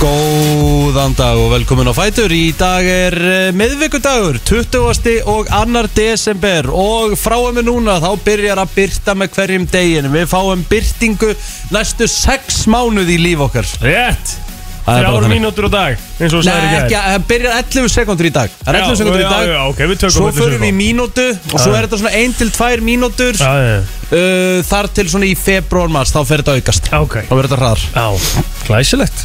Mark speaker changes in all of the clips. Speaker 1: Góðan dag og velkomin á Fætur Í dag er eh, miðvikudagur 20. og 2. desember og frá og með núna þá byrjar að byrta með hverjum degin Við fáum byrtingu næstu 6 mánuð í líf okkar
Speaker 2: Rétt
Speaker 1: Það er bara
Speaker 2: Þrjár
Speaker 1: þannig.
Speaker 2: mínútur á dag eins og þú
Speaker 1: Nei,
Speaker 2: sagðir í
Speaker 1: ekki,
Speaker 2: gær.
Speaker 1: það byrjar 11 sekundur í dag Það er
Speaker 2: Já,
Speaker 1: 11 sekundur í
Speaker 2: já,
Speaker 1: dag
Speaker 2: já, ok, við tökum
Speaker 1: Svo förum
Speaker 2: 11
Speaker 1: við í
Speaker 2: sekúndur.
Speaker 1: mínútu og svo
Speaker 2: Já.
Speaker 1: er þetta svona 1 til 2 mínútur
Speaker 2: Já, já,
Speaker 1: uh, Þar til svona í februarmars þá fer þetta að aukast
Speaker 2: já, ok
Speaker 1: Þá verður þetta hraðar
Speaker 2: Já, glæsilegt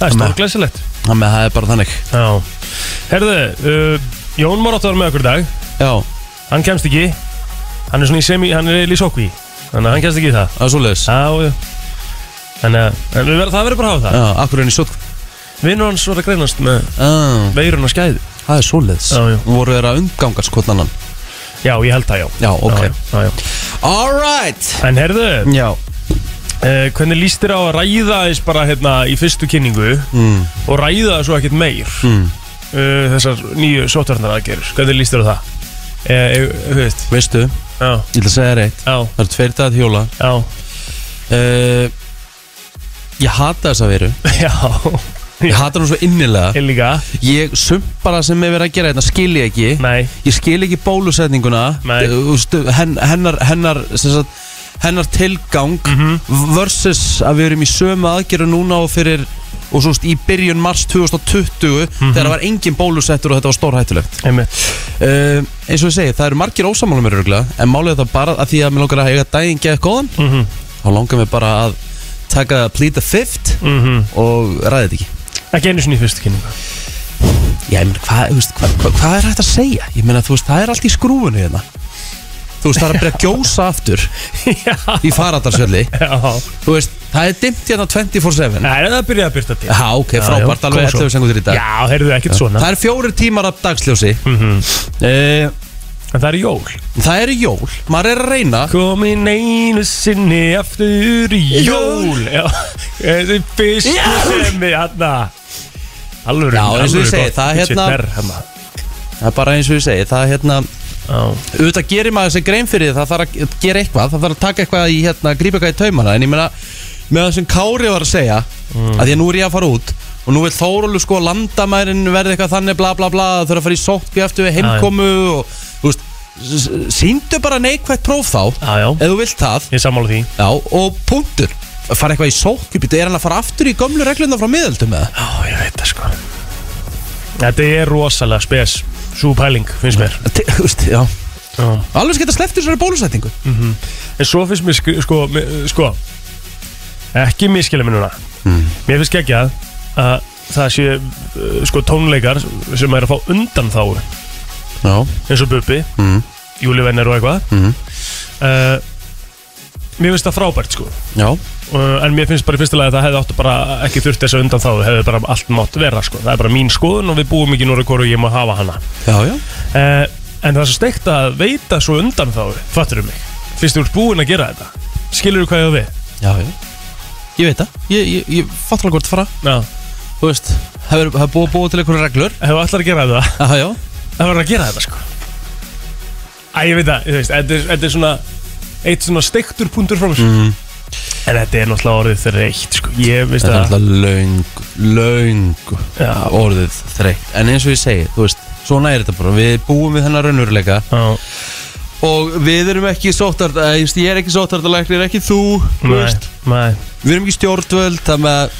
Speaker 2: Það er stór glæsilegt
Speaker 1: Þannig að það er bara þannig
Speaker 2: Já Herðu, uh, Jón Már átt að vera með okkur í dag
Speaker 1: Já,
Speaker 2: Hann kemst ekki Hann er svona í semi, hann er í sokvi Þannig að hann kemst ekki í það
Speaker 1: það er svoleiðis
Speaker 2: Já, já Þannig að en við verðum- það verður bara að hafa það
Speaker 1: Já, akkur enn í sótkví
Speaker 2: Vinnur hans var að greinast með
Speaker 1: ah,
Speaker 2: veirun og skæði
Speaker 1: Það er svoleiðis
Speaker 2: Já, já.
Speaker 1: Voru þeir að umgangast hvort annan
Speaker 2: Já, ég held það, já
Speaker 1: Já, ok
Speaker 2: já, já, já.
Speaker 1: Alright
Speaker 2: En herðu,
Speaker 1: Já
Speaker 2: Uh, hvernig líst þér á að ræða þess bara hérna í fyrstu kynningu mm. og ræða það svo ekkert meir mm. uh, þessar nýju sótverðnar aðgerður hvernig líst þér á það? Eh, eh, Þú veist,
Speaker 1: Veistu, ég
Speaker 2: já,
Speaker 1: ætla að segja þér eitt
Speaker 2: já,
Speaker 1: Það eru tveir dagað hjóla
Speaker 2: já
Speaker 1: uh, Ég hata þessa veru
Speaker 2: já,
Speaker 1: Ég hata hún svo innilega
Speaker 2: ég líka
Speaker 1: Ég sumt bara sem er verið að gera þetta skil ég ekki
Speaker 2: nei,
Speaker 1: Ég skil ekki bólusetninguna
Speaker 2: Nei.
Speaker 1: Eh, þú veistu, hen, Hennar Hennar sem sagt, Hennar tilgang
Speaker 2: Mhm.
Speaker 1: Versus að við erum í sömu aðgerðu núna og fyrir Og svo veist, í byrjun mars 2020 Þegar það var engin bólusettur og þetta var stórhættulegt
Speaker 2: Mhm. einmitt
Speaker 1: uh, eins og ég segi, það eru margir ósamála mér örgulega, en málið er það bara að því að mér langar að eiga daginn geða góðan
Speaker 2: mm -hmm.
Speaker 1: þá langar mér bara að taka plead the fifth og ræði þetta ekki
Speaker 2: Mhm. ekki einu sinni í fyrstu kynningu
Speaker 1: Já, ég meina, hvað hva, hva, hva hvað er hægt að segja? Ég meina, þú veist, það er allt í skrúfunni hérna Þú veist, það er að byrja að gjósa aftur
Speaker 2: já,
Speaker 1: í faradarsfjöldi
Speaker 2: já,
Speaker 1: Þú veist, það er dimmt hérna 24-7 Já,
Speaker 2: Nei, það byrjaði að byrta til
Speaker 1: ok,
Speaker 2: Já,
Speaker 1: frábært,
Speaker 2: já,
Speaker 1: alveg
Speaker 2: kom svo.
Speaker 1: 11 sengur í dag
Speaker 2: já, heyrðu ekkert svona
Speaker 1: Það er fjórir tímar af dagsljósi
Speaker 2: mm
Speaker 1: uh,
Speaker 2: en það er jól
Speaker 1: Það eru jól, maður er að reyna
Speaker 2: komin einu sinni aftur í jól
Speaker 1: Jól.
Speaker 2: já, þessi fyrstu
Speaker 1: Jól.
Speaker 2: sem við hérna alveg
Speaker 1: Já, eins og ég segi, það er hérna- Það er bara eins og ég segi, það er hérna
Speaker 2: já,
Speaker 1: auðvitað gerir maður þessi grein fyrir því, það þarf að gera eitthvað, það þarf að taka eitthvað í hérna, grípa eitthvað í taumana, en ég meina með það sem Kári var að segja
Speaker 2: Mm.
Speaker 1: að því að nú er ég að fara út og nú vil Þórólu sko landamærin verði eitthvað þannig bla bla bla það þurfa að fara í sótkví eftir við heimkomu og þú veist, s- s- sýndu bara neikvægt próf þá,
Speaker 2: já, já,
Speaker 1: ef þú vilt það
Speaker 2: ég er sammála því
Speaker 1: já, og punktur fara eitthvað í sótkví, býttu, er hann að fara aftur í gömlu regluna frá miðöldum með það?
Speaker 2: já, ég veit það sko þetta er rosalega spes svo pæling, finnst mér
Speaker 1: Þú veist, já,
Speaker 2: já. Mhm.
Speaker 1: alveg skemmt að sleftu þessari bólusetningu
Speaker 2: en svo finnst mér sk- sko, mi- sko ekki miskilja mér núna
Speaker 1: Mm.
Speaker 2: mér finnst ekki að það sé uh, sko tónleikar sem er að fá undan þáu
Speaker 1: já,
Speaker 2: eins og Bubbi
Speaker 1: Mhm.
Speaker 2: Júlivenner og eitthvað
Speaker 1: Mhm.
Speaker 2: uh, Mér finnst það frábært sko
Speaker 1: já,
Speaker 2: uh, en mér finnst bara í fyrsta lagi að það hefði áttu bara ekki þurft þess að undan þá, hefði bara allt mátt vera sko, það er bara mín skoðun og við búum ekki núra hverju og ég má hafa hana
Speaker 1: já, já.
Speaker 2: uh, en það er svo steikt að veita svo undan þá, fattur mig finnst þú ert búin að gera þetta skilur þú hvað ég á við
Speaker 1: Já, já Ég veit það, ég, ég, ég fattur alveg hvort að fara
Speaker 2: Já,
Speaker 1: Þú veist, það er búið að búa til einhverju reglur
Speaker 2: ef þú ætlar að gera þetta
Speaker 1: Aha, já,
Speaker 2: það verður að gera þetta sko Æ, ég veit það, þú veist, þetta er, þetta er svona eitt svona steiktur punktur frá mér
Speaker 1: Mhm.
Speaker 2: en þetta er náttúrulega orðið þreytt sko, ég veist
Speaker 1: þetta er
Speaker 2: að
Speaker 1: alltaf löng, löng
Speaker 2: Já.
Speaker 1: orðið þreytt En eins og ég segi, þú veist, svona er þetta bara Við búum við hennar raunveruleika
Speaker 2: Já,
Speaker 1: Og við erum ekki sóttart, ég er ekki sóttartalæknir, ekki þú þú
Speaker 2: nei,
Speaker 1: veist.
Speaker 2: nei,
Speaker 1: Við erum ekki stjórnvöld, þannig að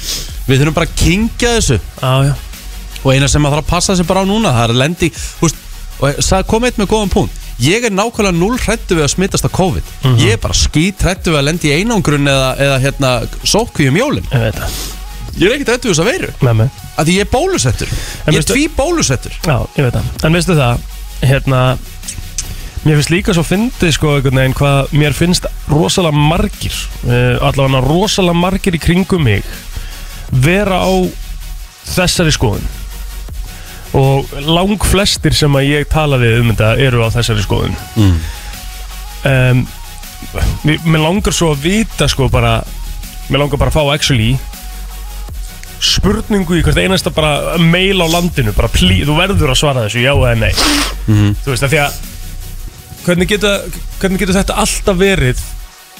Speaker 1: við þurfum bara að kingja þessu
Speaker 2: á, já,
Speaker 1: og eina sem maður þarf að passa sig bara á núna það er að lendi húst, og það kom eitt með góðan punkt ég er nákvæmlega null hrættu við að smittast af COVID
Speaker 2: Mhm.
Speaker 1: ég er bara skít hrættu við að lendi í einangrun eða, eða hérna sótkvíum jólin
Speaker 2: ég veit það,
Speaker 1: ég er ekkert hrættu við þess að veiru
Speaker 2: með mig
Speaker 1: af því ég er bólusettur
Speaker 2: En
Speaker 1: ég er
Speaker 2: veistu-
Speaker 1: tví bólusettur
Speaker 2: Já, ég veit það, en veistu það, hérna Mér finnst líka svo fyndið sko einhvern veginn hvað mér finnst rosalega margir uh, allavega rosalega margir í kringum mig vera á þessari skoðun og lang flestir sem að ég tala við um þetta eru á þessari skoðun
Speaker 1: Mm.
Speaker 2: um, mér, mér langar svo að vita sko bara mér langar bara að fá actually spurningu í hvert einasta bara mail á landinu bara plí, þú verður að svara þessu já eða nei þú veist að því að hvernig getur, hvernig getur þetta alltaf verið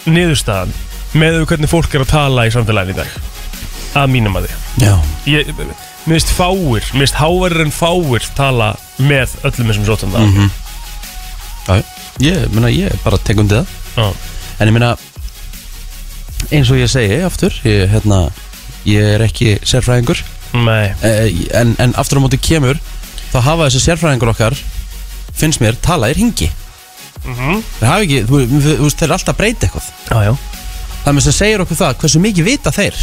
Speaker 2: niðurstaðan með því hvernig fólk er að tala í samfélaginu í dag að mínum að því
Speaker 1: Já
Speaker 2: ég, mér finnst fáir, mér finnst hávarir en fáir tala með öllum þessum sótum það.
Speaker 1: Mhm. Já, Ég, meina, ég bara tek undir það
Speaker 2: Já,
Speaker 1: En ég meina Eins og ég segi aftur Ég, hérna, ég er ekki sérfræðingur
Speaker 2: nei,
Speaker 1: eh, en, en aftur á móti kemur Þá hafa þessi sérfræðingur okkar Finnst mér, tala er hingi
Speaker 2: Mhm.
Speaker 1: Þeir hafa ekki, þú, þú, þú veist, þeir eru alltaf að breyta eitthvað
Speaker 2: já, já,
Speaker 1: Það með sem segir okkur það, hversu mikið vita þeir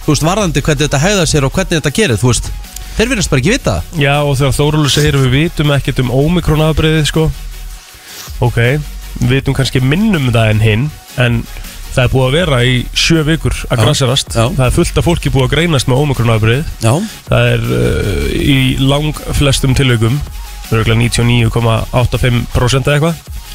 Speaker 1: Þú veist, varðandi hvernig þetta hegðar sér og hvernig þetta gerir, þú veist Þeir virðast bara ekki vita það
Speaker 2: já og þegar Þórólur segir við vitum ekkert um ómikrón afbreyðið sko, ok, við vitum kannski minnum það en hinn, en það er búið að vera í sjö vikur að
Speaker 1: Já,
Speaker 2: grasserast,
Speaker 1: já.
Speaker 2: það er fullt af fólki búið að greinast með ómikrón afbreyðið,
Speaker 1: Já,
Speaker 2: það er uh, í lang flestum tilögum, örgulega 99,85% eða eitthvað,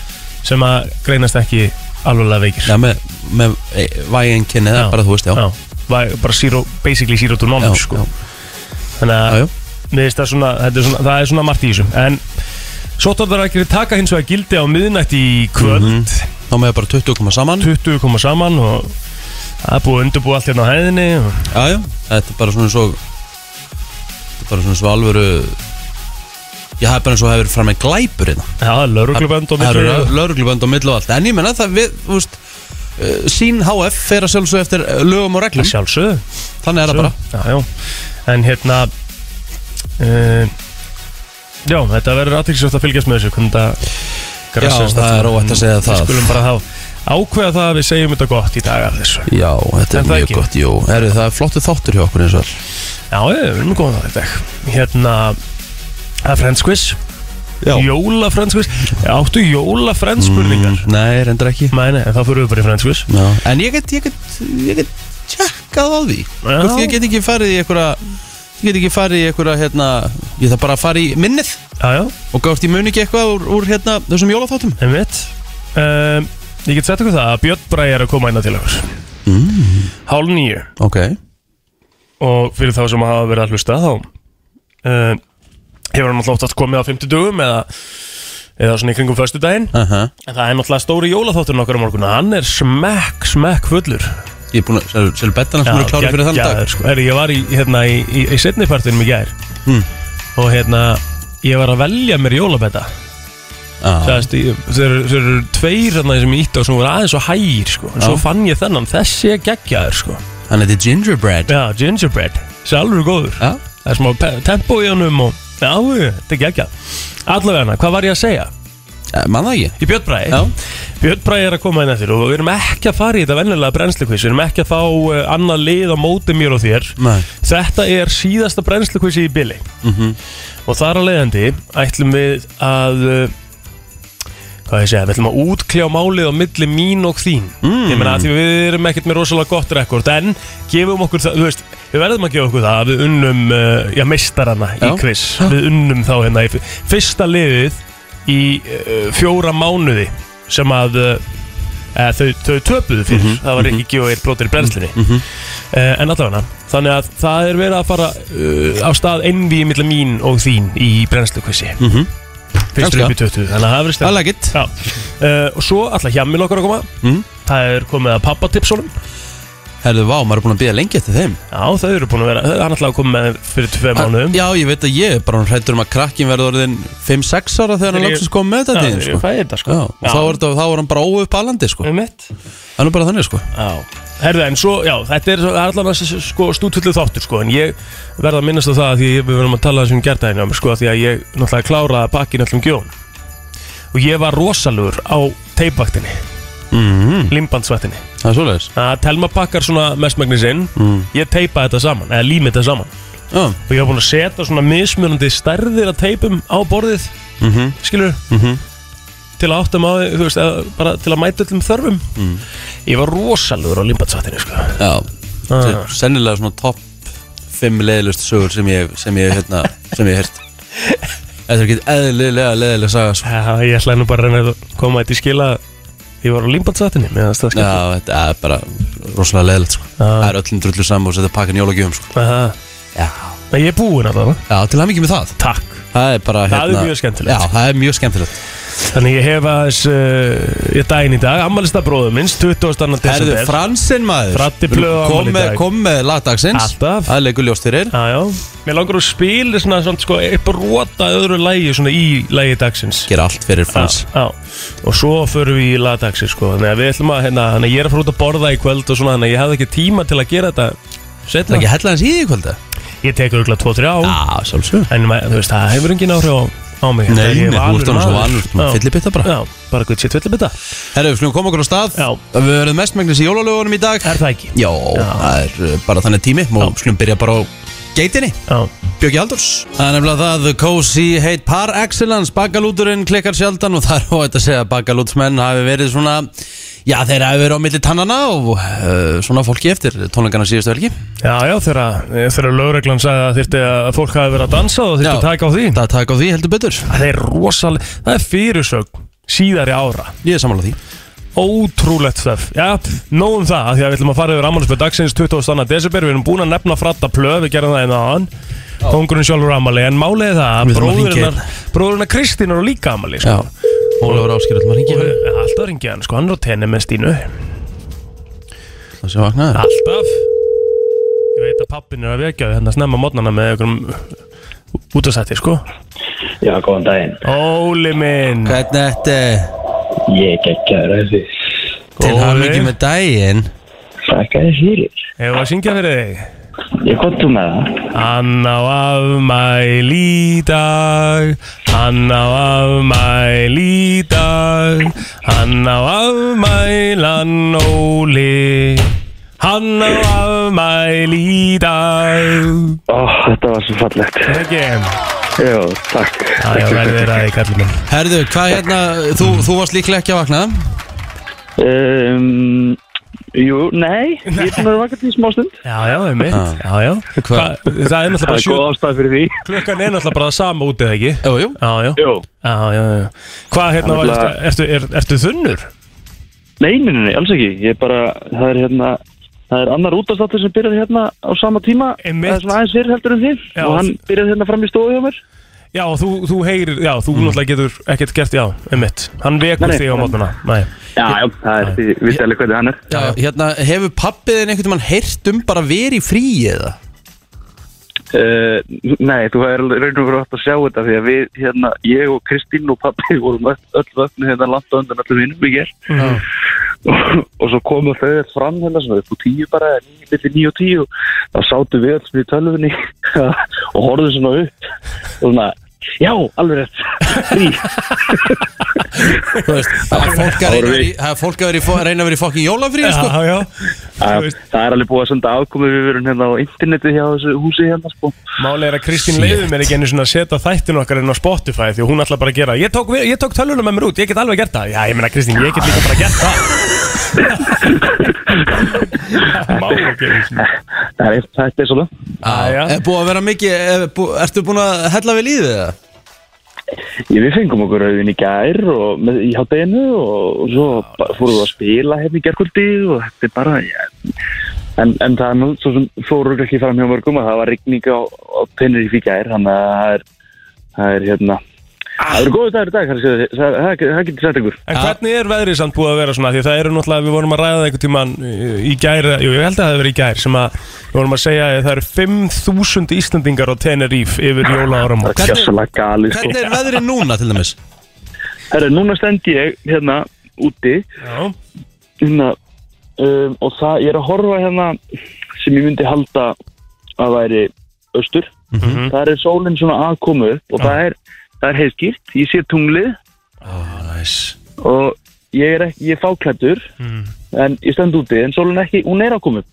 Speaker 2: sem að greinast ekki alveglega veikir.
Speaker 1: já með, með e, vægenginni eða
Speaker 2: Já.
Speaker 1: bara, þú veist, já,
Speaker 2: já. var bara zero, basically zero to none
Speaker 1: já,
Speaker 2: sko.
Speaker 1: já. Já,
Speaker 2: þannig að
Speaker 1: já.
Speaker 2: mér finnst það svona, þetta er svona, það er svona margt í þessu en sóttvarnarækjur taka hins vegar gildi á miðnætti í kvöld
Speaker 1: Mhm. Þá með bara 20 koma saman
Speaker 2: 20 koma saman og það er búið að undurbúa allt hérna á hæðinni og,
Speaker 1: Já, já, þetta er bara svona svo Þetta er bara svona svo alvöru Já, það er bara eins og hefur fram með glæpur hérna
Speaker 2: já, lauruglubönd og
Speaker 1: Það
Speaker 2: miklu
Speaker 1: eru lauruglubönd og millu og allt En ég menna það við, þú veist uh, Sín HF fer að sjálfsög eftir eh, lögum og reglum
Speaker 2: sjálfsögðu
Speaker 1: Þannig er það bara
Speaker 2: já, já. en hérna uh, já, þetta verður aðtilsjótt að fylgjast með þessu hvernig þetta grassast
Speaker 1: það
Speaker 2: allt.
Speaker 1: er óhætt að segja
Speaker 2: við
Speaker 1: það.
Speaker 2: skulum bara hafa ákveða það að við segjum þetta gott í dag af þessu
Speaker 1: Já, þetta
Speaker 2: Er
Speaker 1: er
Speaker 2: það
Speaker 1: mjög
Speaker 2: ekki?
Speaker 1: gott, jú Heru, Það er flottu þáttur hjá okkur eins og
Speaker 2: Já, já, við erum góðan að þetta Hérna, það er Friends Quiz
Speaker 1: Já.
Speaker 2: Jóla Friends Quiz Áttu jóla Friends spurningar
Speaker 1: Mm, Nei, reyndar ekki
Speaker 2: Nei, nei, en þá fyrir við bara í Friends Quiz
Speaker 1: Já. En ég get, ég get, ég get tjekkað á því
Speaker 2: Já.
Speaker 1: Hvort ég get ekki farið í einhverja Ég get ekki farið í einhverja, hérna Ég þarf bara að fara í minnið
Speaker 2: Já, já,
Speaker 1: Og gátt ég muni ekki eitthvað úr, úr hérna, þessum jólaþáttum
Speaker 2: einmitt um, Ég get sett okkur það að Björn Bræ er að koma inn til okkur mm. Hálf nýju
Speaker 1: Ok
Speaker 2: Og fyrir þá sem hafa verið að hlusta þá um, Hefur hann alltaf átt komið á 50 dögum eða, eða svona í kringum föstudaginn
Speaker 1: uh -huh.
Speaker 2: En það er náttúrulega stóri jólaþátturinn okkar á morgun Hann er smekk, smekk fullur
Speaker 1: Ég er búin að, sér, sér bettana sem eru klára fyrir þann dag
Speaker 2: geggjaður, Sko. Herri, ég var í, hérna, í, í, í setnipartinum í gær
Speaker 1: Mm.
Speaker 2: og hérna ég var að velja mér jólabetta
Speaker 1: Já,
Speaker 2: Sæðast, ég, þeir, þeir eru tveir hérna, sem ég ítti á sem voru aðeins og hægir sko. en svo
Speaker 1: Já.
Speaker 2: fann ég þennan, þessi er geggjaður sko.
Speaker 1: hann heiti Gingerbread
Speaker 2: já, gingerbread, þessi er alveg góður
Speaker 1: Já,
Speaker 2: það er smá pe- tempo í honum og já, jú, þetta er geggjað allavega hana, hvað var ég að segja?
Speaker 1: Eh, man það ekki
Speaker 2: í Björn Bræði
Speaker 1: Já.
Speaker 2: Björn Bræði er að koma inn eftir og við erum ekki að fara í þetta vennilega brennslikvís við erum ekki að fá uh, annað lið á móti mér og þér
Speaker 1: Nei.
Speaker 2: þetta er síðasta brennslukvísi í bili og þar að leiðandi ætlum við að uh, hvað ég segja, við ætlum að útkljá málið á milli mín og þín
Speaker 1: Mm.
Speaker 2: ég meina að því við erum ekkert með rosalega gott rekord en gefum okkur það, þú veist við verðum að gefa okkur það að við unnum uh, já, meistarana
Speaker 1: Já.
Speaker 2: í quiz við unnum þá hérna í f- fyrsta liðið í uh, fjóra mánuði sem að uh, eða, þau, þau töpuðu fyrir,
Speaker 1: Mhm,
Speaker 2: það var ekki gefa eitt brotir í brennslinni Eh, En allavega, þannig að það er verið að fara uh, á stað envi millir mín og þín í brennslukvissi
Speaker 1: Mhm.
Speaker 2: Fyrstur upp í 20, þannig að það er verið
Speaker 1: I
Speaker 2: stefn
Speaker 1: like it
Speaker 2: Já, uh, og svo alltaf hjamil okkar að koma
Speaker 1: Mhm.
Speaker 2: Það er komið að pappatipsunum
Speaker 1: Herðu, vá, maður er búin að bíða lengi eftir þeim
Speaker 2: Já, þau eru búin að vera, það er alltaf að koma með fyrir tvei mánuðum
Speaker 1: Já, ég veit að ég er bara hrættur um að krakkin verður orðin 5-6 ára þegar hann
Speaker 2: Þegar ég-
Speaker 1: lóksins kom með þetta
Speaker 2: Já,
Speaker 1: tíðin
Speaker 2: ég
Speaker 1: sko.
Speaker 2: fæði þetta sko
Speaker 1: Já, og
Speaker 2: Já.
Speaker 1: þá er, þetta, þá er hann bara óupp alandi sko.
Speaker 2: Um mitt
Speaker 1: Það er nú bara þannig sko.
Speaker 2: Já Herðu, en svo, já, þetta er allan að sko, stútvöldu þáttur, sko, en ég verða að minnast á það að því að við verðum að tala þessum gerðdæðinu á mig, sko, af því að ég náttúrulega kláraði bakkin öllum gjón og ég var rosalur á teipvaktinni,
Speaker 1: mm.
Speaker 2: limbandsvættinni.
Speaker 1: Það er svoleiðis
Speaker 2: Að telma bakkar svona mestmægnis inn,
Speaker 1: Mhm.
Speaker 2: ég teipa þetta saman, eða lími þetta saman
Speaker 1: Já,
Speaker 2: og ég var búin að setja svona mismunandi stærðir að teipum á borðið,
Speaker 1: Mhm.
Speaker 2: skilur,
Speaker 1: Mhm.
Speaker 2: til að áttum á, því, þú veist, að, bara til að mæta öllum þörfum. Ég var rosalur á limbandsvættinni, sko.
Speaker 1: já. Þetta
Speaker 2: Ah.
Speaker 1: er sennilega svona topp 5 leðilust sögur sem ég sem ég, hérna, sem ég hert Þetta er ekki eðlilega leðilega saga sko.
Speaker 2: Já, ég ætlaði nú bara að reyna að koma þetta í skila Ég var á limbandsvættinni með
Speaker 1: Já,
Speaker 2: það staðskipt
Speaker 1: þetta er bara rosalega leðilegt sko.
Speaker 2: Já.
Speaker 1: Það er öllum drullu saman og setja pakkan jólagjöfum sko. Já,
Speaker 2: Nei, ég er búinn alltaf
Speaker 1: já til hann ekki með það
Speaker 2: Takk
Speaker 1: Það er bara
Speaker 2: Hérna-
Speaker 1: hérna-
Speaker 2: Það er mjög skemmtilegt.
Speaker 1: Já, það er mjög skemmtilegt
Speaker 2: Þannig ég hef aðeins uh, Ég daginn í dag, ammalista bróðum minns 22.
Speaker 1: Herðu,
Speaker 2: desember
Speaker 1: Fransinn maður
Speaker 2: Fraddi blöð á afmæli í
Speaker 1: Kom með,
Speaker 2: dag.
Speaker 1: kom með lagdagsins
Speaker 2: Alltaf.
Speaker 1: Það leikur ljóst fyrir
Speaker 2: Já, já Mér langar að spila svona, svona sko, eitthvað rota öðru lægi svona í lægi dagsins
Speaker 1: Gera allt fyrir Frans
Speaker 2: Já, já. og svo förum við í lagdagsins sko. Þannig að við ætlum að, hérna, þannig að ég er að fara út að borða í kvöld og svona, þannig að ég hafði ekki tíma til að gera þetta
Speaker 1: Það er
Speaker 2: setna
Speaker 1: ekki hella hans í því kvölda
Speaker 2: Ég tek örgulega 2-3 á,
Speaker 1: Já, sjálfsög
Speaker 2: en ma- þú veist, það hefur engin áhrif á, á mig
Speaker 1: Nei,
Speaker 2: Ég er
Speaker 1: nei, þú ert orðinn svo vanur, svona
Speaker 2: Já.
Speaker 1: fyllibitta bara.
Speaker 2: Já, bara gutt sér fyllibita
Speaker 1: Herru, við skulum koma okkur á stað
Speaker 2: Já.
Speaker 1: Við verðum mestmengnis í jólalögunum í dag
Speaker 2: Er það ekki?
Speaker 1: Já, það er uh, bara þannig tími Má skulum byrja bara á geitinni
Speaker 2: Já,
Speaker 1: Björki Aldurs Það er nefnilega það Cozy heit par excellence Bakalúturinn klikkar sjaldan og það er óætt að segja að Bakalútsmenn hafi verið svona Já, þeir hafi verið á milli tannana og uh, svona fólki eftir tónleikana síðustu helgi
Speaker 2: já, já þegar, þegar lögreglan sagði að þyrfti að fólk hafi verið að dansa og þyrfti
Speaker 1: Já.
Speaker 2: að taka á því
Speaker 1: Það takk á því heldur betur
Speaker 2: Það er rosalega, það er fyrirsögn síðari ára
Speaker 1: Ég er samanlega því
Speaker 2: Ótrúlegt stöf Já, nóg um það af Því að við ætlum að fara yfir ammælisbyrð dagsins 22. desember Við erum búin að nefna fratta plöð Við gerðum það einn að hann Kongurinn sjálfur ammæli En málið er
Speaker 1: Við
Speaker 2: það að
Speaker 1: þurfum að hringja
Speaker 2: bróðurinn Bróðurinn að Kristín eru líka ammæli sko.
Speaker 1: Já Ólafur Áskir Það
Speaker 2: Og
Speaker 1: ringið
Speaker 2: við- Alltaf ringið hann sko Hann er á tenni með Stínu
Speaker 1: Það sé vaknaður
Speaker 2: Alltaf Ég veit að pappin er að vekja þau Hérna snemma mótnana með einhverjum Útastætti sko
Speaker 3: Já, góðan daginn.
Speaker 2: Óli minn
Speaker 1: Hvernig þetta
Speaker 3: Ég geggjaður að þessu.
Speaker 1: Til
Speaker 2: Óli.
Speaker 1: hann ekki með daginn
Speaker 3: Þakka þér fyrir.
Speaker 2: Hefur að syngja fyrir þig
Speaker 3: Ég kom þú með það.
Speaker 2: Hann á afmæli í dag Hann á afmæli í dag Hann á afmælan Óli Hann á afmæli í dag
Speaker 3: Ó, þetta var svo fallegt.
Speaker 2: Ekki,
Speaker 3: Jú, takk.
Speaker 2: það er verður að ég kallir minn
Speaker 1: Herðu, hvað hérna Þú, þú varst líklega ekki að vakna
Speaker 3: Um, jú, nei, ég er búin að vera vakað í smá stund.
Speaker 2: Já, já, það er mitt Já, já
Speaker 1: Hva?
Speaker 2: Hva? Það er náttúrulega
Speaker 3: Það
Speaker 2: bara
Speaker 3: er
Speaker 2: sjö
Speaker 3: góð ástæð fyrir því.
Speaker 2: Klukkan er náttúrulega bara það sama útið, ekki?
Speaker 1: Jú, jú
Speaker 2: Já, já
Speaker 3: Jú.
Speaker 2: Já, já, já Hvað hérna var,
Speaker 3: Náttúrulega-
Speaker 2: ertu, er, ertu þunnur?
Speaker 3: Nei, nei, nei, nei, alls ekki. Ég er bara, það er hérna, það er annar útastáttur sem byrjaði hérna á sama tíma.
Speaker 2: Einmitt.
Speaker 3: Það er svona aðeins fyrir heldur en þið.
Speaker 2: Já.
Speaker 3: Og hann byrjaði hérna fram í stóðu hjá mér.
Speaker 2: Já, og þú, þú heyrir, já, þú náttúrulega getur ekkert gert, já, einmitt. Hann vekur
Speaker 3: Mm. Nei, nei.
Speaker 2: þig á mótnuna. Nei.
Speaker 3: Já, já, það er því, við stæli hvernig hann er.
Speaker 1: Já, hérna, hefur pappiðin einhvern veginn heyrt um bara verið í fríi eða?
Speaker 3: Uh, nei, þú hefur raun og verið átt að sjá þetta því að við, hérna, ég og Kristín og pappi vorum öll, öll vöfni hérna langt á undan öllum innum í ger
Speaker 2: Ah.
Speaker 1: Já.
Speaker 3: og, og svo komu þau öll fram hérna svona upp úr tíu bara, níu, milli níu og tíu og þá sátu við öll sem í tölvunni og horfðu svona upp og svona, já, alveg rétt frí,
Speaker 1: Þú veist, það er fólk að
Speaker 3: Árum
Speaker 1: reyna að vera
Speaker 3: við.
Speaker 1: í- það er fólk að vera í fó- reyna að vera í fokkin jólafríi, sko
Speaker 2: Já, já. Þú
Speaker 3: að,
Speaker 2: veist.
Speaker 3: það er alveg búið að senda afkomi við verum hérna á interneti hjá þessu húsi hérna, sko
Speaker 2: Málið er að Kristín
Speaker 1: Shit.
Speaker 2: leiði mér ekki einu svona að setja þættin okkar inn á Spotify því að hún ætla bara að gera Ég tók, við- ég tók tölvunum með mér út, ég get alveg gert það. Já, ég meina Kristín, ég get líka bara gert það. Má ekki einu sinni.
Speaker 3: það er, þetta er svona
Speaker 1: Já,
Speaker 2: já.
Speaker 1: Er búið að vera mikið, er, bú, ertu búin að hella við líðið eða?
Speaker 3: Ég, við fengum okkur auðvinn í gær og með, í hátteginu og, og svo ba- fórum við að spila hérna í gærkvöldi og þetta er bara ja. en, en það er nú svo sem fórum ekki fram hjá mörgum að það var rigning á, á pinnir í fíkjær þannig að það er, það er hérna það eru góðu dagur í dag kannski, það, það, það, það getur sett ykkur
Speaker 2: En
Speaker 1: Já.
Speaker 2: hvernig er veðrið samt búið að vera svona? Því að það eru náttúrulega, við vorum að ræða það einhvern tíman í gær, jú, ég held að það hefur verið í gær, sem að við vorum að segja að það eru 5.000 Íslandingar á Tenerife yfir jóla
Speaker 3: það er
Speaker 1: Hvernig-
Speaker 3: kjassalega gali sko.
Speaker 1: Hvernig er veðrið núna til dæmis?
Speaker 3: Herra, núna stend ég hérna úti
Speaker 2: Já,
Speaker 3: hérna, um, og það, ég er að horfa hérna sem ég myndi halda að væri austur
Speaker 2: Mhm.
Speaker 3: þar er sólinn svona að koma upp og það er, það er heiskýrt, ég sé tunglið
Speaker 1: Ó, næs
Speaker 3: og ég er, ekki, ég er fáklættur
Speaker 2: Mhm.
Speaker 3: en ég stend úti, en sólinn ekki, hún er að koma upp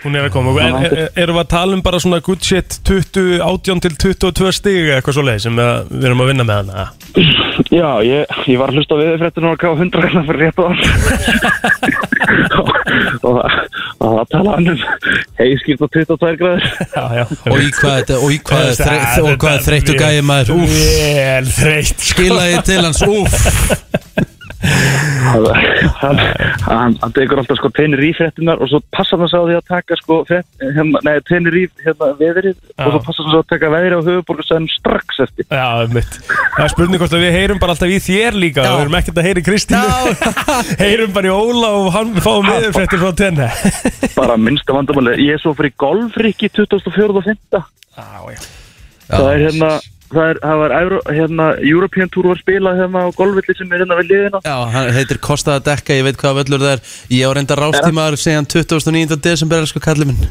Speaker 2: Hún er að koma, er, er, er- erum við að tala um bara svona good shit 20, 18 til 22 stig eða eitthvað svo leið sem við, við erum að vinna með hana
Speaker 3: Já, ég, ég var að hlusta við fréttin og að kafa hundra hérna fyrir rétt og og, og, og það talaði hann um heiskýrt og 22 græður
Speaker 2: Já, já
Speaker 1: Og í hvað, þetta- og í hvað, er þreytt- og hvað er þreyttu gæði maður? Úff
Speaker 2: Vel þreytt sko.
Speaker 1: Skilaði til hans, úff
Speaker 3: hann, hann, hann, hann tekur alltaf sko teinir í fréttinar og svo passar hann sá því að taka sko frétt, hérna, nei, teinir í hérna, veðrið og svo passar hann sá að taka veðrið á höfuborgarsæðum strax eftir
Speaker 2: Já, mitt. Það er spurning hvort að við heyrum bara alltaf í þér líka
Speaker 1: Já.
Speaker 2: Við erum ekkert að heyra í Kristínu Heyrum bara í Óla og hann við fáum viðurfrettir frá tenni
Speaker 3: bara minnsta vandamáli ég er svo fyrir golfriki 2004 og 5 það er hérna það, er, það var Euro, hérna, European Tour var spilað hérna á golfvilli sem er hérna við liðina
Speaker 1: Já, hann heitir Kostaða Dekka, ég veit hvað völlur það er Ég á reynda rástímaður síðan 29. desember, sko kallið minn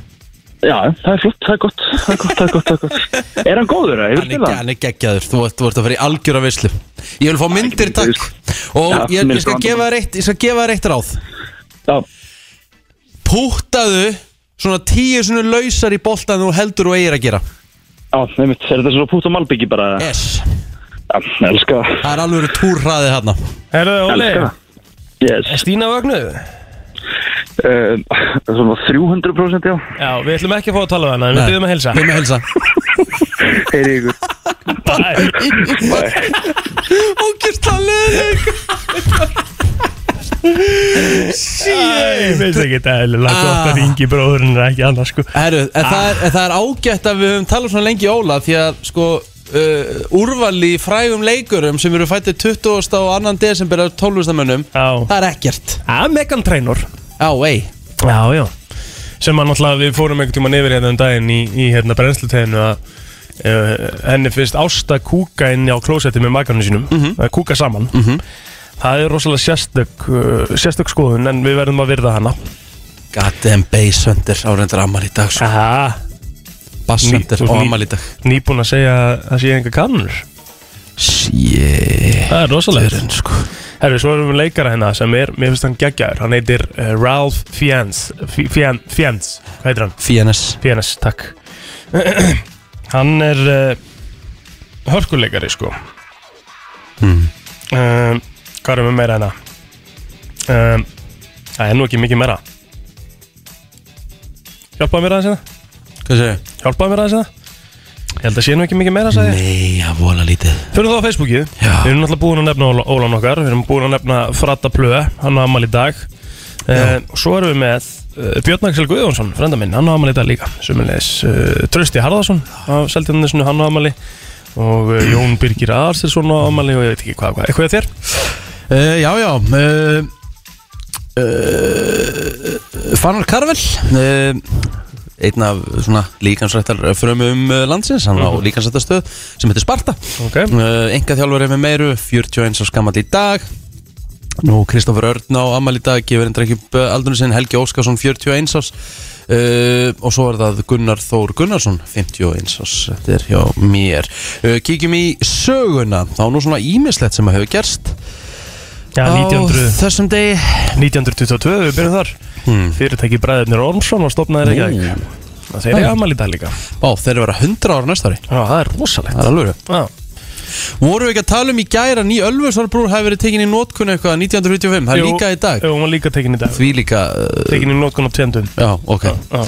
Speaker 3: já, það er flott, það er gott það er gott, það er gott, það er, gott. er hann góður, eða, hefur
Speaker 1: Hann er,
Speaker 3: spilað
Speaker 1: hann er geggjaður, þú ert, þú ert að fara í algjöra vislu Ég vil fá myndir,
Speaker 3: ekki
Speaker 1: takk Og
Speaker 3: Já,
Speaker 1: ég, ég,
Speaker 3: minnsta vandamál.
Speaker 1: skal gefa þér eitt, ég skal gefa þér eitt ráð
Speaker 3: já,
Speaker 1: Púttaðu svona tíu svona lausar í boltan þú heldur og eigir að gera
Speaker 3: já, nefnt, er þetta svona pútt á malbyggi bara já,
Speaker 1: Yes,
Speaker 3: elska það.
Speaker 1: það er alveg túrraðið hérna
Speaker 2: Herðu, Óli,
Speaker 3: elska það. yes,
Speaker 2: Stína Vögnu
Speaker 3: um, svona 300% já
Speaker 2: Já, við ætlum ekki að fá að tala um hana, en við byrjum að helsa
Speaker 1: Við með helsa
Speaker 3: heyri ykkur
Speaker 2: Bye.
Speaker 1: Ógjörsta leðið
Speaker 2: Ég veist ekki þetta er eðlilega gott að ringi bróðurinn er ekki annars sko
Speaker 1: Herru, en, það er, en það er ágætt að við höfum talað svona lengi í Óla því að sko uh, úrval í frægum leikurum sem eru fættið 20. og 2. desember af 12. mönnum,
Speaker 2: Já.
Speaker 1: það er ekkert
Speaker 2: Það er Megan Trainor
Speaker 1: Já, ei
Speaker 2: Já, já Sem að náttúrulega við fórum einhvern tíma nefyr hérna um daginn í, í hérna brennsluteginu að uh, henni finnst ásta kúka inn á klósetti með makarnu sínum mm kúka saman -hmm. Það er rosalega sérstök, uh, sérstök skoðun en við verðum að virða hana
Speaker 1: Goddamn bass hunter áreindar amal í dag svo
Speaker 2: Aha,
Speaker 1: Bass
Speaker 2: ný-
Speaker 1: hunter
Speaker 2: þú ert
Speaker 1: og
Speaker 2: ný-
Speaker 1: amal í dag
Speaker 2: Nýbúin að segja að það sé enga kannur
Speaker 1: Sjétt
Speaker 2: Það er rosalega sko. Herru, svo erum við leikara hérna sem er, mér finnst hann geggjaður Hann heitir uh, Ralph Fiennes Fi- Fien- Fiennes, hvað heitir hann?
Speaker 1: Fínes
Speaker 2: Fénes, takk Hann er uh, hörkuleikari sko Mm. um, Hvað erum við meira hérna? Um, Það er nú ekki mikið meira Hjálpaðu mér aðeins hérna?
Speaker 1: Hvað segir þau?
Speaker 2: Hjálpaðu mér aðeins hérna? Ég held að sé nú ekki mikið meira sagði ég.
Speaker 1: Nei, að vola lítið
Speaker 2: Fyrir þá á Facebookið
Speaker 1: Já.
Speaker 2: Við erum náttúrulega búin að nefna Óla- Ólan okkar Við erum búin að nefna Frata Plöð Hann á amal í dag uh, Svo erum við með uh, Björn Axel Guðjónsson Frenda minn, hann á amal í dag líka Sumulegis uh, Trösti Harðarsson Á Seldjarnisinu, hann á amali Og uh, Jón Birgir Aðarsson á amali Og ég veit ekki hvað, hvað Eitthvað þér?
Speaker 1: uh, Já, já uh, uh, Fannar Karvel uh, einn af svona líkansrættar frumum uh, landsins, hann á líkansrættarstöð sem heitir Sparta
Speaker 2: Mhm. Ok
Speaker 1: uh, Enga þjálfur með meiru, 41 á skammal í dag Nú Kristoffer Örn á Amal í dag gefur endur ekki upp eh, aldurinn sinn Helgi Óskarsson 41 ás uh, og svo er það Gunnar Þór Gunnarsson 51 ás, þetta er hjá mér uh, Kíkjum í söguna þá er nú svona ímislegt sem að hefur gerst
Speaker 2: Já,
Speaker 1: á
Speaker 2: 1900,
Speaker 1: þessum degi
Speaker 2: 1922 Við byrjum þar Fyrirtæki Bræðirnir Ormsson Og
Speaker 1: Hmm.
Speaker 2: stopnaði
Speaker 1: Nú.
Speaker 2: Reykjavík Það þeir eru amal í dag líka Já,
Speaker 1: Ó, þeir eru að vera 100 ára næsta ári
Speaker 2: það er rosalegt
Speaker 1: Það er alveg
Speaker 2: Já
Speaker 1: Voru við ekki að tala um í gæra ný Ölfusarbrúr hafi verið tekinni í notkunni eitthvað 1945, það er
Speaker 2: Jú,
Speaker 1: líka í dag
Speaker 2: Jú, hún var líka tekin í dag
Speaker 1: Því líka uh,
Speaker 2: Tekin í nótkun á tjendun
Speaker 1: Já, ok Eh,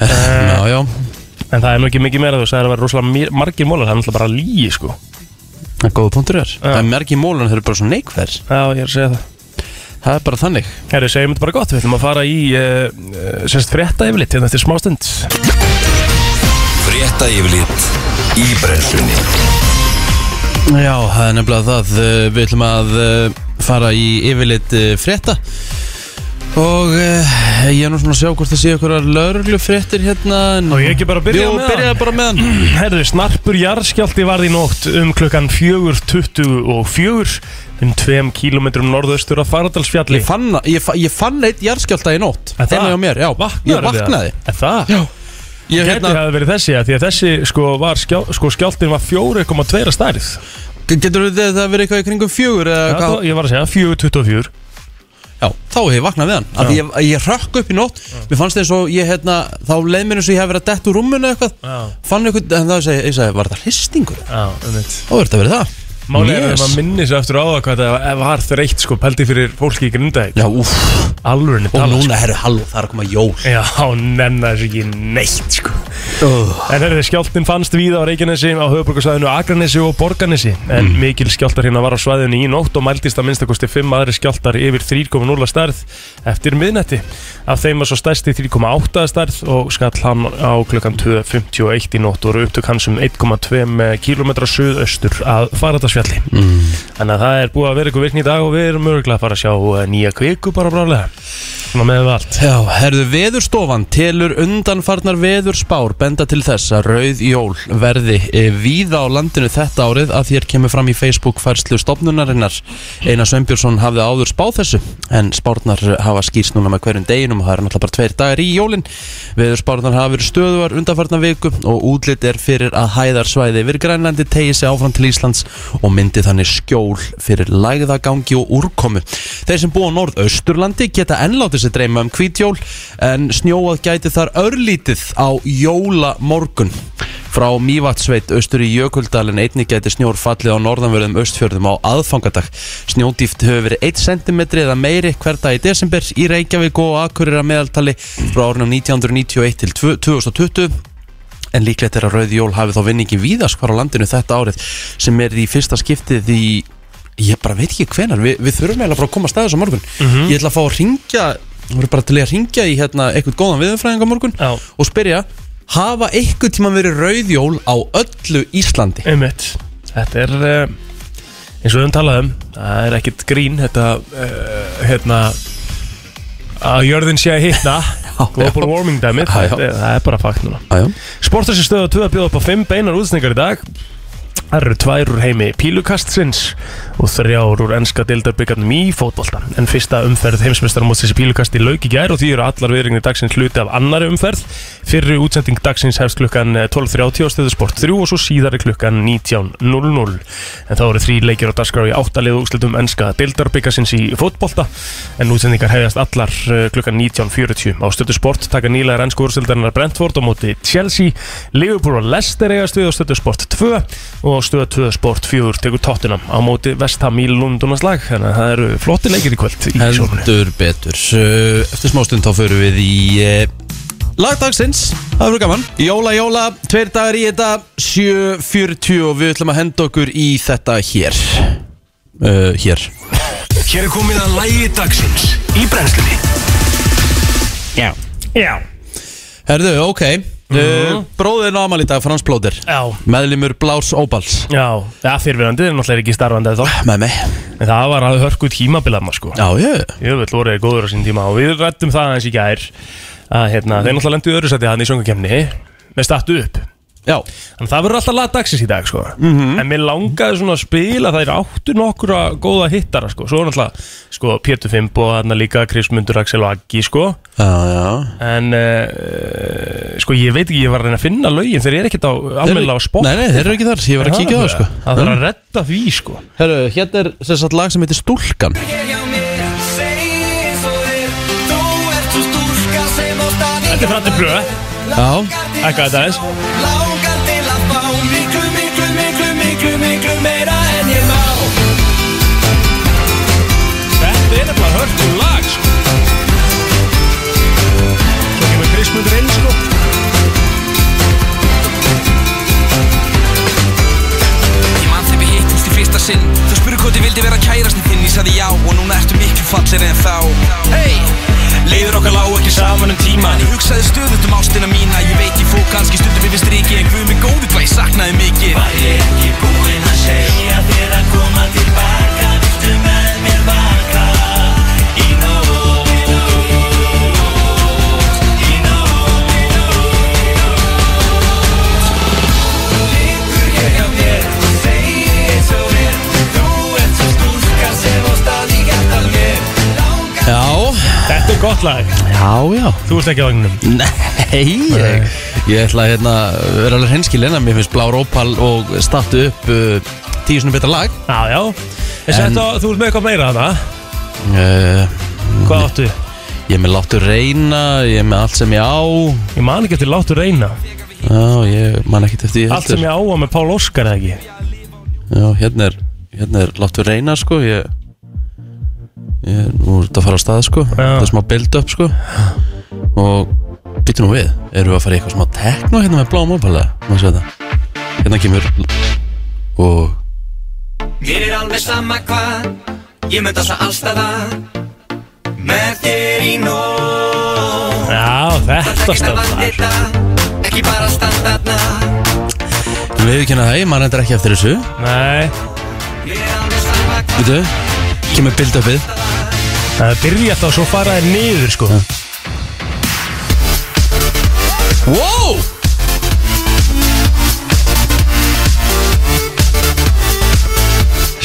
Speaker 2: Já. Eh,
Speaker 1: Já, já
Speaker 2: En það er nú ekki mikið meira þú sagði að það var rosalega mi- margir mólar, það er náttúrulega bara líi sko
Speaker 1: Það er góða punktur þér Það er mergi mólun þeir eru bara svo neikverð
Speaker 2: Já, ég er að segja það
Speaker 1: Það er bara þannig
Speaker 2: Herri, segjum þetta bara gott, við ætlum að fara í uh, uh, sérst frétta yfirleitt hérna eftir smástund
Speaker 4: Frétta yfirlit í brennslunni
Speaker 1: Já, það er nefnilega það Uh, Við ætlum að uh, fara í yfirleitt uh, frétta Og uh, ég er nú svona að sjá hvort það sé ykkur lauruglu fréttir hérna en-
Speaker 2: Á ég ekki bara að byrja
Speaker 1: Jú,
Speaker 2: með
Speaker 1: byrjaðu
Speaker 2: það?
Speaker 1: bara með hann
Speaker 2: Herri, snarpur jarðskjálti varð í nótt um klukkan 4.24 um 2 kilometrum norðaustur af Faradalsfjalli
Speaker 1: Ég fann, ég, fa- ég fann eitt jarðskjálta í nótt
Speaker 2: Er það?
Speaker 1: Heima hjá mér, já Ég vaknaði
Speaker 2: Er það?
Speaker 1: Já Ég,
Speaker 2: Gæti
Speaker 1: hérna,
Speaker 2: hafi verið þessi, ja, því að þessi sko, var skjál, sko, skjáltin var 4,2 stærð
Speaker 1: getur þetta að vera eitthvað í kringum fjögur eða
Speaker 2: Já,
Speaker 1: hvað?
Speaker 2: þá- Ég var að segja 4,24
Speaker 1: Já, þá hef ég vaknað við hann Af því ég, ég rökk upp í nótt Mér fannst eins og ég hérna Þá leið mér eins og ég hef verið að detta úr rúmunu eitthvað
Speaker 2: Já.
Speaker 1: Fann eitthvað, en það segi, ég segi, var það hristingur?
Speaker 2: Já, um eitt
Speaker 1: Þá verður þetta verið það
Speaker 2: Málið er að
Speaker 1: Yes.
Speaker 2: maður minni sér aftur á það hvað það var þreytt sko pældi fyrir fólki í grindæk
Speaker 1: Já, úff,
Speaker 2: Alvörinni
Speaker 1: og
Speaker 2: tala
Speaker 1: núna herru, halló, það er að koma jól
Speaker 2: Já, nennar þessu ekki neitt sko En herri, skjáltin fannst víða á Reykjanesi, á höfuborgarsvæðinu Akranesi og Borganesi En mikil skjáltar hérna var á svæðinu í nótt og mældist að minnstakosti 5 aðri skjáltar yfir 3,0 að stærð eftir miðnætti Af þeim var svo stærsti 3,8 að stærð og skall hann á klukkan 2.51 í nótt og eru upptök hans um 1,2 km suðaustur að Faradalsfjalli Þannig að það er búið að vera ykkur virkni í dag og við erum örgulega að fara að sjá eh, nýja kviku bara brálega Svona með við allt
Speaker 1: Já, herðu veðurstofan telur undanfarnar veðurspár benda til þess að rauð jól verði e, víða á landinu þetta árið að þér kemur fram í Facebook færslu stofnunarinnar. Einar Sveinbjörnsson hafði áður spáð þessu en spárnar hafa skýrst núna með hverjum deginum og það eru náttúrulega bara tveir dagar í jólin. Veðurspárnar hafa verið stöðuar undanfarnar viku og útlit er fyrir að hæðarsvæði yfir Grænlandi tegi sig áfram til Íslands og myndi þannig skjól fyrir lægðagangi og úrkomu. Þeir sem búa á norðausturlandi geta ennlátið sér dreyma um hvítjól en snjóað gæti þar örlítið á jólamorgun. Frá Mývatsveit austur í Jökuldalinn einnig gæti snjór fallið á norðanverðum austfjörðum á aðfangadag. Snjódýft hefur verið 1 cm eða meiri hver dag í desember í Reykjavík og Akureyra meðaltali frá árunum 1991 til 2020 en líklegt er að Rauð Jól hafi þá vinningi víðast hvar á landinu þetta árið sem er í fyrsta skiptið í ég bara veit ekki hvenar, Vi, við þurfum eiginlega bara að koma staðis á morgun,
Speaker 2: Mhm.
Speaker 1: ég ætla að fá að ringja við erum bara til í að ringja í hérna eitthvað góðan viðumfræðing á morgun
Speaker 2: Já.
Speaker 1: og spyrja hafa eitthvað tíma verið Rauð Jól á öllu Íslandi
Speaker 2: Einmitt. Þetta er eh, eins og við höfum talað um það er ekkit grín þetta uh, hérna að jörðin sé að hitna global warming dæmið
Speaker 1: Já, já.
Speaker 2: það er bara fakt núna
Speaker 1: Æjá.
Speaker 2: Sportarsi stöðu 2 bjóða upp á 5 beinar útsningar í dag Það eru tvær úr heimi pílukastsins og þrjár úr enska deildarbyggarnum í fótbolta. En fyrsta umferð heimsmestarmótsins í pílukasti lauk í gær og því eru allar viðringnir dagsins hluti af annari umferð. Fyrri útsending dagsins hefst klukkan 12.30 á stöðu sport 3 og svo síðari klukkan 19.00. En þá eru þrý leikir á dagskrá í áttalið og úslutum enska deildarbyggarsins í fótbolta. En útsendingar hefjast allar eh, klukkan 19.40 á stöðu sport taka nýlega ennsku úrstildarinnar Brentford á móti Chelsea, Liverpool og Leicester eiga stuð á stöðu sport 2 og stöðu 2 sport 4 tekur tóttunum á móti Vestham í Lundunas lag þannig að það eru flotti leikir í kvöld í sjónunni
Speaker 1: heldur betur Uh, eftir smástund þá förum við í eh, lagdagsins, það verður gaman jóla jóla, tveir dagar í þetta 7.40 og við ætlum að henda okkur í þetta hér uh, hér
Speaker 4: Hér er komið að lægi dagsins í brennslunni
Speaker 2: Já Já
Speaker 1: herðu, ok uh, bróðin ámal í dag, Frans Blóter
Speaker 2: Mhm. Já,
Speaker 1: meðlimur Blás Óbals
Speaker 2: já, það fyrirverandi er náttúrulega ekki starfandi eða þá
Speaker 1: með mig,
Speaker 2: En það var að hörku tímabilaðna sko
Speaker 1: já, já
Speaker 2: Jöfell voru þeir góður á sín tíma og við rættum það eins í gær að hérna, þeir náttúrulega lendu í öðru sæti hann í söngakemni með statu upp
Speaker 1: já, Mhm.
Speaker 2: Þannig að það verður alltaf lagdagsins í dag sko. En mér langaði svona að spila Það er áttu nokkura góða hittara sko. Svo er náttúrulega sko, Pétur Fimbo og þarna líka Chris Mundur, Axel og Aggi sko.
Speaker 1: já, Ah, já.
Speaker 2: En uh, sko, ég veit ekki, ég var að reyna að finna lögin Þeir eru ekkert á almennilega á spott
Speaker 1: nei, nei, þeir eru ekki þar, ég var að kíkja á það sko.
Speaker 2: Það þarf að redda því sko.
Speaker 1: herru, hérna er sem sagt lag sem heitir Stúlkan
Speaker 2: Þetta er frættið blöð
Speaker 1: já,
Speaker 2: Ekka þetta aðeins
Speaker 5: Langar til að fá miklu, miklu, miklu, miklu, miklu meira en ég má
Speaker 2: Þetta er nefnilega hörku lag sko. Svo kemur Chris Mundur inn sko.
Speaker 5: Ég man þegar við hittumst í fyrsta sinn Þú spurði hvort ég vildi vera kærastinn þinn Ég sagði já og núna ertu miklu fallir en þá Hey! Leiður okkar lág ekki saman um tíman Ég hugsaði stöðut um ástina mína Ég veit ég fó kannski stundum yfir striki En guð mig góði hvað ég saknaði mikið Var ég ekki búinn að segja þér að koma tilbaka Viltu með mér vaka Í nótt Í nótt Í nótt Í nótt Liggur ég hjá mér Segir eins og er Þú ert svo stúlka sem á staði gætt að mér Langar
Speaker 1: já,
Speaker 2: Þetta er gott lag
Speaker 1: já, já
Speaker 2: Þú ert ekki á vagnum
Speaker 1: Nei, ég, ég ætla að hérna, vera alveg hreinskilinn að mér finnst Blár Opal og startu upp uh, tíu svona betra lag
Speaker 2: Já, já En, en... Á, þú ert með eitthvað meira hana
Speaker 1: uh,
Speaker 2: Hvað áttu?
Speaker 1: Ég er með láttu reyna, ég er með allt sem ég á
Speaker 2: Ég man ekki eftir láttu reyna
Speaker 1: Já, ég man ekkert eftir því
Speaker 2: Allt sem ég á að með Pál Óskar eða ekki
Speaker 1: Já, hérna er, hérna er láttu reyna sko Ég, ég er nú er þetta að fara á stað sko Það er smá build up sko Og Býtu nú við, eru við að fara í eitthvað smá tekno hérna með bláum opalega? Má sjá þetta Hérna kemur Og
Speaker 5: Mér er alveg sama hvað Ég mun dansa allstaða Með þér í nóg
Speaker 2: Já, þetta stöðar
Speaker 5: stöðar Ekki bara standarna
Speaker 1: Við hefum kynna það, ég maður endur ekki eftir þessu
Speaker 2: Nei,
Speaker 5: Mér er alveg sama hvað
Speaker 1: Býtu, kemur build-upið
Speaker 2: það byrja þetta og svo fara þér niður sko
Speaker 1: Wow!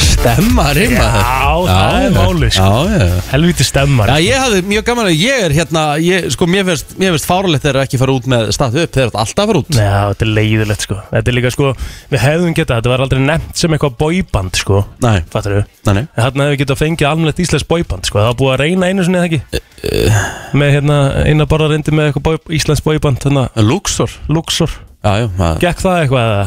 Speaker 1: Stemma, reyma
Speaker 2: Já, það er málið, sko.
Speaker 1: Já, já, já
Speaker 2: Helviti stemmar
Speaker 1: Já, ég hafði mjög gaman að ég er hérna, ég, sko, mér finnst, mér finnst fáralegt þegar ekki fara út með statu upp, þeir eru alltaf að fara út.
Speaker 2: Já, þetta er leiðilegt sko Þetta er líka sko, við hefðum getað Þetta var aldrei nefnt sem eitthvað boyband sko
Speaker 1: Nei,
Speaker 2: Fattar við?
Speaker 1: nei, nei.
Speaker 2: En Þarna hefur getað fengið almennlegt íslensk boyband sko. Það var búið að reyna einu sinni eða ekki
Speaker 1: Eh,
Speaker 2: Með hérna, eina bara reyndi með eitthvað boy, íslensk boyband Þannig
Speaker 1: En Eh, Luxor,
Speaker 2: Luxor
Speaker 1: já, já, það,
Speaker 2: Gekk það eitthvað eða?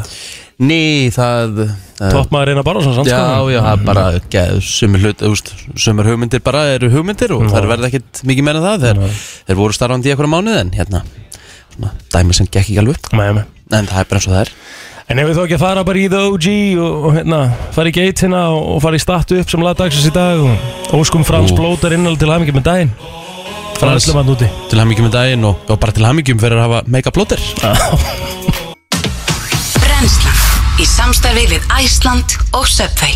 Speaker 1: ný, það, uh,
Speaker 2: Toppmaður Einar
Speaker 1: já,
Speaker 2: Bárðarsson samt sko?
Speaker 1: já, það er bara, geð, sumir hlut, úst, sumir hugmyndir bara eru hugmyndir og þær verða ekkit mikið meira en það, þeir, þeir voru starfandi í einhverja mánuð en hérna, svona, dæmi sem gekk ekki alveg upp,
Speaker 2: Nei, nei.
Speaker 1: en það er bara eins og það er.
Speaker 2: En ef við þó ekki að fara bara í The OG og, og hérna, fara í geitina og, og fara í statu upp sem laða dagsins í dag og óskum Frans
Speaker 1: Ú.
Speaker 2: blótar innal til hamingi með daginn
Speaker 1: Frans.
Speaker 2: Frans lemann úti
Speaker 1: Til hamingjum með daginn og, og bara til hamingjum fyrir að hafa make-up blóttir.
Speaker 6: Brennslan í samstarfi við Æsland og Subway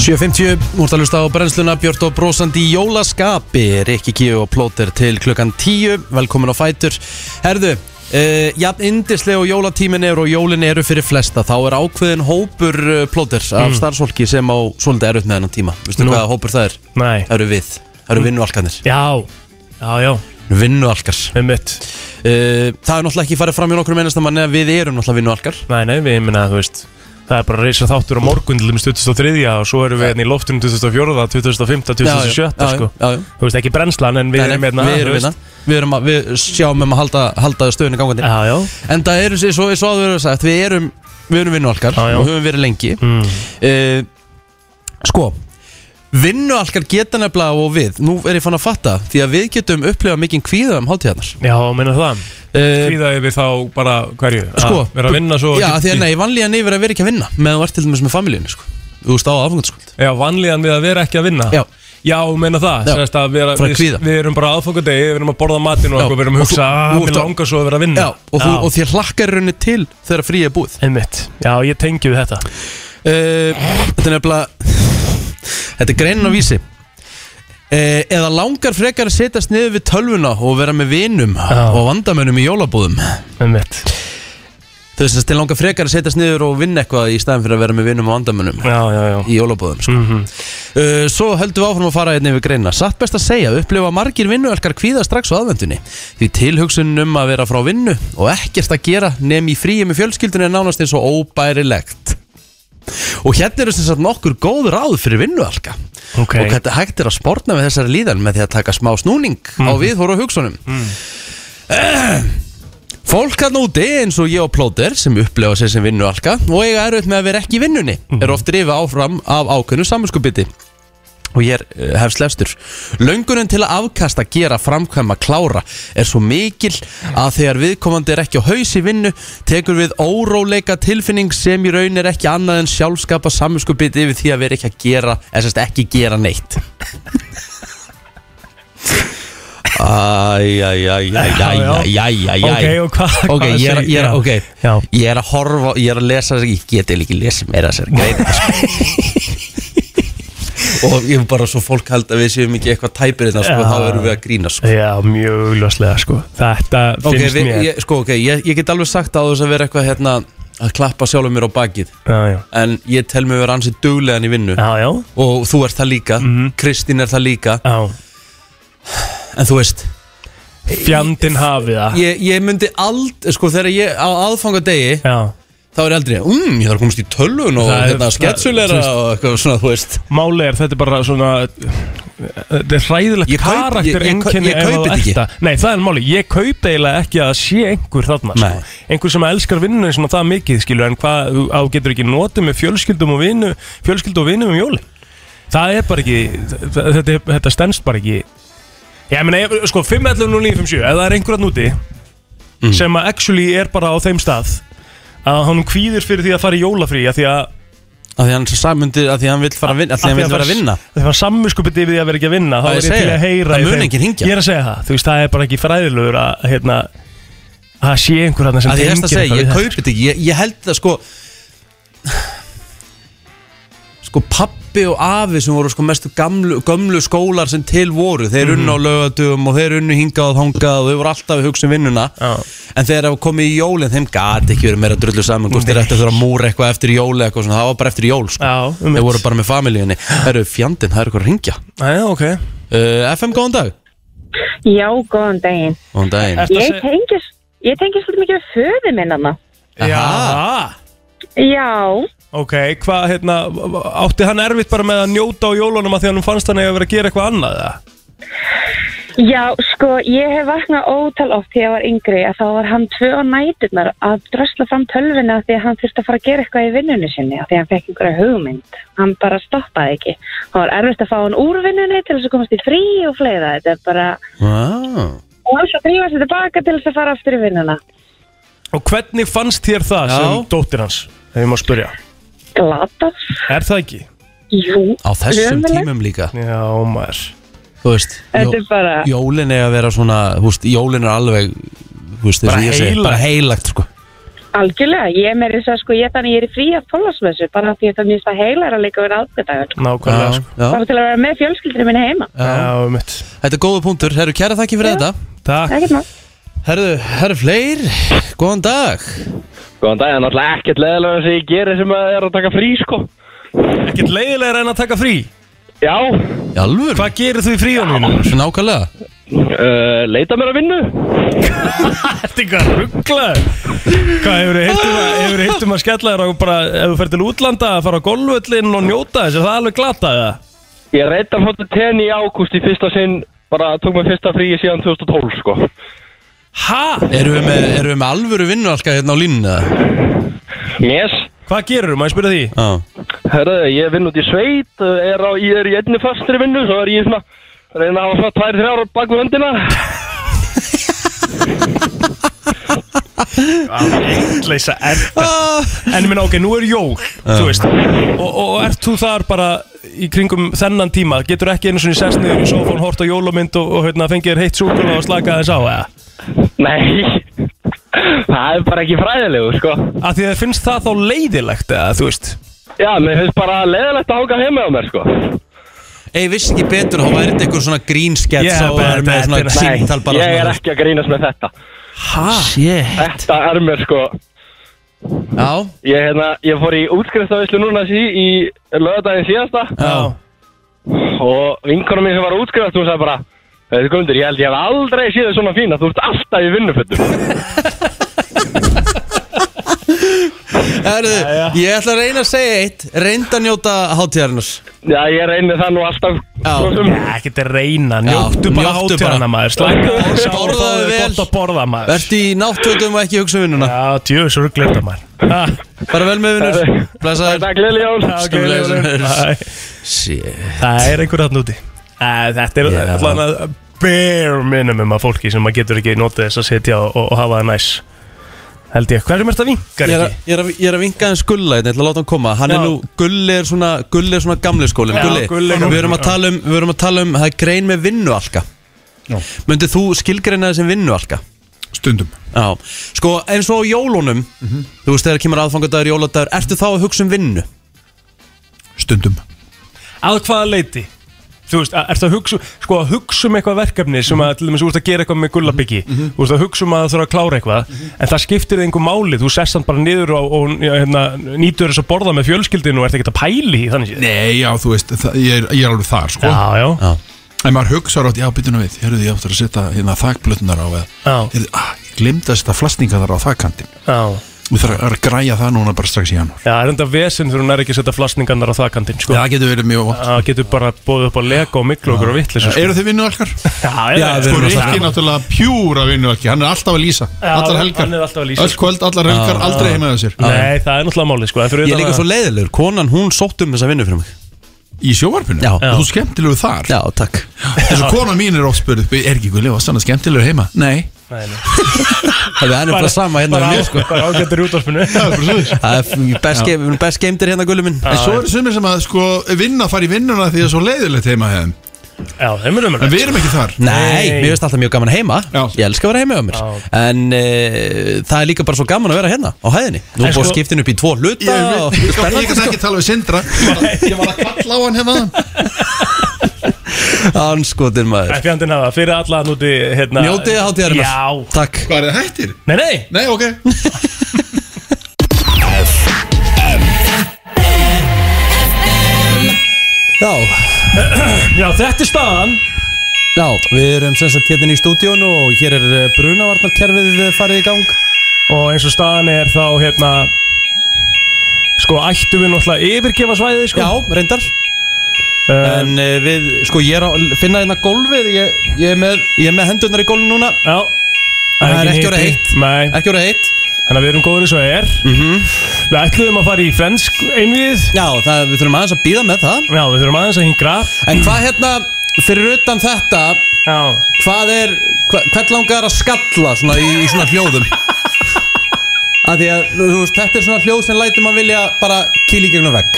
Speaker 1: Þú ert að hlusta á brennsluna Björn og brósandi í jólaskapi Rikki Kíu og Plóter til klukkan 10 Velkomin á Fætur Herðu, uh, jafn indislega og jólatímin er og jólin eru fyrir flesta þá er ákveðin hópur uh, Plóter af starfsfólki sem á svolítið erut með hennan tíma Vistu
Speaker 2: Mm. Nú.
Speaker 1: hvaða hópur það er?
Speaker 2: Nei,
Speaker 1: Það eru við, það eru vinnualkanir
Speaker 2: já, já, já,
Speaker 1: Vinnualkar uh,
Speaker 2: með mitt
Speaker 1: Það er náttúrulega ekki farið fram í nokkur mennast að við erum náttúrulega vinnualkar
Speaker 2: Nei, nei, við minna, þú veist Það er bara að reysa þáttur á morgun til um 2003 og svo erum við hérna í loftunum 2004, 2005, 2007
Speaker 1: já,
Speaker 2: sko.
Speaker 1: já, já.
Speaker 2: Þú veist ekki brennslan en við
Speaker 1: Nei, nei,
Speaker 2: erum hérna
Speaker 1: við
Speaker 2: þú
Speaker 1: erum
Speaker 2: veist.
Speaker 1: hérna Við, erum að- við sjáum um að halda, halda stöðunni gangandi
Speaker 2: Já, já,
Speaker 1: En það eru, eins og eins og áður verður sagt, við erum, við erum vinnualkar
Speaker 2: Já, já.
Speaker 1: og höfum verið lengi
Speaker 2: Mm.
Speaker 1: Eh, Sko, vinnualkar geta nefnilega og við, nú er ég fann að fatta, því að við getum upplifað mikið kvíða um hátíðarnar
Speaker 2: já, minna það
Speaker 1: uh,
Speaker 7: Kvíða yfir þá bara hverju
Speaker 1: Sko,
Speaker 7: Að Vera að vinna svo
Speaker 1: Já, því að nei, vanlíðan yfir að vera ekki að vinna meðan þú ert til dæmis með familíunni, sko Þú veist á afgangaskuld
Speaker 7: Já, vanlíðan við að vera ekki að vinna
Speaker 1: Já.
Speaker 7: Já, meina það
Speaker 1: Já.
Speaker 7: Sérst að vera,
Speaker 1: Frá
Speaker 7: við,
Speaker 1: kvíða.
Speaker 7: við erum bara aðfokadegi Við erum að borða matinn og
Speaker 1: Já.
Speaker 7: okkur Við erum að
Speaker 1: Og þú-
Speaker 7: hugsa að
Speaker 1: þú ert
Speaker 7: við
Speaker 1: að-
Speaker 7: langar svo að vera að vinna
Speaker 1: Já, og, þú,
Speaker 2: Já.
Speaker 1: og þér hlakkar í rauninni til þegar frí er búið
Speaker 2: Einmitt, já, ég tengi við þetta
Speaker 1: Eh, Þetta er nefnilega Þetta er greinin á vísi Eh, Eða langar frekar að setjast niður við tölvuna og vera með vinum
Speaker 2: Já.
Speaker 1: og vandamönnum í jólabúðum
Speaker 2: Einmitt,
Speaker 1: Þú veist, þetta er langar frekar að setjast niður og vinna eitthvað í staðin fyrir að vera með vinum og vandamönnum
Speaker 2: já, já, Mhm. já
Speaker 1: í jólabúðum sko. uh, Svo höldum við áfram að fara einnig yfir greina Satt best að segja, upplifa margir vinnuelkar kvíða strax á aðvendunni Því tilhugsunum um að vera frá vinnu og ekkert að gera nefn í fríi með fjölskyldunni er nánast eins og óbærilegt Og hérna eru sem sagt nokkur góð ráð fyrir vinnuelka
Speaker 2: Ok.
Speaker 1: Og hvernig hægt er að sportna með þessari líðan með því að taka smá snúning á
Speaker 2: Mhm.
Speaker 1: viðhóru og hugsunum
Speaker 7: Mm.
Speaker 1: Fólk hann úti eins og ég og plóter sem upplefa sér sem vinnualka og eiga erut með að vera ekki í vinnunni er oft drifið áfram af ákveðnu saminskupiti og ég er eh, hef slefstur Löngunin til að afkasta, gera, framkvæma, klára er svo mikil að þegar viðkomandi er ekki á haus í vinnu tekur við óróleika tilfinning sem í raun er ekki annað en sjálfskapa saminskupiti yfir því að vera ekki að gera eða sérst ekki gera neitt Æj, æj, æj, æj, æj, æj, æj, æj, æj
Speaker 2: Ok, og hvað
Speaker 1: Ok,
Speaker 2: hvað
Speaker 1: ég er,
Speaker 2: segi-
Speaker 1: ég, er,
Speaker 2: já.
Speaker 1: okay.
Speaker 2: Já,
Speaker 1: ég er að horfa, ég er að lesa þess ég geti líka lesið meira þessar greina sko. og ég er bara svo fólk held að við séum ekki eitthvað tæpir þetta, sko,
Speaker 2: Já.
Speaker 1: þá erum við að grína sko.
Speaker 2: já mjög augljóslega sko Þetta
Speaker 1: ok,
Speaker 2: finnst
Speaker 1: við,
Speaker 2: mér
Speaker 1: ég, sko, ok, ég, ég get alveg sagt að þess að vera eitthvað hérna að klappa sjálfum mér á bakið
Speaker 2: Já, já,
Speaker 1: en ég tel mig vera ansið duglegan í vinnu
Speaker 2: já, já, Mhm.
Speaker 1: og þú ert það líka, Kristín er það líka
Speaker 2: já.
Speaker 1: en þú veist,
Speaker 2: Fjandinn hafi það
Speaker 1: ég, ég myndi ald sko, þegar ég á aðfangadegi
Speaker 2: Já,
Speaker 1: þá er ég aldrei, um, ég þarf að komast í tölvun og
Speaker 2: Það er-
Speaker 1: hérna,
Speaker 2: það-
Speaker 1: sketsulera
Speaker 2: þú
Speaker 1: og
Speaker 2: veist-
Speaker 1: eitthvað svona, þú veist
Speaker 2: máli er þetta er bara svona þetta er hræðilegt
Speaker 1: Ég kaup-
Speaker 2: karakter
Speaker 1: ég- ég- ég
Speaker 2: einkenni
Speaker 1: kaupi þetta ekki.
Speaker 2: Nei, það er máli, ég kaup eiginlega ekki að sé einhver þarna sko.
Speaker 1: Nei.
Speaker 2: Einhver sem elskar vinnunni svona það mikið skilur En hvað, þú- á getur ekki notið með fjölskyldum og vinnu Fjölskyldu og vinnum um jólin Það er bara ekki, þ- þ- þetta, þetta stendst bara ekki Já, meina, ef- sko, 511 0957, ef það er einhver að núti
Speaker 1: Mm.
Speaker 2: Sem að actually er bara á þeim stað Að hann kvíðir fyrir því að fara í jólafrí Að því að
Speaker 1: Af því hann er svo samundir, af því hann vil fara að vinna Af því hann vil vera að vinna
Speaker 2: Það var samvinskupið yfir því að vera ekki að vinna Þá
Speaker 1: Það ég
Speaker 2: er ég til
Speaker 1: segi,
Speaker 2: að heyra
Speaker 1: það
Speaker 2: í
Speaker 1: mun
Speaker 2: þeim.
Speaker 1: enginn hringja.
Speaker 2: Ég er að segja það, þú veist, það er bara ekki fræðilegur að hérna að það sé einhver hérna sem
Speaker 1: Af því ég er að
Speaker 2: tengir
Speaker 1: segja,
Speaker 2: eitthvað
Speaker 1: ég
Speaker 2: við
Speaker 1: kaupi þetta ekki Ég, ég held það sko Sko pappi og afi sem voru sko mestu gamlu, gömlu skólar sem til voru
Speaker 2: Mhm.
Speaker 1: Þeir unnu á laugatugum og þeir unnu hingað og þangað og þeir voru alltaf við hugsa um vinnuna
Speaker 2: Já.
Speaker 1: En þeir hafa komið í jólin, þeim gat ekki verið meira drullu saman Hvort þeir ættu að þurfa að múra eitthvað eftir jóli eitthvað svona Það var bara eftir jól sko
Speaker 2: þetta. Já, um
Speaker 1: Þeir voru bara með familíunni Það eru fjandinn, það eru eitthvað að ringja
Speaker 2: Já, ok
Speaker 1: uh, FM, góðan dag
Speaker 8: Já, góðan daginn.
Speaker 1: Góðan daginn
Speaker 2: Ertu að
Speaker 8: Ég
Speaker 2: segja-
Speaker 8: tengist, ég tengist svolítið mikið við föðu minn hana.
Speaker 1: Aha.
Speaker 2: Já,
Speaker 8: Já,
Speaker 2: ok, hvað, hérna, átti hann erfitt bara með að njóta á jólunum að því að hann fannst hann eiga að vera að gera eitthvað annað, eða?
Speaker 8: já, sko, ég hef vaknað ótal oft þegar ég var yngri að þá var hann tvö á næturnar að drösla fram tölvina því að hann þurfti að fara að gera eitthvað í vinnunni sinni af því að hann fekk einhverja hugmynd. Hann bara stoppaði ekki. Það var erfitt að fá hann úr vinnunni til þess að komast í frí og fleira. Þetta er bara,
Speaker 1: Vá.
Speaker 8: og hann svo drífa sér tilbaka til þess að fara aftur í vinnuna.
Speaker 2: Og hvernig fannst þér það sem
Speaker 1: Já.
Speaker 2: dóttir hans, ef ég má spyrja?
Speaker 8: Glatað?
Speaker 2: Er það ekki?
Speaker 8: Jú.
Speaker 1: Á þessum
Speaker 8: ömurlegt.
Speaker 1: tímum líka
Speaker 2: Já, maður.
Speaker 1: Þú veist,
Speaker 8: Þetta er bara,
Speaker 1: jólin er að vera svona þú veist, Jólin er alveg þú veist,
Speaker 2: Bara
Speaker 1: bara, ég segi,
Speaker 2: heilagt.
Speaker 1: bara heilagt sko.
Speaker 8: algjörlega, ég er með þess að sko, ég þannig ég er í frí að tólasmessu, bara af því að það mjög stað heilar að leika við aðgöndagur.
Speaker 2: Nákvæmlega, sko.
Speaker 1: já.
Speaker 8: bara til að vera með fjölskyldinu minni heima
Speaker 1: Já.
Speaker 2: Já, mitt.
Speaker 1: Þetta er góða punktur, herru kæra þakki fyrir þetta
Speaker 2: Takk.
Speaker 8: ekkert mál
Speaker 1: Herru, herru fleir, góðan dag
Speaker 3: Góðan dag, það er náttúrulega ekkert leðilega sem ég gerir sem að er að taka frí, sko.
Speaker 2: Ekkert leiðilegra en að taka frí
Speaker 3: Já,
Speaker 1: Í alvöru,
Speaker 2: Hvað gerir þú í fríðanum?
Speaker 1: nákvæmlega
Speaker 3: uh, leita mér að vinnu.
Speaker 2: Þetta er eitthvað rugglaður Hvað, hefur þið hitt um að skella þér og bara, ef þú fer til útlanda að fara á golvöllin og njóta þess, er það alveg glatað eða?
Speaker 3: Ég reyndar fóttu tenni í ágúst í fyrsta sinn, bara tók mér fyrsta fríi síðan 2012, sko.
Speaker 2: Hæ?
Speaker 1: Erum við með, erum við með alvöru vinnualka hérna á línu eða?
Speaker 3: Yes.
Speaker 2: Hvað gerur þú? Má ég spyrja því?
Speaker 1: Já.
Speaker 3: Herðu, ég vinn út í sveit, uh, er á, ég er í einni fastri vinnu, svo er ég svona, reyna að hafa svona tvær, þrjár bak við höndina.
Speaker 2: Leysa, en, en ég minna, ok, nú er jól, þú veist og, og ert þú þar bara í kringum þennan tíma, getur ekki einu svona í sessniður í sofón, hort á jólamynd og, og hérna, fengið þér heitt súkula og slaka þess á eða?
Speaker 3: Nei, það er bara ekki fræðilegu, sko.
Speaker 2: Að því það finnst það þá leiðilegt eða, þú veist?
Speaker 3: Já, mér finnst bara leðilegt að hanga heima á mér, sko.
Speaker 1: Ei, ég vissi ekki betur, þá væri þetta eitthvað svona grínskett
Speaker 2: Yeah,
Speaker 1: Sá
Speaker 2: bara
Speaker 1: er með
Speaker 2: þetta er-
Speaker 1: svona
Speaker 3: Nei,
Speaker 1: síntal bara
Speaker 3: ég er
Speaker 1: svona,
Speaker 3: ekki að grínast með þetta.
Speaker 2: Hæ?
Speaker 1: Shit
Speaker 3: Þetta er mér, sko.
Speaker 1: Já,
Speaker 3: Ég, hérna, ég fór í útskristavislu núna sí, í lögadaginn síðasta
Speaker 1: já,
Speaker 3: og vinkonum mín sem var að útskrifast, hún sagði bara Þetta Guðmundur, ég held ég hef aldrei séð þig svona fína, þú ert alltaf í vinnufötum.
Speaker 1: Herðu, ég ætla að reyna að segja eitt Reynda að njóta hátíðarinnars
Speaker 3: Já, ég reyni það nú alltaf.
Speaker 1: Já.
Speaker 3: svo sem.
Speaker 2: Já, ekkert að reyna, njóttu
Speaker 1: Já,
Speaker 2: bara
Speaker 1: njóttu
Speaker 2: hátíðana
Speaker 1: bara.
Speaker 2: maður Slækka á sá og
Speaker 1: Borðaðu
Speaker 2: fáðu
Speaker 1: vel.
Speaker 2: gott að borða maður
Speaker 1: Vertu í náttvöldum og ekki hugsa um vinnuna
Speaker 2: Já, djöðu svo glöta maður Ha,
Speaker 1: Bara vel með vinnur
Speaker 3: Herðu.
Speaker 1: Blessaður
Speaker 3: Takk Lili Jón.
Speaker 2: ok,
Speaker 1: Skemmtilegur
Speaker 2: Leifur.
Speaker 1: sem er.
Speaker 2: Æ,
Speaker 1: Shit.
Speaker 2: Það er einhver hann úti Æ, Þetta er
Speaker 1: Já.
Speaker 2: allan að bare minimum af fólki sem maður getur ekki notið þess að sitja og, og hafa það næs Held ég, hverjum ert að vinkar
Speaker 1: Ég er, að,
Speaker 2: ekki?
Speaker 1: ég, er að, ég er að vinka hans gulla hérna, ég ætla að láta hann koma Hann
Speaker 2: Já.
Speaker 1: er nú, Gulli er svona, Gulli er svona gamli skólin
Speaker 2: Já,
Speaker 1: Gulli,
Speaker 2: Gulli er
Speaker 1: við
Speaker 2: gamli.
Speaker 1: erum að tala um, við erum að tala um, það er grein með vinnualka Möndið þú skilgreina þessi vinnualka?
Speaker 9: Stundum Mhm.
Speaker 1: Já, sko eins og á jólunum Þú veist þegar kemur aðfangadagur, jóladagur Ertu þá að hugsa um vinnu?
Speaker 9: Stundum
Speaker 2: Að hvaða leiti? Þú veist, að- ertu að hugsa, sko, að hugsa um eitthvað verkefni sem að, til dæmis, þú ert að gera eitthvað með gullabyggi
Speaker 1: Mhm.
Speaker 2: Þú veist, að hugsa um að það þurfa að klára eitthvað En það skiptir þig engu máli, þú sest hann bara niður og, og já, hérna, nýtur þess að borða með fjölskyldinu og ert ekkert að pæli í þannig séð
Speaker 9: Nei, já, þú veist, það, ég, er, ég er alveg þar, sko
Speaker 2: Já, já,
Speaker 1: Já,
Speaker 9: En maður hugsa rátt, já, byttunum við Hérðu, ég áttur að setja hérna þakblötnar á eða
Speaker 2: Já.
Speaker 9: Hérðu, ah, ég glemd að setja flastninga þar á þakkantinn
Speaker 2: já
Speaker 9: Við þarfum að græja það núna bara strax í janúar
Speaker 2: Já, það er enda vesinn þegar hún er ekki að setja flasningarnar á þakkantinn, sko.
Speaker 9: Já, það getur verið mjög vant
Speaker 2: Það getur bara bóðið upp á lego og miklu okkur og vittlis, sko.
Speaker 9: Eru þið vinnuvalkar?
Speaker 2: Já, já,
Speaker 9: Sko, Rikki náttúrulega pjúra vinnuvalki Hann er alltaf að lýsa Allar helgar
Speaker 2: hann er alltaf að lýsa, sko.
Speaker 9: Öll kvöld, allar helgar, aldrei heima hjá sér
Speaker 2: Nei, það er náttúrulega málið, sko. en fyrir
Speaker 1: Ég er
Speaker 2: utan
Speaker 1: líka
Speaker 2: að-
Speaker 1: svo leiðilegur, konan hún sótt um þessa vinnu fyrir mig
Speaker 9: Í sjóvarpinu?
Speaker 1: Já.
Speaker 9: Og Þú skemmtilegu þar
Speaker 1: Já, takk
Speaker 9: Þessu kona mín er oft spurð Er ekki guðlega að stanna skemmtilegu heima? Nei
Speaker 2: Nei, nei.
Speaker 1: Það er bara sama hérna
Speaker 2: Bara
Speaker 1: við
Speaker 2: á-
Speaker 1: mér sko
Speaker 2: Bara ágættur í útvarpinu.
Speaker 1: Það er f- best, geim, best geimdir hérna gullu minn
Speaker 9: En svo eru sumir sem að sko vinna fara í vinnuna því að svo leiðilegt heima hefðum
Speaker 2: Já, þeim er
Speaker 9: En
Speaker 2: umrætt.
Speaker 9: við erum ekki þar
Speaker 1: Nei, mér finnst alltaf mjög gaman heima
Speaker 9: Já.
Speaker 1: Ég elska að vera heima hjá mér En e, það er líka bara svo gaman að vera hérna á hæðinni Nú
Speaker 2: En
Speaker 1: er búið að
Speaker 2: sko-
Speaker 1: skipta henni upp í tvo hluta
Speaker 9: Ég,
Speaker 1: og
Speaker 9: ég, ég, ég
Speaker 1: spennandi
Speaker 9: kann
Speaker 1: sko
Speaker 9: ekki tala við Sindra Ég var að- Ég var að kalla á hann hérna
Speaker 1: Anskotir maður
Speaker 2: En fjandinn hafa, fyrir alla hann úti, hérna...
Speaker 1: Njótið hátíðarinnar.
Speaker 2: Já.
Speaker 1: Takk
Speaker 9: Hvað er það hættir?
Speaker 2: Nei, nei.
Speaker 9: Nei, ok
Speaker 1: Já,
Speaker 2: Já, þetta er staðan.
Speaker 1: já, við erum sem sagt hérna í stúdíun og hér er eh, brunavarnarkerfið eh, farið í gang
Speaker 2: Og eins og staðan er þá, hérna... Sko, ættum við náttúrulega að yfirgefa svæðið, sko.
Speaker 1: Já, reyndar
Speaker 2: Eh,
Speaker 1: En uh, við, sko ég er að finna hérna gólfið Ég, ég, er, með, ég er með hendurnar í gólfinu núna
Speaker 2: Já.
Speaker 1: Það er ekki orðið
Speaker 2: hitti.
Speaker 1: heitt.
Speaker 2: Nei.
Speaker 1: Ekki voru heitt
Speaker 2: Þannig að við erum góður eins og er Við ætluðum að fara í frensk einvið
Speaker 1: Já, það, við þurfum aðeins að býða með það
Speaker 2: Já, við þurfum aðeins að hingra
Speaker 1: En hvað hérna, fyrir utan þetta
Speaker 2: Já
Speaker 1: Hvað er, hva, hvern langar að skalla svona í, í svona hljóðum? Að því að, þú veist, þetta er svona hljóð sem lætur maður vilja bara kýla í gegnum vegg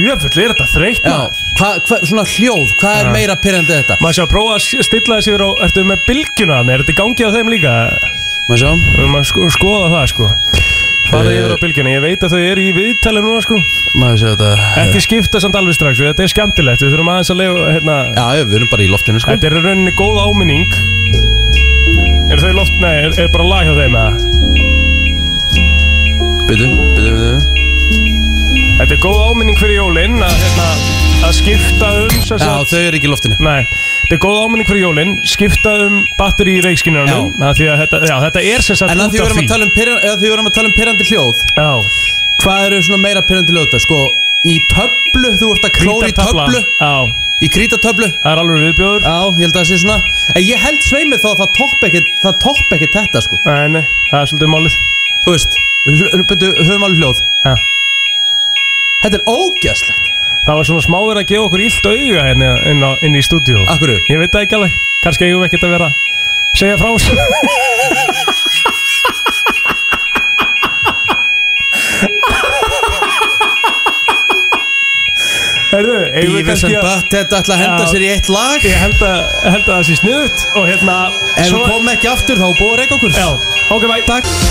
Speaker 2: Jöfull, er þetta þreytt
Speaker 1: Já,
Speaker 2: maður?
Speaker 1: hvað, hva, svona hljóð, hvað er meira pyrrandi þetta?
Speaker 2: Maður sé að prófa að s- stilla þessi yfir á Ertu með bylgjuna þannig, er þetta í gangi á þeim líka?
Speaker 1: Má sjá
Speaker 2: Við maður sko, skoða það sko Fara
Speaker 1: Eh.
Speaker 2: yfir á bylgjuna, ég veit að þau eru í viðtali núna sko
Speaker 1: Má sjá þetta
Speaker 2: Ekki skipta samt alveg strax, við- þetta er skemmtilegt Við þurfum aðeins að lega, hérna
Speaker 1: Já, já, við erum bara í loftinu sko
Speaker 2: Þetta er í rauninni góð áminning Er þau loft, nei, er, er bara lag hjá þeim eða?
Speaker 1: Byttu, byttu, byttu
Speaker 2: Þetta er góð áminning fyrir jólinn að, hérna, að skipta um sem
Speaker 1: Já,
Speaker 2: sagt-
Speaker 1: þau eru ekki í loftinu
Speaker 2: Nei, þetta er góð áminning fyrir jólinn Skipta um batteri í reikskinnunum
Speaker 1: Já.
Speaker 2: að því að þetta, já, þetta er sem sagt
Speaker 1: En að því
Speaker 2: út
Speaker 1: við erum
Speaker 2: af því
Speaker 1: að tala um, pyrran, að því við erum að tala um pyrrandi hljóð
Speaker 2: Já,
Speaker 1: Hvað eru svona meira pyrrandi hljóð þetta? Sko, í töflu, þú ert að klóra um í
Speaker 2: krítartafla.
Speaker 1: töflu
Speaker 2: Já,
Speaker 1: Í krítatöflu
Speaker 2: það er alveg viðbjóður
Speaker 1: Já, ég held að það sé svona En ég held sveimið þá að það topp ekkert Það topp ekkert þetta sko
Speaker 2: Nei, nei, það er svolítið málið
Speaker 1: Þú veist, byrju, höfum alveg hljóð
Speaker 2: Já.
Speaker 1: Þetta er ógæslegt
Speaker 2: Það var svona smá verið að gefa okkur illt auga hérna inn, á, inn í stúdíu
Speaker 1: Akkur
Speaker 2: Ég veit það ekki alveg, kannski eigum við ekkert að vera að segja frá þessu Herðu, eigum við
Speaker 1: Beavis
Speaker 2: kannski
Speaker 1: and
Speaker 2: að
Speaker 1: Butthead ætla að henda
Speaker 2: Já.
Speaker 1: sér í eitt lag
Speaker 2: Ég held að, held að það sé sniðut og hérna
Speaker 1: Ef við komum ekki aftur þá er búið að reyka okkur
Speaker 2: Já, ok, bæ
Speaker 1: Takk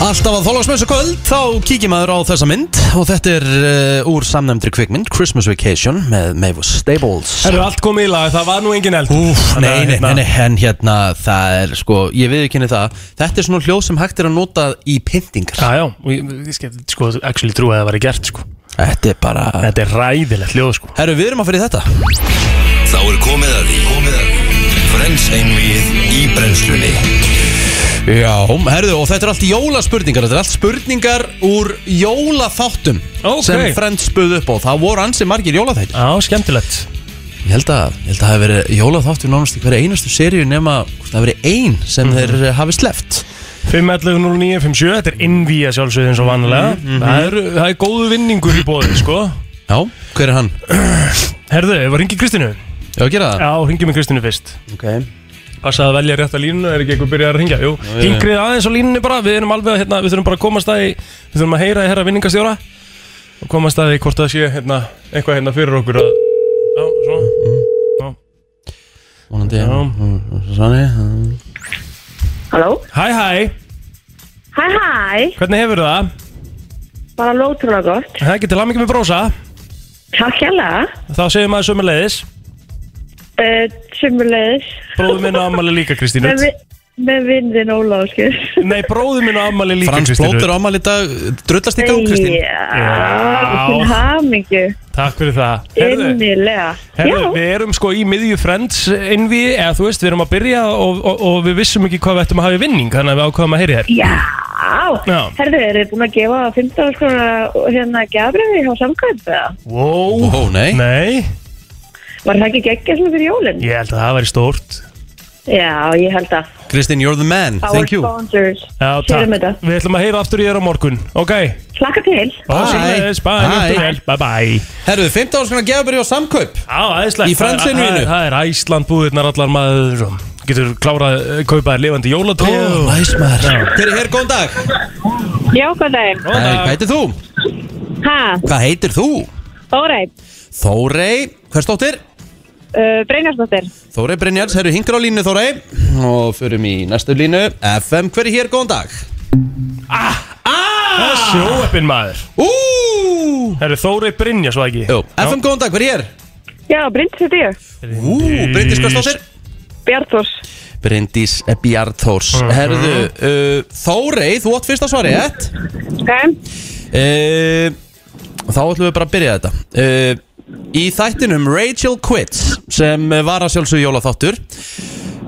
Speaker 1: Alltaf að þóla smessu kvöld Þá kíkjum aður á þessa mynd Og þetta er uh, úr samnefndri kvikmynd Christmas Vacation með Mavis Stables
Speaker 2: Það eru allt komið í lag, það var nú engin eld
Speaker 1: Úf,
Speaker 2: Þannig að,
Speaker 1: nei, nei,
Speaker 2: hérna,
Speaker 1: nei, nei, en hérna það er sko, ég viðurkenni það Þetta er svona hljóð sem hægt er að nota í pyntingar
Speaker 2: Já, já, og ég, ég skef, sko, actually trúið að það væri gert, sko
Speaker 1: Þetta er bara
Speaker 2: Þetta er ræðilegt ljóð, sko
Speaker 1: Herru, við erum að fyrir þetta
Speaker 4: Þá er komið að því Komið að því Frens einvið í brennslunni
Speaker 1: Já, herðu, og þetta er allt jólaspurningar Þetta er allt spurningar úr jólaþáttum
Speaker 2: Ókei.
Speaker 1: sem Friends buð upp á Það voru ansi margir jólaþættir
Speaker 2: Já, skemmtilegt
Speaker 1: Ég held að, ég held að það hafi verið jólaþátt við nánast í hverja einustu seríu nema hvort það hafi verið ein sem
Speaker 2: Mhm.
Speaker 1: þeir eh, hafi sleppt
Speaker 2: 5.11.09.57, þetta er innvíja sjálfsögð eins og vanlega
Speaker 1: Mhm.
Speaker 2: það, er, það er góðu vinningur í bóði, sko
Speaker 1: Já, hver er hann?
Speaker 2: Herðu, ef að ringi Kristínu
Speaker 1: Já, gera það
Speaker 2: Já, ringjum við Kristínu fyrst
Speaker 1: okay.
Speaker 2: Passa að velja rétt að línuna, er ekki eitthvað byrjað að ringja Jú, hingrið aðeins á línunni bara Við erum alveg, að, hérna, við þurfum bara að komast að í Við þurfum að heyra í herra vinningastjóra Og komast að í hvort það sé hérna, Eitthvað hérna fyrir okkur að, Já, svona
Speaker 1: Mm-hmm. Vonandi, Mm,
Speaker 2: Já.
Speaker 1: Svanni
Speaker 8: Halló?
Speaker 2: Hæ, hæ,
Speaker 8: Hæ, hæ,
Speaker 2: hvernig hefur það?
Speaker 8: bara lótrúna gott.
Speaker 2: Það er ekki til aðmikið með brósa
Speaker 8: Takk hérna. hérlega.
Speaker 2: Þá segir maður sömuleiðis
Speaker 8: Uh, Sumulegis.
Speaker 2: Bróður minn á ammali líka, Kristínu
Speaker 8: Með, vi- með sko. vindin Óláskir.
Speaker 2: Nei, bróður minn á ammali líka,
Speaker 1: Frans
Speaker 2: Kristínu
Speaker 1: Plóter ámæli í dag Drullast í gang, Kristín
Speaker 8: Já, til hamingju.
Speaker 2: Takk fyrir það Heyrðu,
Speaker 8: Innilega.
Speaker 2: Herðu,
Speaker 8: Já,
Speaker 2: við erum sko í miðju Friends innví, eða þú veist, við erum að byrja og, og, og við vissum ekki hvað við ættum að hafa í vinning þannig að við ákvaðum að heyri þér
Speaker 8: já,
Speaker 2: Já.
Speaker 8: Vá, herðu, er þið búin að gefa 15 skrónar hérna gafriði hjá samkvæmt eða?
Speaker 2: Wow.
Speaker 1: Ó, nei.
Speaker 2: Nei,
Speaker 8: Var það ekki geggja svona fyrir jólinn?
Speaker 2: ég held að það væri stórt
Speaker 8: Já, ég held að
Speaker 1: Kristín, you're the man,
Speaker 8: Our
Speaker 1: thank you
Speaker 8: sponsors
Speaker 2: Já, takk.
Speaker 8: Sérum þetta
Speaker 2: Við ætlum að heyra aftur í þér á morgun Ok,
Speaker 8: Slaka til
Speaker 1: Bye.
Speaker 2: Bye. Bye. Bye. Bye. Bye.
Speaker 1: Herru, 15 ára gefabri og samkaup
Speaker 2: Á, æðislegt
Speaker 1: Í Frensinu
Speaker 2: Það er-
Speaker 1: mínu.
Speaker 2: Það er Æsland búðirnar allar maður og Getur klárað að kaupa þér lifandi jólatrið og-
Speaker 1: næs maður Þeirri, hér, góðan dag
Speaker 8: Já, hvað það er?
Speaker 1: Hæ, Hvað heitir þú?
Speaker 8: Ha,
Speaker 1: Hvað heitir þú?
Speaker 8: Þórei,
Speaker 1: Þórey, hvers dóttir?
Speaker 8: uh, Breynarsdóttir
Speaker 1: Þórey Brynjars, herru, hingur á línu Þórey Og förum í næstu línu FM, hver er hér, góðan dag?
Speaker 2: Það er sjóeppin maður
Speaker 1: Ú,
Speaker 2: Það eru Þórei Brynja svo ekki
Speaker 1: Jú, FM, góðan dag, hver er hér?
Speaker 8: Já, Bryndis er þér
Speaker 1: Ú, Bryndís, hvers dóttir?
Speaker 8: Bjartors
Speaker 1: Bryndís Bjartórs Herðu, uh, Þórey, þú átt fyrsta svari, ett?
Speaker 8: Ok
Speaker 1: Uh, þá ætlum við bara að byrja þetta uh, Í þættinum Rachel Quits sem var að sjálfsögja jólaþáttur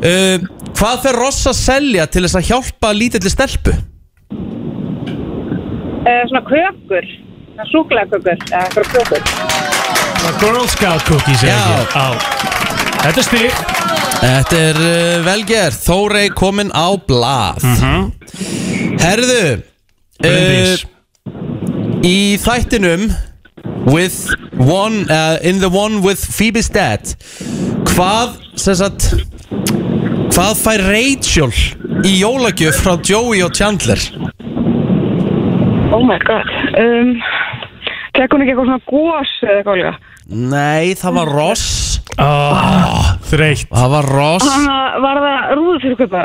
Speaker 1: uh, Hvað fer Ross að selja til þess að hjálpa lítilli stelpu?
Speaker 8: uh, Svona kökur Súkulegakökur Eða eitthvað kökur
Speaker 2: Girl Scout cookies er
Speaker 1: Já.
Speaker 2: ekki Á. Þetta er stík
Speaker 1: Þetta er uh, velgerð Þórey komin á blað
Speaker 2: Mhm.
Speaker 1: Herðu uh,
Speaker 2: Bryndís
Speaker 1: Í þættinum With one uh, In the one with Phoebe's dad Hvað sem sagt, Hvað fær Rachel Í jólagjöf frá Joey og Chandler
Speaker 8: Oh my god um, Fekk hún ekki eitthvað svona gós eða eitthvað líka
Speaker 1: Nei, það var Ross
Speaker 2: oh, Þreitt
Speaker 1: Það var Ross
Speaker 8: Þannig að Ah, var það rúðuþurrkvöpa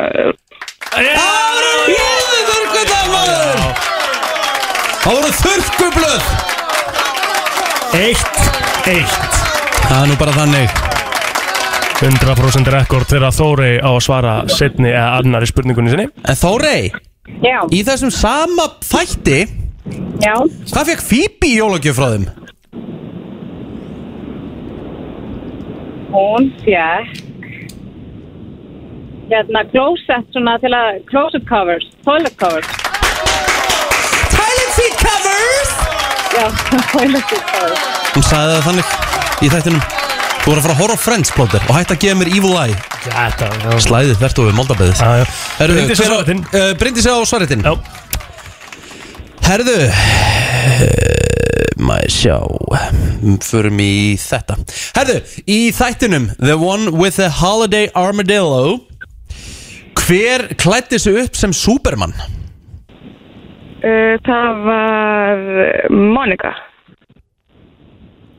Speaker 1: Það voru rjóðu þurrkvöldar maður Það voru þurrkvöldblöð
Speaker 2: Eitt, eitt
Speaker 1: Það er nú bara þannig
Speaker 2: 100% rekord þegar Þórei á að svara setni eða annari spurningunni sinni
Speaker 1: En Þórey
Speaker 8: Já
Speaker 1: Í þessum sama þætti
Speaker 8: Já
Speaker 1: Hvað fekk Phoebe í jólagjöf frá þeim?
Speaker 8: Hún fekk Hérna, closet svona til að Closet covers, toilet covers
Speaker 1: Toilet seat covers
Speaker 8: Já, toilet covers
Speaker 1: Hún sagði það þannig í þættinum Þú voru að fara að horfa á Friends plóter og hætt að gefa mér Evil Eye
Speaker 2: Þetta var slætt
Speaker 1: Slæðið þvert og við moldabeðið
Speaker 2: Bryndís á svaretinn.
Speaker 1: Bryndis Eh, á svaritinn
Speaker 2: Já.
Speaker 1: Herðu eh, Maður sjá Förum í þetta Herðu, í þættinum The one with the holiday armadillo Hver klætti sig upp sem Superman?
Speaker 8: uh, Það var eh, Monika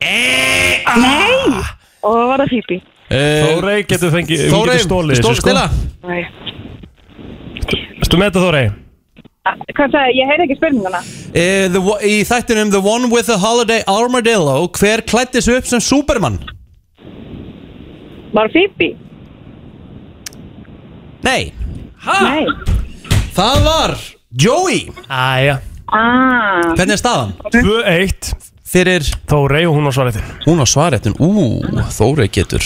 Speaker 8: Nei Og það var það Phoebe
Speaker 1: Þórey
Speaker 2: Þórei getur fengið, hún getur sko. stólið
Speaker 1: stóð stila
Speaker 8: Nei
Speaker 2: Stu með þetta Þórei?
Speaker 8: Hvað sagði, ég heyrði ekki spurninguna
Speaker 1: Eh, the wo- Í þættinum The one with the holiday armadillo Hver klætti sig upp sem Superman?
Speaker 8: Var Phoebe?
Speaker 1: Nei,
Speaker 8: Nei
Speaker 1: það var Joey
Speaker 2: Æja
Speaker 8: Ah,
Speaker 1: Hvernig er staðan?
Speaker 2: 2-1
Speaker 1: Fyrir
Speaker 2: Þórei og hún á svarið
Speaker 1: Hún á svaretun, ú, Þórey getur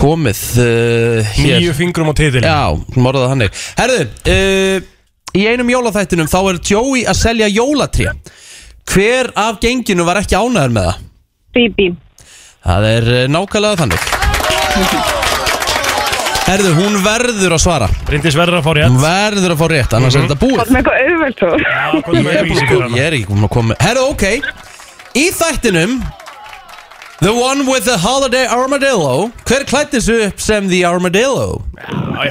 Speaker 1: komið uh, hér
Speaker 2: Nýju fingrum á titilin
Speaker 1: Já, hún orðaði það þannig Herðu, uh, í einum jólaþættinum þá er Joey að selja jólatré Hver af genginu var ekki ánæður með það?
Speaker 8: Phoebe
Speaker 1: Það er uh, nákvæmlega þannig Herðu, hún verður að svara
Speaker 2: Bryndís verður að fá
Speaker 1: Hún
Speaker 2: rétt Mhm.
Speaker 1: verður að fá rétt, annars er þetta búið
Speaker 8: með eitthvað auðvöld þú
Speaker 2: Já, komdu
Speaker 1: Ég
Speaker 2: með
Speaker 1: er,
Speaker 2: eitthvað í
Speaker 1: búin,
Speaker 2: sig fyrir
Speaker 1: ég
Speaker 2: hana.
Speaker 1: er ekki búin að koma með Herra, ok Í þættinum The one with the holiday armadillo Hver klætti sig upp sem the armadillo?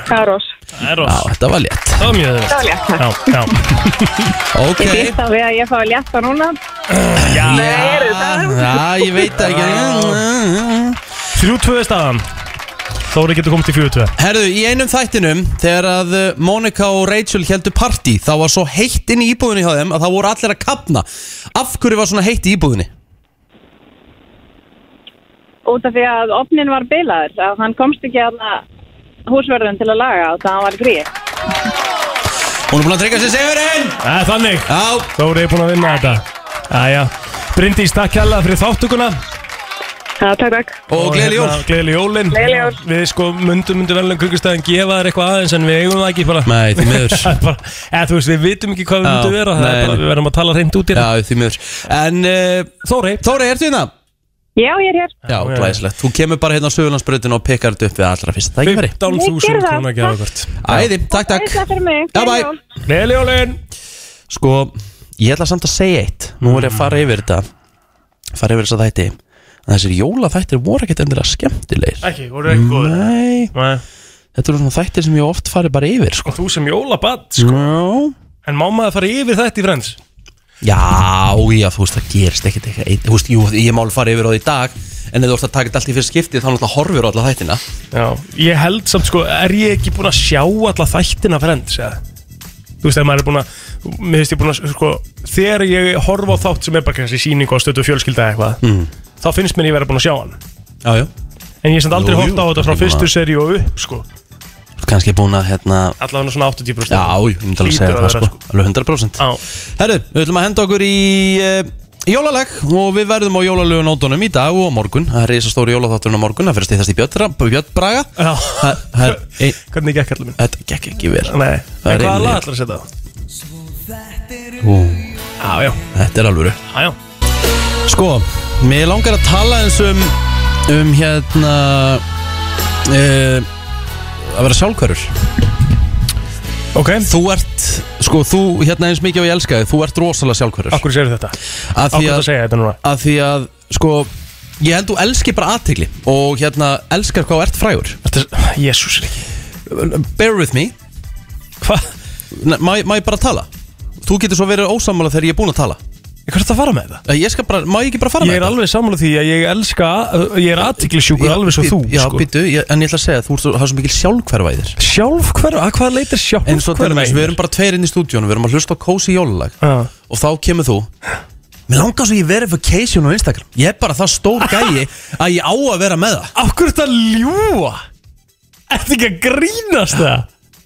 Speaker 8: Karos
Speaker 2: Það er
Speaker 1: Á,
Speaker 2: ross
Speaker 1: þetta var létt
Speaker 2: Það var mjög
Speaker 8: Það var létt.
Speaker 2: auðvitað Já, já
Speaker 1: Ok
Speaker 8: Ég býst á við að ég fá að létta núna
Speaker 1: Já, já, ég veit það ekki
Speaker 2: 3-2 er staðan Þóri getur komið til 4-2
Speaker 1: Herðu, í einum þættinum Þegar að uh, Monica og Rachel heldu partí þá var svo heitt inn í íbúðinni hjá þeim að það voru allir að kapna Af hverju var svona heitt í íbúðinni?
Speaker 8: út af því að opnin var bilaður að hann komst ekki að húsverðin til að laga og það var gríð
Speaker 1: Hún er búin að tryggja sér segurinn
Speaker 2: Það er þannig
Speaker 1: Já,
Speaker 2: Þóri er búin að vinna þetta Æja Bryndís, takk hérlega fyrir þáttuguna
Speaker 8: Já, takk, takk.
Speaker 1: Og gleðileg jól.
Speaker 2: Gleðli hérna, jólin
Speaker 8: Gleðileg jól.
Speaker 2: Við sko myndum myndum verðlum kringustæðin gefa þér eitthvað aðeins en við eigum það ekki bara
Speaker 1: Nei, því miður.
Speaker 2: Það er bara, eða þú veist, við vitum ekki hvað við
Speaker 1: Já,
Speaker 2: myndum vera Það
Speaker 1: nei,
Speaker 2: er bara,
Speaker 1: nei.
Speaker 2: við verðum að tala reynd út í það
Speaker 1: Já, því miður En uh, Þóri Þóri, ertu hérna?
Speaker 8: Já, ég er hér.
Speaker 1: Já,
Speaker 2: Já, já.
Speaker 1: glæslegt Þú kemur bara hérna á Suðurlandsbröðin og pikkar þetta upp við allra fyrst tækifæri
Speaker 2: 15.000
Speaker 8: Ég gerði það,
Speaker 2: krónar gefa hvert
Speaker 1: Æði, takk, takk
Speaker 8: Æsla fyrir mig.
Speaker 1: Já, bæ.
Speaker 8: Gleðileg jól.
Speaker 2: Gleðli jólin
Speaker 1: Sko, ég ætla samt að segja eitt Nú er ég að fara yfir þetta Fara yfir þessa þætti En Þessir jólaþættir voru ekkert endilega skemmtilegir
Speaker 2: Ekki, voru ekki góður
Speaker 1: Nei,
Speaker 2: Nei.
Speaker 1: þetta eru svona þættir sem ég oft fari bara yfir sko.
Speaker 2: Og þú sem jólabatt sko.
Speaker 1: Já,
Speaker 2: En má maður fara yfir þetta í frends
Speaker 1: já, já, þú veist, það gerist ekkert eitthvað eitt- Þú veist, jú, ég mál fara yfir á því í dag En ef þú ert að taka þetta allt í fyrst skipti Þá náttúrulega horfir á alla þættina
Speaker 2: Já, ég held samt sko, er ég ekki búinn að sjá alla þættina frends, eða? Þú veist, ef maður er búinn að, mér finnst ég búinn að, sko, þegar ég horfa á þátt sem er bara kannski síning og stötu fjölskylda eða eitthvað,
Speaker 1: Mm.
Speaker 2: þá finnst mér ég vera búinn að sjá hann.
Speaker 1: Já, já
Speaker 2: En ég er samt aldrei
Speaker 1: Jú,
Speaker 2: hort á
Speaker 1: jú,
Speaker 2: þetta frá
Speaker 1: ég
Speaker 2: fyrstu
Speaker 1: bara-
Speaker 2: seri og upp, sko.
Speaker 1: Kanski búin að, hérna,
Speaker 2: Allavega svona 80%
Speaker 1: Já, ég myndi alveg að segja
Speaker 2: Hlýtur
Speaker 1: það
Speaker 2: að
Speaker 1: sko.
Speaker 2: vera,
Speaker 1: Alveg 100%
Speaker 2: Já.
Speaker 1: Herru, við ætlum að henda okkur í uh, jólaleg og við verðum á jólalögunótonum í dag og á morgun Það er reisastóri jólaþátturinn á morgun, það fyrir stýttast í Björn Björn Braga
Speaker 2: Já,
Speaker 1: Það- það er ein-
Speaker 2: hvernig gekk allir minn?
Speaker 1: Þetta gekk ekki vel
Speaker 2: Nei,
Speaker 1: Það er
Speaker 2: en hvaða
Speaker 1: einnig.
Speaker 2: lag ætlar að setja það?
Speaker 1: Ú,
Speaker 2: Já, já,
Speaker 1: Þetta er alvöru
Speaker 2: já, já.
Speaker 1: Sko, mér langar að tala eins um um hérna uh, að vera sjálfkörur
Speaker 2: Ok,
Speaker 1: Þú ert, sko, þú hérna eins mikið og ég elska þig, þú ert rosalega sjálfkörur
Speaker 2: akkur séu þetta?
Speaker 1: Af því
Speaker 2: Akkur
Speaker 1: að
Speaker 2: að segja þetta núna?
Speaker 1: að því að sko ég held þú elskir bara aðtegli og hérna elskar hvað þú ert frægur
Speaker 2: Jésús, Riki.
Speaker 1: bear with me
Speaker 2: Hvað?
Speaker 1: Nei, má, ég- má ég bara tala þú getur svo verið ósamála þegar ég er búinn að tala
Speaker 2: Hvað er þetta að fara með þetta?
Speaker 1: Eh, ég skal bara, má ég ekki bara fara
Speaker 2: Ég er
Speaker 1: með
Speaker 2: alveg sammála því að ég elska Ég er aðtiklisjúkur
Speaker 1: þetta
Speaker 2: alveg svo þú
Speaker 1: já,
Speaker 2: sko.
Speaker 1: býtu, ég- en ég ætla að segja þú ert svo- það er svo mikil sjálfhverfa í þér
Speaker 2: Sjálf hverfa, að hvað leitir sjálf
Speaker 1: en svo til dæmis, við erum bara tveir inn í stúdíónu við erum að hlusta á kósi jólalag
Speaker 2: Já.
Speaker 1: og þá kemur þú Mér langar svo ég verification á Instagram Ég er bara það stór gæi að ég á að vera með það
Speaker 2: Af hverju þetta ljúa? Ertu ekki að grínast það?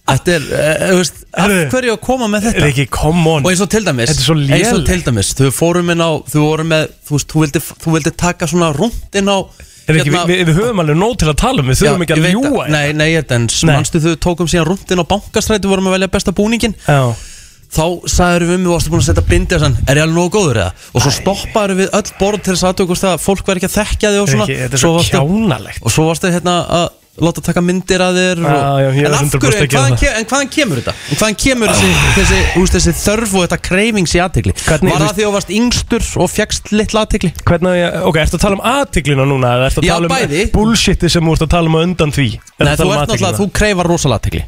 Speaker 1: Þetta er, eh, þú veist, af
Speaker 2: Herðu.
Speaker 1: hverju að koma með þetta
Speaker 2: Er ekki, come on
Speaker 1: Og eins og til dæmis
Speaker 2: Þetta er svo
Speaker 1: Eins og
Speaker 2: lélegt.
Speaker 1: til dæmis Þau fórum inn á Þau vorum með Þú veist, þú vildi, þú vildi taka svona rúnt inn á hérna-
Speaker 2: Er ekki, við, við höfum alveg nóg til að tala um Við þurfum ekki að ljúa
Speaker 1: Nei, nei, þetta en
Speaker 2: Nei.
Speaker 1: Manstu þau tókum síðan rúnt inn á bankastræti Vorum að velja besta búningin
Speaker 2: Já,
Speaker 1: Þá sagður við um Við varstu búin að setja bindi sann, Er ég alveg nógu góður eða Og svo stoppaður við öll borð Til þess aðtökust að fólk verði ekki að þekkja þig og
Speaker 2: er
Speaker 1: svona
Speaker 2: ekki, þetta er svo
Speaker 1: varstu-
Speaker 2: kjánalegt
Speaker 1: Og svo varstu hérna að Láta taka myndir að þér og,
Speaker 2: Já, já, ég
Speaker 1: En
Speaker 2: var
Speaker 1: af
Speaker 2: 100%
Speaker 1: hverju,
Speaker 2: að
Speaker 1: en
Speaker 2: gera
Speaker 1: hvaðan,
Speaker 2: það.
Speaker 1: ke en hvaðan kemur þetta? En hvaðan kemur þessi, þessi, úst, þessi þörf og þetta cravings í aðtegli?
Speaker 2: Hvernig-
Speaker 1: Var það því að þú varst yngstur og fjækst litla aðtegli?
Speaker 2: Hvernig, á ég- ok, ertu að tala um aðtiklina núna eða ertu að
Speaker 1: Já,
Speaker 2: tala um
Speaker 1: bæði.
Speaker 2: bullshitið sem þú ert að tala um á undan því Ertu
Speaker 1: Nei,
Speaker 2: að
Speaker 1: þú
Speaker 2: tala um
Speaker 1: ert náttúrulega,
Speaker 2: athyglina?
Speaker 1: þú kreifar rosalega aðtegli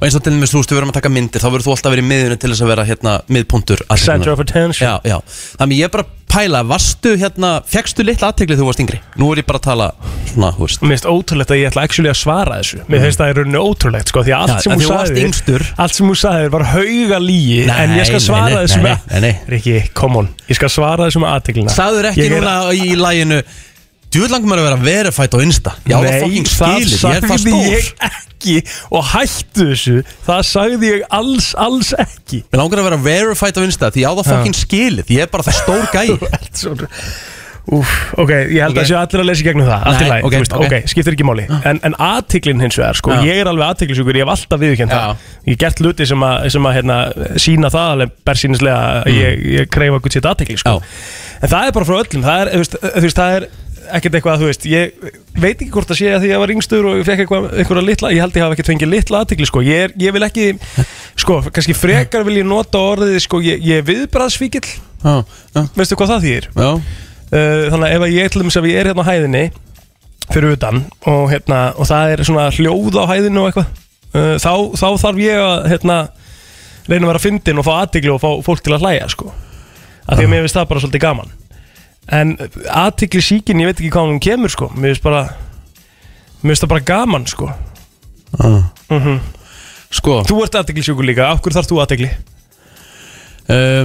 Speaker 1: Og eins og til dæmis, þú veist, við verðum að taka myndir Þá verður þú alltaf verið í miðunni til þess að vera hérna miðpuntur
Speaker 2: Center of attention
Speaker 1: Já, já Þannig ég er bara að pæla, varstu hérna, fjækstu litla aðtegli þegar þú varst yngri? Nú er ég bara að tala svona, þú veist Mm.
Speaker 2: Mér finnst ótrúlegt að ég ætla actually að svara þessu Mér finnst það í rauninni ótrúlegt sko Því að allt
Speaker 1: Já,
Speaker 2: sem
Speaker 1: að
Speaker 2: hún
Speaker 1: því þú varst
Speaker 2: sagði
Speaker 1: yngstur.
Speaker 2: Allt sem hún sagði var hauga lígi
Speaker 1: Nei,
Speaker 2: En ég skal
Speaker 1: nei,
Speaker 2: svara
Speaker 1: nei,
Speaker 2: þessu
Speaker 1: nei,
Speaker 2: með
Speaker 1: nei, nei.
Speaker 2: Riki, come on Ég skal svara þessu með aðteglina
Speaker 1: Sagður ekki núna í læginu Djúið langum er að vera verified á Insta Já, það fucking skilið, ég er það
Speaker 2: sagði
Speaker 1: stór
Speaker 2: ég ekki Og hættu þessu Það sagði ég alls, alls ekki
Speaker 1: Mér langar að vera verified á Insta því ég á það fokkin skilið Ég er bara það stór gæi
Speaker 2: Úf, ok, ég
Speaker 1: Ok.
Speaker 2: held að séu allir að lesa í gegnum það Allt í
Speaker 1: Nei,
Speaker 2: lagi,
Speaker 1: ok,
Speaker 2: þú veist,
Speaker 1: ok. Ah.
Speaker 2: ok, skiptir ekki máli En, en aðtiklin hins vegar, sko,
Speaker 1: Já.
Speaker 2: ég er alveg aðtiklisjúkur Ég hef alltaf viðurkennt
Speaker 1: Já.
Speaker 2: það Ég hef gert luti sem að, sem að hérna, sína það alveg bersýnislega að Ég, ég kreifa gutt sétt aðtikli,
Speaker 1: Mm.
Speaker 2: sko
Speaker 1: Já.
Speaker 2: En það er bara frá öllum, það er, þú veist, þú veist, það er ekkert eitthvað þú veist, ég veit ekki hvort að sé að því ég var yngstur og ég fekk eitthvað, eitthvað litla, ég held ég hafa ekkert fengið litla aðtikli, sko, ég, er, ég vil ekki sko, kannski frekar vil ég nota orðið, sko, ég, ég er viðbræðsvíkil
Speaker 1: Já, já,
Speaker 2: veistu hvað það þýðir?
Speaker 1: já
Speaker 2: Uh, þannig að ef að ég til dæmis að ég er hérna á hæðinni fyrir utan og, hérna, og það er svona hljóð á hæðinu og eitthvað uh, þá, þá þarf ég að hérna, reyna að vera fyndin og fá aðtigli og fá fólk til að hlæja sko. af því að mér finnst það bara svolítið gaman en aðtigli síkin ég veit ekki hvað hún kemur sko. mér finnst bara mér finnst það bara gaman sko. Mhm.
Speaker 1: Sko
Speaker 2: þú ert aðtigli sjúkur líka, af hverju þarf þú aðtigli?
Speaker 1: uh,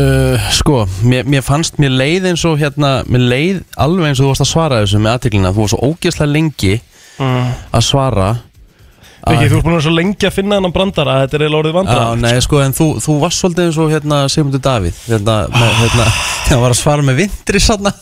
Speaker 1: uh, Sko, mér, mér fannst mér leið eins og hérna Mér leið alveg eins og þú varst að svara þessu með aðtiklina Þú varst svo ógeðslega lengi að svara
Speaker 2: Mm. Ekki, þú ert búin að vera svo lengi að finna hennan brandara þetta er eiginlega orðið
Speaker 1: Já,
Speaker 2: vandara
Speaker 1: nei, sko, en þú, þú varst
Speaker 2: Ah.
Speaker 1: svolítið eins og hérna Sigmundur Davíð hérna, með, hérna, þegar hann var að svara með vindri sanna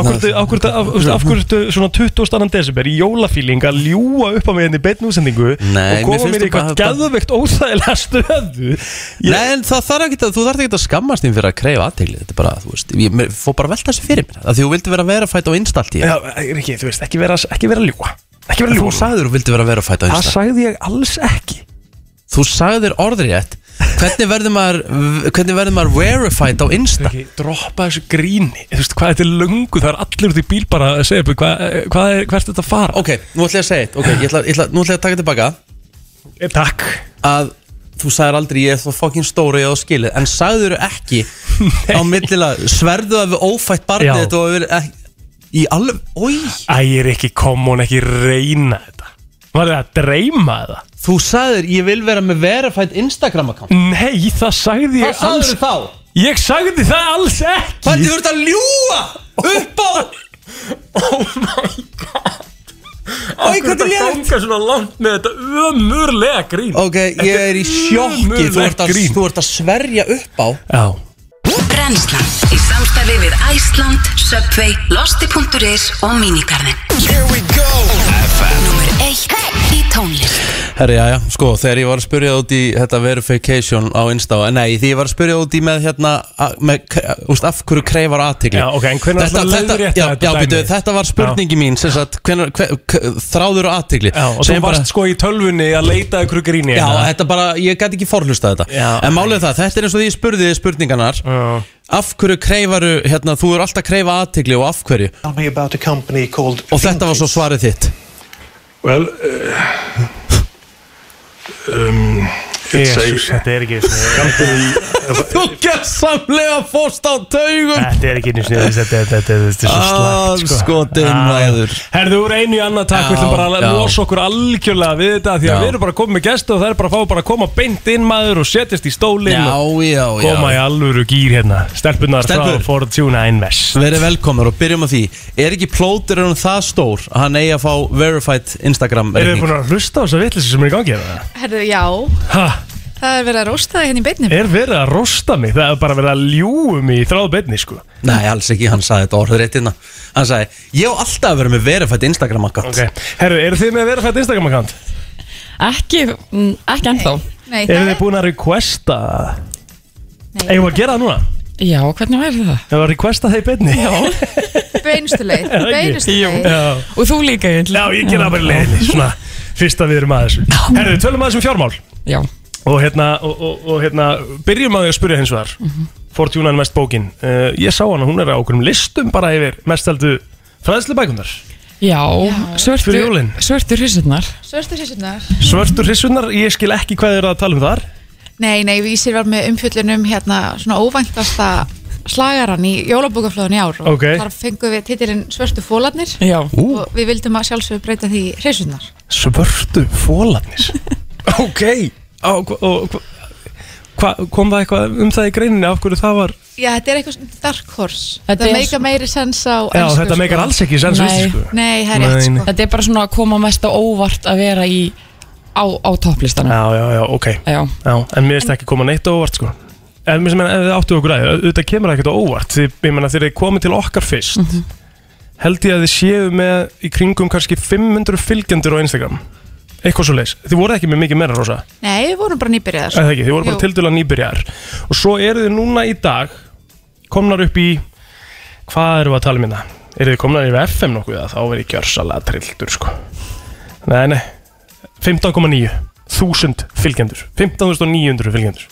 Speaker 2: Akkur, akkur, af, þú veist, af hverju ertu svona 22. desember í jólafíling að ljúa upp á mig henni beinu útsendingu
Speaker 1: Nei,
Speaker 2: og
Speaker 1: mér
Speaker 2: koma
Speaker 1: finnst
Speaker 2: mér í
Speaker 1: þú bara
Speaker 2: eitthvað gæðveikt óþægilega stöðu ég,
Speaker 1: Nei, en það þarf ekki að, þú þarf ekki að skammast þín fyrir að kreyfa aðtegli Þetta er bara, þú veist, ég mér fór bara að velta þessi fyrir mér af Því þú vildi vera að vera fæta á instalt í
Speaker 2: Já, ekki, þú veist, ekki vera, ekki vera að ljúa ekki vera að
Speaker 1: Þú
Speaker 2: ljúa
Speaker 1: sagðir þú vildi vera að vera fæta á
Speaker 2: það
Speaker 1: instalt
Speaker 2: sagði ég alls ekki
Speaker 1: Þú sagðir orðrétt Hvernig verður maður, hvernig verður maður verified á insta?
Speaker 2: ekki, droppa þessu gríni þú veist, hvað þetta er löngu, það er allir út í bíl bara að segja upp, hvað, eh, hvað er, hvert er þetta að fara
Speaker 1: Ok, nú ætla ég að segja eitt Ok, ég ætla, ég ætla, nú ætla ég að taka tilbaka
Speaker 2: okay. Eh, takk
Speaker 1: að þú sagðir aldrei ég er svo fokkin stóri og skilið, en sagður ekki á millilega, sverðu að við ófætt barnið
Speaker 2: Já.
Speaker 1: þetta og við ekki í alveg, oi,
Speaker 2: Æ, ég er ekki komon, ekki reyna þetta var það að dreyma það
Speaker 1: þú sagðir ég vil vera með verified Instagram account
Speaker 2: Nei, það sagði
Speaker 1: hvað
Speaker 2: ég
Speaker 1: sagður
Speaker 2: alls
Speaker 1: þú þá?
Speaker 2: Ég sagði það alls ekki
Speaker 1: Hvernig þú ert að ljúa upp á Oh my god Æ, hvernig létt
Speaker 2: ganga svona langt með þetta ömurlega grín
Speaker 1: Ok, ég er í sjokki Þú ert að,
Speaker 2: grín.
Speaker 1: þú ert að sverja upp á
Speaker 2: Já
Speaker 6: Brennslan í samstarfi við Æsland, Subway, Losti.is og Minigarden
Speaker 4: Here we go
Speaker 6: Númer 1 í tónlist
Speaker 1: Herri, já, já, sko, þegar ég var að spyrja út í þetta verification á Insta Nei, því ég var að spyrja út í með hérna a- með, k- úst, af hverju kreifar aðtigli
Speaker 2: Já, ok, en hvenær ætlarðu að leiðrétta
Speaker 1: Já,
Speaker 2: þetta
Speaker 1: já
Speaker 2: dæmi?
Speaker 1: býtu, þetta var spurningi mín sem sagt, hvenær, hver, k- þráður aðtigli
Speaker 2: Já, og þú varst sko í tölvunni að leita ykkur gríni
Speaker 1: Já,
Speaker 2: hérna.
Speaker 1: þetta bara, ég gæti ekki forhlustað þetta
Speaker 2: Já.
Speaker 1: En málið er það, þetta er eins og því ég spurði þið spurningarnar Af hverju kreifaru, hérna, þú er alltaf að kreifa aðtigli og af hverju
Speaker 10: Tell me about a company called
Speaker 1: Og þetta var svo svarið þitt
Speaker 10: Well, uh,
Speaker 2: Eh,
Speaker 10: um, it's
Speaker 2: Jesus,
Speaker 10: a
Speaker 2: þetta er ekki einu sinni-
Speaker 10: company
Speaker 1: Þú gerðsamlega fórst á taugum
Speaker 2: Þetta er ekki einu sinni, þetta- þetta- þetta þetta er svo
Speaker 1: Ah,
Speaker 2: slæmt sko.
Speaker 1: Andskotinn
Speaker 2: Ah.
Speaker 1: ræður.
Speaker 2: Herðu úr einu í annað takk
Speaker 1: Já,
Speaker 2: Við ætlum bara að
Speaker 1: já.
Speaker 2: losa okkur algjörlega við þetta Því að
Speaker 1: Já.
Speaker 2: við erum bara komið með gæstu og það er bara að fá bara að koma beint inn maður og setjast í stólinn
Speaker 1: Já,
Speaker 2: og
Speaker 1: já, já
Speaker 2: koma í alvöru gýr hérna Stelpunar frá
Speaker 1: Stelpur.
Speaker 2: Fortuna Invest
Speaker 1: Verið velkomnar og byrjum á því Er ekki plótur um það stór að hann eigi að fá verified Instagram
Speaker 2: Erum við
Speaker 1: reikning?
Speaker 2: búin að hlusta á þessa vitleysi sem er í gangi hérna?
Speaker 11: Herðu, já,
Speaker 2: Ha,
Speaker 11: það er verið að rósta það hérna í beinni
Speaker 2: er verið að rosta mig? Það er bara verið að ljúa mig í þráð betni, sko
Speaker 1: Nei, alls ekki, hann sagði þetta orðrétt hérna Hann sagði, ég á alltaf að vera með verified Instagram account
Speaker 2: Ok, herru, eru þið með að vera fætt Instagram-account?
Speaker 11: Ekki, mm, ekki ennþá Nei,
Speaker 2: Eru þið búin að requesta? Eigum við að gera það núna?
Speaker 11: Já, hvernig væri það?
Speaker 2: Eigum við að requesta það í betni? Já,
Speaker 11: Beinustu leið,
Speaker 2: beinustu
Speaker 11: leið
Speaker 2: Já,
Speaker 11: Og þú líka, Jens
Speaker 2: Já, ég gera það bara í leiðinni, sko. svona Fyrst að við erum að þessu Herru, tölum aðeins um fjármál
Speaker 11: Já,
Speaker 2: Og hérna, og, og, og, hérna byrjum að því að spyrja hins vegar Fortuna er mest bókin uh, Ég sá hana, hún er á okkurum listum bara yfir Mestaldu fræðslubækundar
Speaker 11: já, svörtu
Speaker 2: Fyrir jólin.
Speaker 11: Svörtu hrissunar
Speaker 2: Eh.
Speaker 8: Svörstu sísunar?
Speaker 2: Svörtur hrissunar, ég skil ekki hvað þið eru að tala um þar
Speaker 8: Nei, nei, vísir var með umfjöllunum hérna svona óvæntasta slagaran í jólabókaflöðun í ár og
Speaker 2: Ok.
Speaker 8: þar fengum við titilinn Svörstu fólarnir
Speaker 11: Já,
Speaker 8: og við vildum að sjálfsögur breyta því hreysunar.
Speaker 2: Svörtu fólarnis Ok Á, og, og, hva, kom það eitthvað um það í greininni af hverju það var
Speaker 8: Já, þetta er eitthvað svona dark horse.
Speaker 11: Þetta
Speaker 8: Þetta
Speaker 11: er
Speaker 8: meika
Speaker 11: svo-
Speaker 8: meiri sens á
Speaker 2: Já,
Speaker 8: ensku,
Speaker 2: þetta
Speaker 8: sko.
Speaker 2: meikar alls ekki sens
Speaker 11: Nei.
Speaker 2: sko.
Speaker 8: Nei, það er rétt,
Speaker 2: Nei, nei.
Speaker 8: sko.
Speaker 11: þetta er bara svona að koma mest á óvart að vera í á, á topplistanum
Speaker 2: Já, já, já, ok
Speaker 11: Já,
Speaker 2: Já, en mér finnst ekki koma neitt á óvart sko En mér sem en ef þið áttu okkur að auðvitað kemur það ekkert á óvart því, ég meina þegar þið komið til okkar fyrst
Speaker 11: Mhm.
Speaker 2: held ég að þið séu með í kringum kannski 500 fylgjendur á Instagram eitthvað svo leis, þið voru ekki með mikið meira rosa,
Speaker 8: Nei, við vorum bara nýbyrjaðar.
Speaker 2: eða ekki, þið voru bara
Speaker 8: Jú.
Speaker 2: tildurlega nýbyrjar og svo eru þið núna í dag komnar upp í hvað eru að tala minna, eru þið komnar yfir FM nokkuð eða þá verið gjörsalega trilltur sko, nei nei 15,9 þúsund fylgjendur 15.900 fylgjendur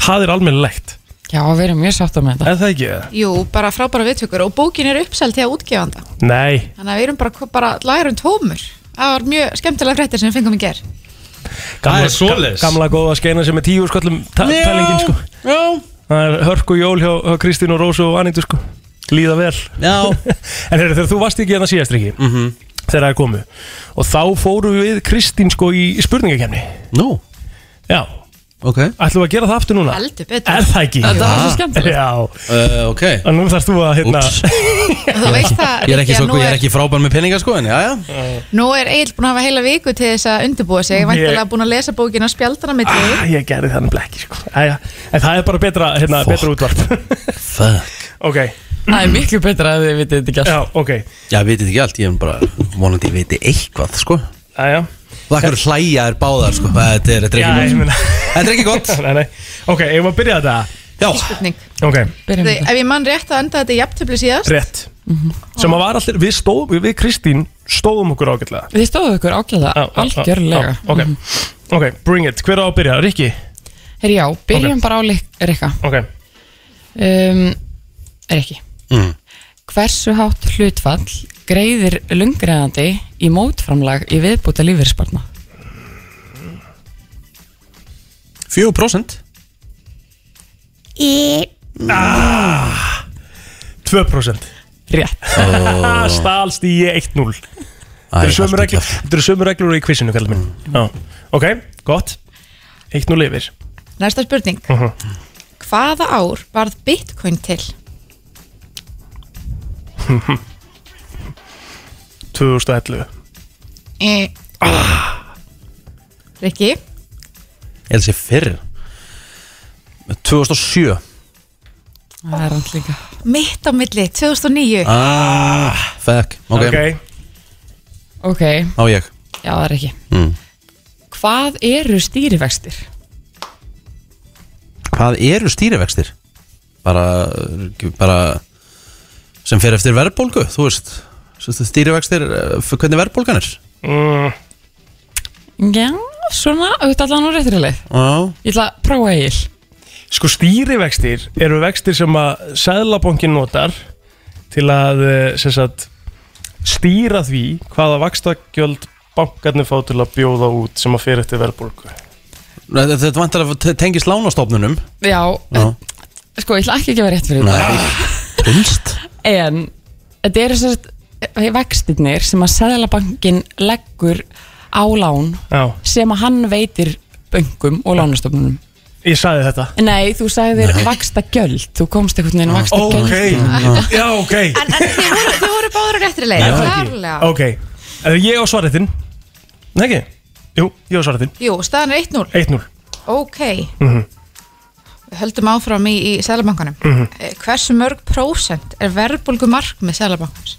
Speaker 2: það er almennilegt
Speaker 11: já við erum mjög sáttum með þetta
Speaker 2: en það ekki eða?
Speaker 8: Jú, bara frábæra viðtökur og bókin er uppseld hjá útgefanda.
Speaker 2: nei,
Speaker 8: Þannig að við erum bara, bara lærum tómur. Það var mjög skemmtilega fréttir sem við fengum í ger.
Speaker 2: gamla,
Speaker 1: er svoleiðis.
Speaker 2: ga- gamla góða skeina sem er tíu skollum ta-
Speaker 1: Já.
Speaker 2: tælingin sko
Speaker 1: Já,
Speaker 2: það er hörku jól hjá, hjá Kristín og Rósu og Anindu sko líða vel
Speaker 1: já, Mhm.
Speaker 2: en heyrðu, þegar þú varst ekki hérna síðast ekki mm -hmm. þegar það er komu og þá fóru við Kristín sko í spurningakefni
Speaker 1: nú,
Speaker 2: já,
Speaker 1: ok Ah.
Speaker 2: ætlum við að gera það aftur núna
Speaker 8: Heldur betur.
Speaker 2: er það ekki?
Speaker 11: Þetta var svo skemmtilegt
Speaker 2: já,
Speaker 1: uh, Ok,
Speaker 2: en nú þarfst þú að hérna,
Speaker 1: úps
Speaker 8: Og Þú veist það,
Speaker 1: Ég er ekki,
Speaker 8: Rikki,
Speaker 1: svo,
Speaker 8: að nú
Speaker 1: ég er ekki frábær með peninga sko, en já, já
Speaker 8: Nú er Egil búin að hafa heila viku til þess að undirbúa sig, ég væntalega búin að lesa bókina spjaldana mitt við.
Speaker 2: ah, ég gerði þannig blekki sko. Æja, en það er bara betra, hérna,
Speaker 1: Fuck.
Speaker 2: betra útvarp
Speaker 1: Fuck
Speaker 2: ok,
Speaker 11: Það er miklu betra að þið vitið þetta ekki allt
Speaker 2: Já, ok
Speaker 1: Já, við veitum ekki allt, ég er bara vonandi ég veit eitthvað, sko
Speaker 2: Æja
Speaker 1: Það akkur hlæja er báðar, sko Þetta er, þetta er
Speaker 2: Já, ég
Speaker 1: ekki
Speaker 2: meina-
Speaker 1: gott Þetta er ekki gott
Speaker 2: nei, nei. Ok, eigum við að byrja þetta?
Speaker 1: Já
Speaker 12: Spurning.
Speaker 2: Ok,
Speaker 12: Þau, Ef ég mann rétt að enda þetta í jafntöfli síðast
Speaker 2: rétt Sem að var allir, við stóðum, við- við Kristín stóðum okkur ágætlega
Speaker 11: Þið stóðu ykkur ákjörlega, algjörlega Mhm.
Speaker 2: Ok, ok, bring it, hver á að byrja? Rikki?
Speaker 11: Herri já, byrjum
Speaker 2: Ok.
Speaker 11: bara á Lik- Rikka
Speaker 2: Ok
Speaker 11: um, Rikki
Speaker 1: Mm.
Speaker 11: Hversu hátt hlutfall greiðir lungreðandi í mótframlag í viðbúta lífeyrisbarna?
Speaker 1: 4% E.
Speaker 13: Í
Speaker 2: ah, 2%
Speaker 11: Rétt
Speaker 1: Ó.
Speaker 2: Stálst Ah, í 1-0 Þetta
Speaker 1: Æ,
Speaker 2: eru sömu
Speaker 1: allt í Mm.
Speaker 2: reglur- þetta eru sömu reglur í kvissinu, kallar minn Já, ok, gott 1-0 yfir
Speaker 12: Næsta spurning
Speaker 2: Mhm.
Speaker 12: Hvaða ár varð bitcoin til?
Speaker 2: 2011
Speaker 8: E.
Speaker 12: Eh.
Speaker 1: Ah.
Speaker 12: Rikki
Speaker 1: Ég held að sé fyrr 2007
Speaker 11: Það er allt líka
Speaker 12: Mitt á milli, 2009
Speaker 1: Ah, fuck Ok,
Speaker 11: Ok,
Speaker 1: á ég
Speaker 11: já það er ekki
Speaker 1: mm.
Speaker 11: Hvað eru stýrivextir?
Speaker 1: Hvað eru stýrivextir? Bara, bara sem fer eftir verðbólgu, þú veist Svo Stýrivextir, eh, f- hvernig verðbólgan er?
Speaker 2: mm.
Speaker 11: Já, svona, auðvitað allan á réttri leið
Speaker 1: Já
Speaker 11: Ég ætla að prófa eigil
Speaker 2: Sko stýrivextir eru vextir sem að Sæðlabankin notar til að eh, sem sagt, stýra því hvaða vakstakjöld bankarnir fá til að bjóða út sem að fyrir eftir verðbólgu
Speaker 1: Nei, Þetta þetta vantar að te- tengist lánastofnunum
Speaker 11: Já,
Speaker 1: Já,
Speaker 11: sko, ég ætla ekki að gefa rétt fyrir þetta
Speaker 1: Kunst
Speaker 11: En þetta eru svo vextirnir sem að Sæðalabankin leggur á lán
Speaker 2: Já.
Speaker 11: sem að hann veitir böngum og lánastofnunum
Speaker 2: Ég sagði þetta
Speaker 11: Nei, þú sagðir vaksta gjöld Þú komst einhvern
Speaker 2: Ah,
Speaker 11: veginn vaksta gjöld
Speaker 2: Ok, já ok
Speaker 12: Þið voru báður á réttri leið
Speaker 2: Nei, það ekki.
Speaker 12: klárlega.
Speaker 2: Ok, er ég á svaretinn? Nei ekki? Jú, ég á svaretinn
Speaker 12: Jú, staðan er 1-0
Speaker 2: 1-0
Speaker 12: Ok,
Speaker 2: Mhm.
Speaker 12: við höldum áfram í, í Sælabankanum
Speaker 2: Mhm.
Speaker 12: Eh, Hversu mörg prósent er verðbólgu markmið Sælabankans?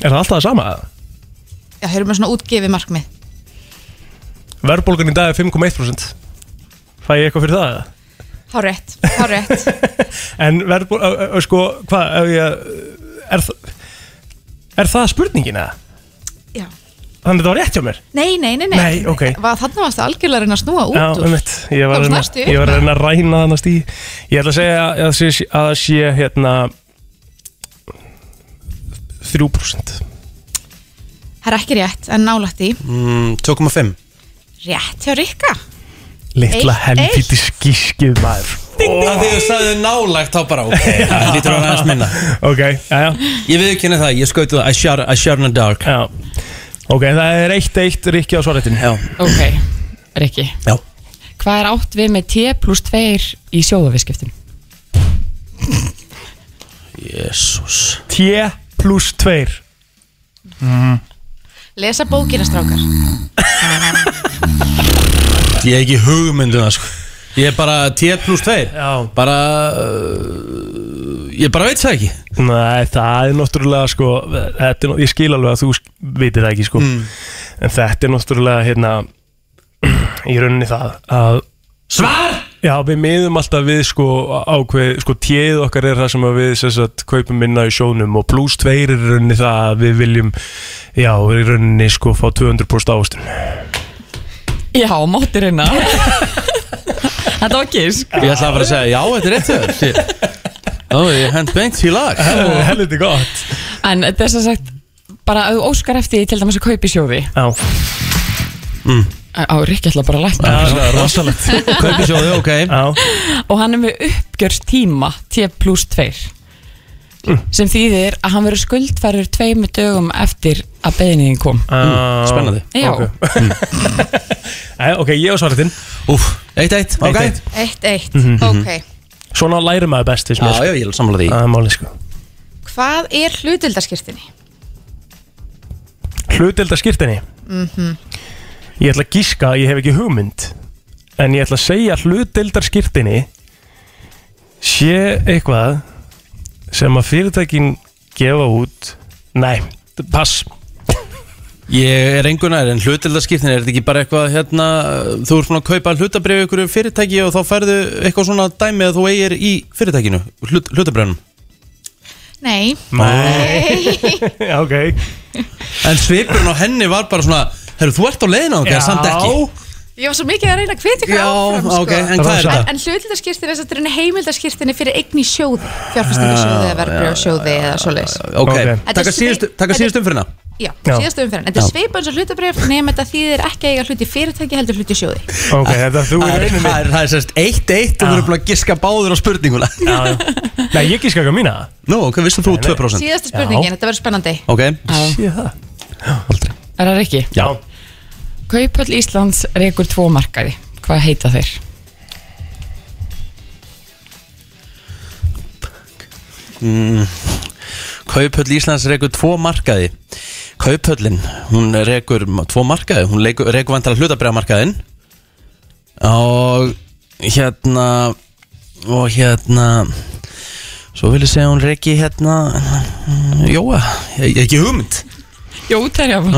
Speaker 2: Er það alltaf það sama? eða?
Speaker 12: Já, höfum við svona útgefið markmið
Speaker 2: Verðbólgan í dag er 5,1% Fæ ég eitthvað fyrir það? eða?
Speaker 12: Há rétt, há rétt
Speaker 2: En verðból, ö- ö- ö, sko, hvað, ef ég er, þa- er það spurningin eða?
Speaker 12: Já.
Speaker 2: Þannig þetta var rétt hjá mér
Speaker 12: Nei, nei, nei, nei,
Speaker 2: Nei, ok.
Speaker 12: Var, Þannig varstu algjörlega að reyna að snúa út
Speaker 2: Já,
Speaker 12: úr
Speaker 2: um mitt, ég var, að
Speaker 12: Komst
Speaker 2: reyna,
Speaker 12: næstu upp
Speaker 2: ég var
Speaker 12: með.
Speaker 2: að reyna að ræna þannig stí Ég ætla að segja að það sé, að það sé hérna 3%
Speaker 12: Það er ekki rétt, en nálægt því
Speaker 1: mm, 2,5
Speaker 12: Rétt hjá Rikka
Speaker 2: Litla
Speaker 12: Eitt,
Speaker 2: helviti skískið maður
Speaker 1: Það því þú sagði nálægt þá bara ok Það lítur að vera aðeins minna
Speaker 2: Ok, já, já
Speaker 1: Ég við ekki það, ég skautu það I shot, I shot in the dark
Speaker 2: Já Ok, það er 1-1 Rikki á svaretin
Speaker 1: Já
Speaker 11: Ok, Rikki
Speaker 1: Já
Speaker 11: Hvað er átt við með T plus 2 í sjóðaviskiptum?
Speaker 1: Jésús
Speaker 2: T plus 2
Speaker 12: Lesa bókina strákar
Speaker 1: Ég hef ekki hugmyndu það sko Ég er bara T plus 2
Speaker 2: Já
Speaker 1: Bara uh, Ég bara veit það ekki
Speaker 2: Nei, það er náttúrulega sko, þetta er, nú- ég skil alveg að þú sk- vitir það ekki sko,
Speaker 1: Mm.
Speaker 2: en þetta er náttúrulega hérna, í rauninni það að
Speaker 1: Svar!
Speaker 2: Já, við miðum alltaf við sko ákveð, sko tjeð okkar er það sem að við sem sagt, kaupum minna í sjónum og pluss tveir er í rauninni það að við viljum, já, í rauninni sko fá 200% ávastun.
Speaker 11: Já, hérna. mátti reyna Þetta var gisk
Speaker 1: Ég ætla að bara að segja já, þetta er rétt hjá þér Ég- Ó, ég hent bengt í lag
Speaker 2: Helviti gott
Speaker 11: En þetta er sem sagt bara að þú óskar eftir því til dæmis að kaupa í sjóði
Speaker 2: Já
Speaker 1: mm.
Speaker 11: Á Rikki ætla bara að lækna
Speaker 2: Það er rosalegt.
Speaker 1: Kaupasjóði, ok
Speaker 2: Já
Speaker 11: og hann er með uppgjörstíma t plus 2 sem þýðir að hann verður skuldfærður tveimu dögum eftir að beðinniðin kom
Speaker 2: Mm,
Speaker 1: spennandi. Mm.
Speaker 11: Já,
Speaker 2: Ok. Æ, ok, ég og svaretinn.
Speaker 1: Úf, 1-1, ok.
Speaker 12: 1-1,
Speaker 2: Mhm, mhm.
Speaker 12: ok
Speaker 2: Svona læri maður best, finnst mér. sko.
Speaker 1: Já, já, ég er sammála því.
Speaker 2: Það er málið, sko.
Speaker 12: Hvað er hlutildaskirtinni?
Speaker 2: Hlutdeldaskirtinni.
Speaker 12: Mm
Speaker 2: Ég ætla að gíska, ég hef ekki hugmynd. En ég ætla að segja að hlutdeldaskirtinni sé eitthvað sem að fyrirtækin gefa út Nei, pass
Speaker 1: Ég er engunar, en hlutildaskiptin er þetta ekki bara eitthvað hérna, þú ert búin að kaupa hlutabrif ykkur fyrirtæki og þá færðu eitthvað svona dæmi að þú eigir í fyrirtækinu, hlut, hlutabrifunum.
Speaker 12: Nei
Speaker 1: Nei.
Speaker 2: Já, ok
Speaker 1: En svipurinn á henni var bara svona, herru, þú ert á leiðinu okkar,
Speaker 2: Já.
Speaker 1: samt ekki.
Speaker 12: Ég var svo mikið að reyna að hvetja ykkur
Speaker 1: Já,
Speaker 12: áfram
Speaker 1: ok, en
Speaker 12: sko.
Speaker 1: hvað er þetta?
Speaker 12: En, en hlutildaskýrtin er satt reyna heimildaskýrtinni fyrir eign í sjóð Fjárfestingasjóði eða verðbrjóðsjóði eða svoleiðis
Speaker 1: Ok,
Speaker 12: Þetta er
Speaker 1: taka
Speaker 12: svi-
Speaker 1: síðustu- taka
Speaker 12: þetta-
Speaker 1: síðustu umfyrirna.
Speaker 12: Já,
Speaker 2: Já.
Speaker 12: síðastu umferðin Þetta
Speaker 2: Já.
Speaker 12: er sveipa eins og hlutabrif nema þetta þýðir ekki að eiga hluti í fyrirtæki heldur hluti í sjóði
Speaker 2: Ok, þetta þú
Speaker 1: Það
Speaker 2: er
Speaker 1: er-
Speaker 2: einu
Speaker 1: það er- það er sérst eitt eitt og þú eru búin að giska báður á spurninguna.
Speaker 2: Já, já. Nei, ég giska ekki á mína.
Speaker 1: Nú, ok, vissum þú 2%?
Speaker 12: Síðasta spurningin, þetta verður spennandi
Speaker 1: Ok,
Speaker 11: Sé
Speaker 2: það
Speaker 11: Er það ekki?
Speaker 1: já.
Speaker 11: Kaupöll Íslands reykur tvo markaði Hvað heita þeir?
Speaker 1: Mm. Kauphöll Íslands reykur tvo markaði Kauphöllin, hún reykur tvo markaði, hún reykur vantar að hlutabriða markaðin og hérna og hérna svo vil ég segja að hún reyki hérna mm, Jóa, ég ég ekki hugmynd
Speaker 11: Jó, það er jáfn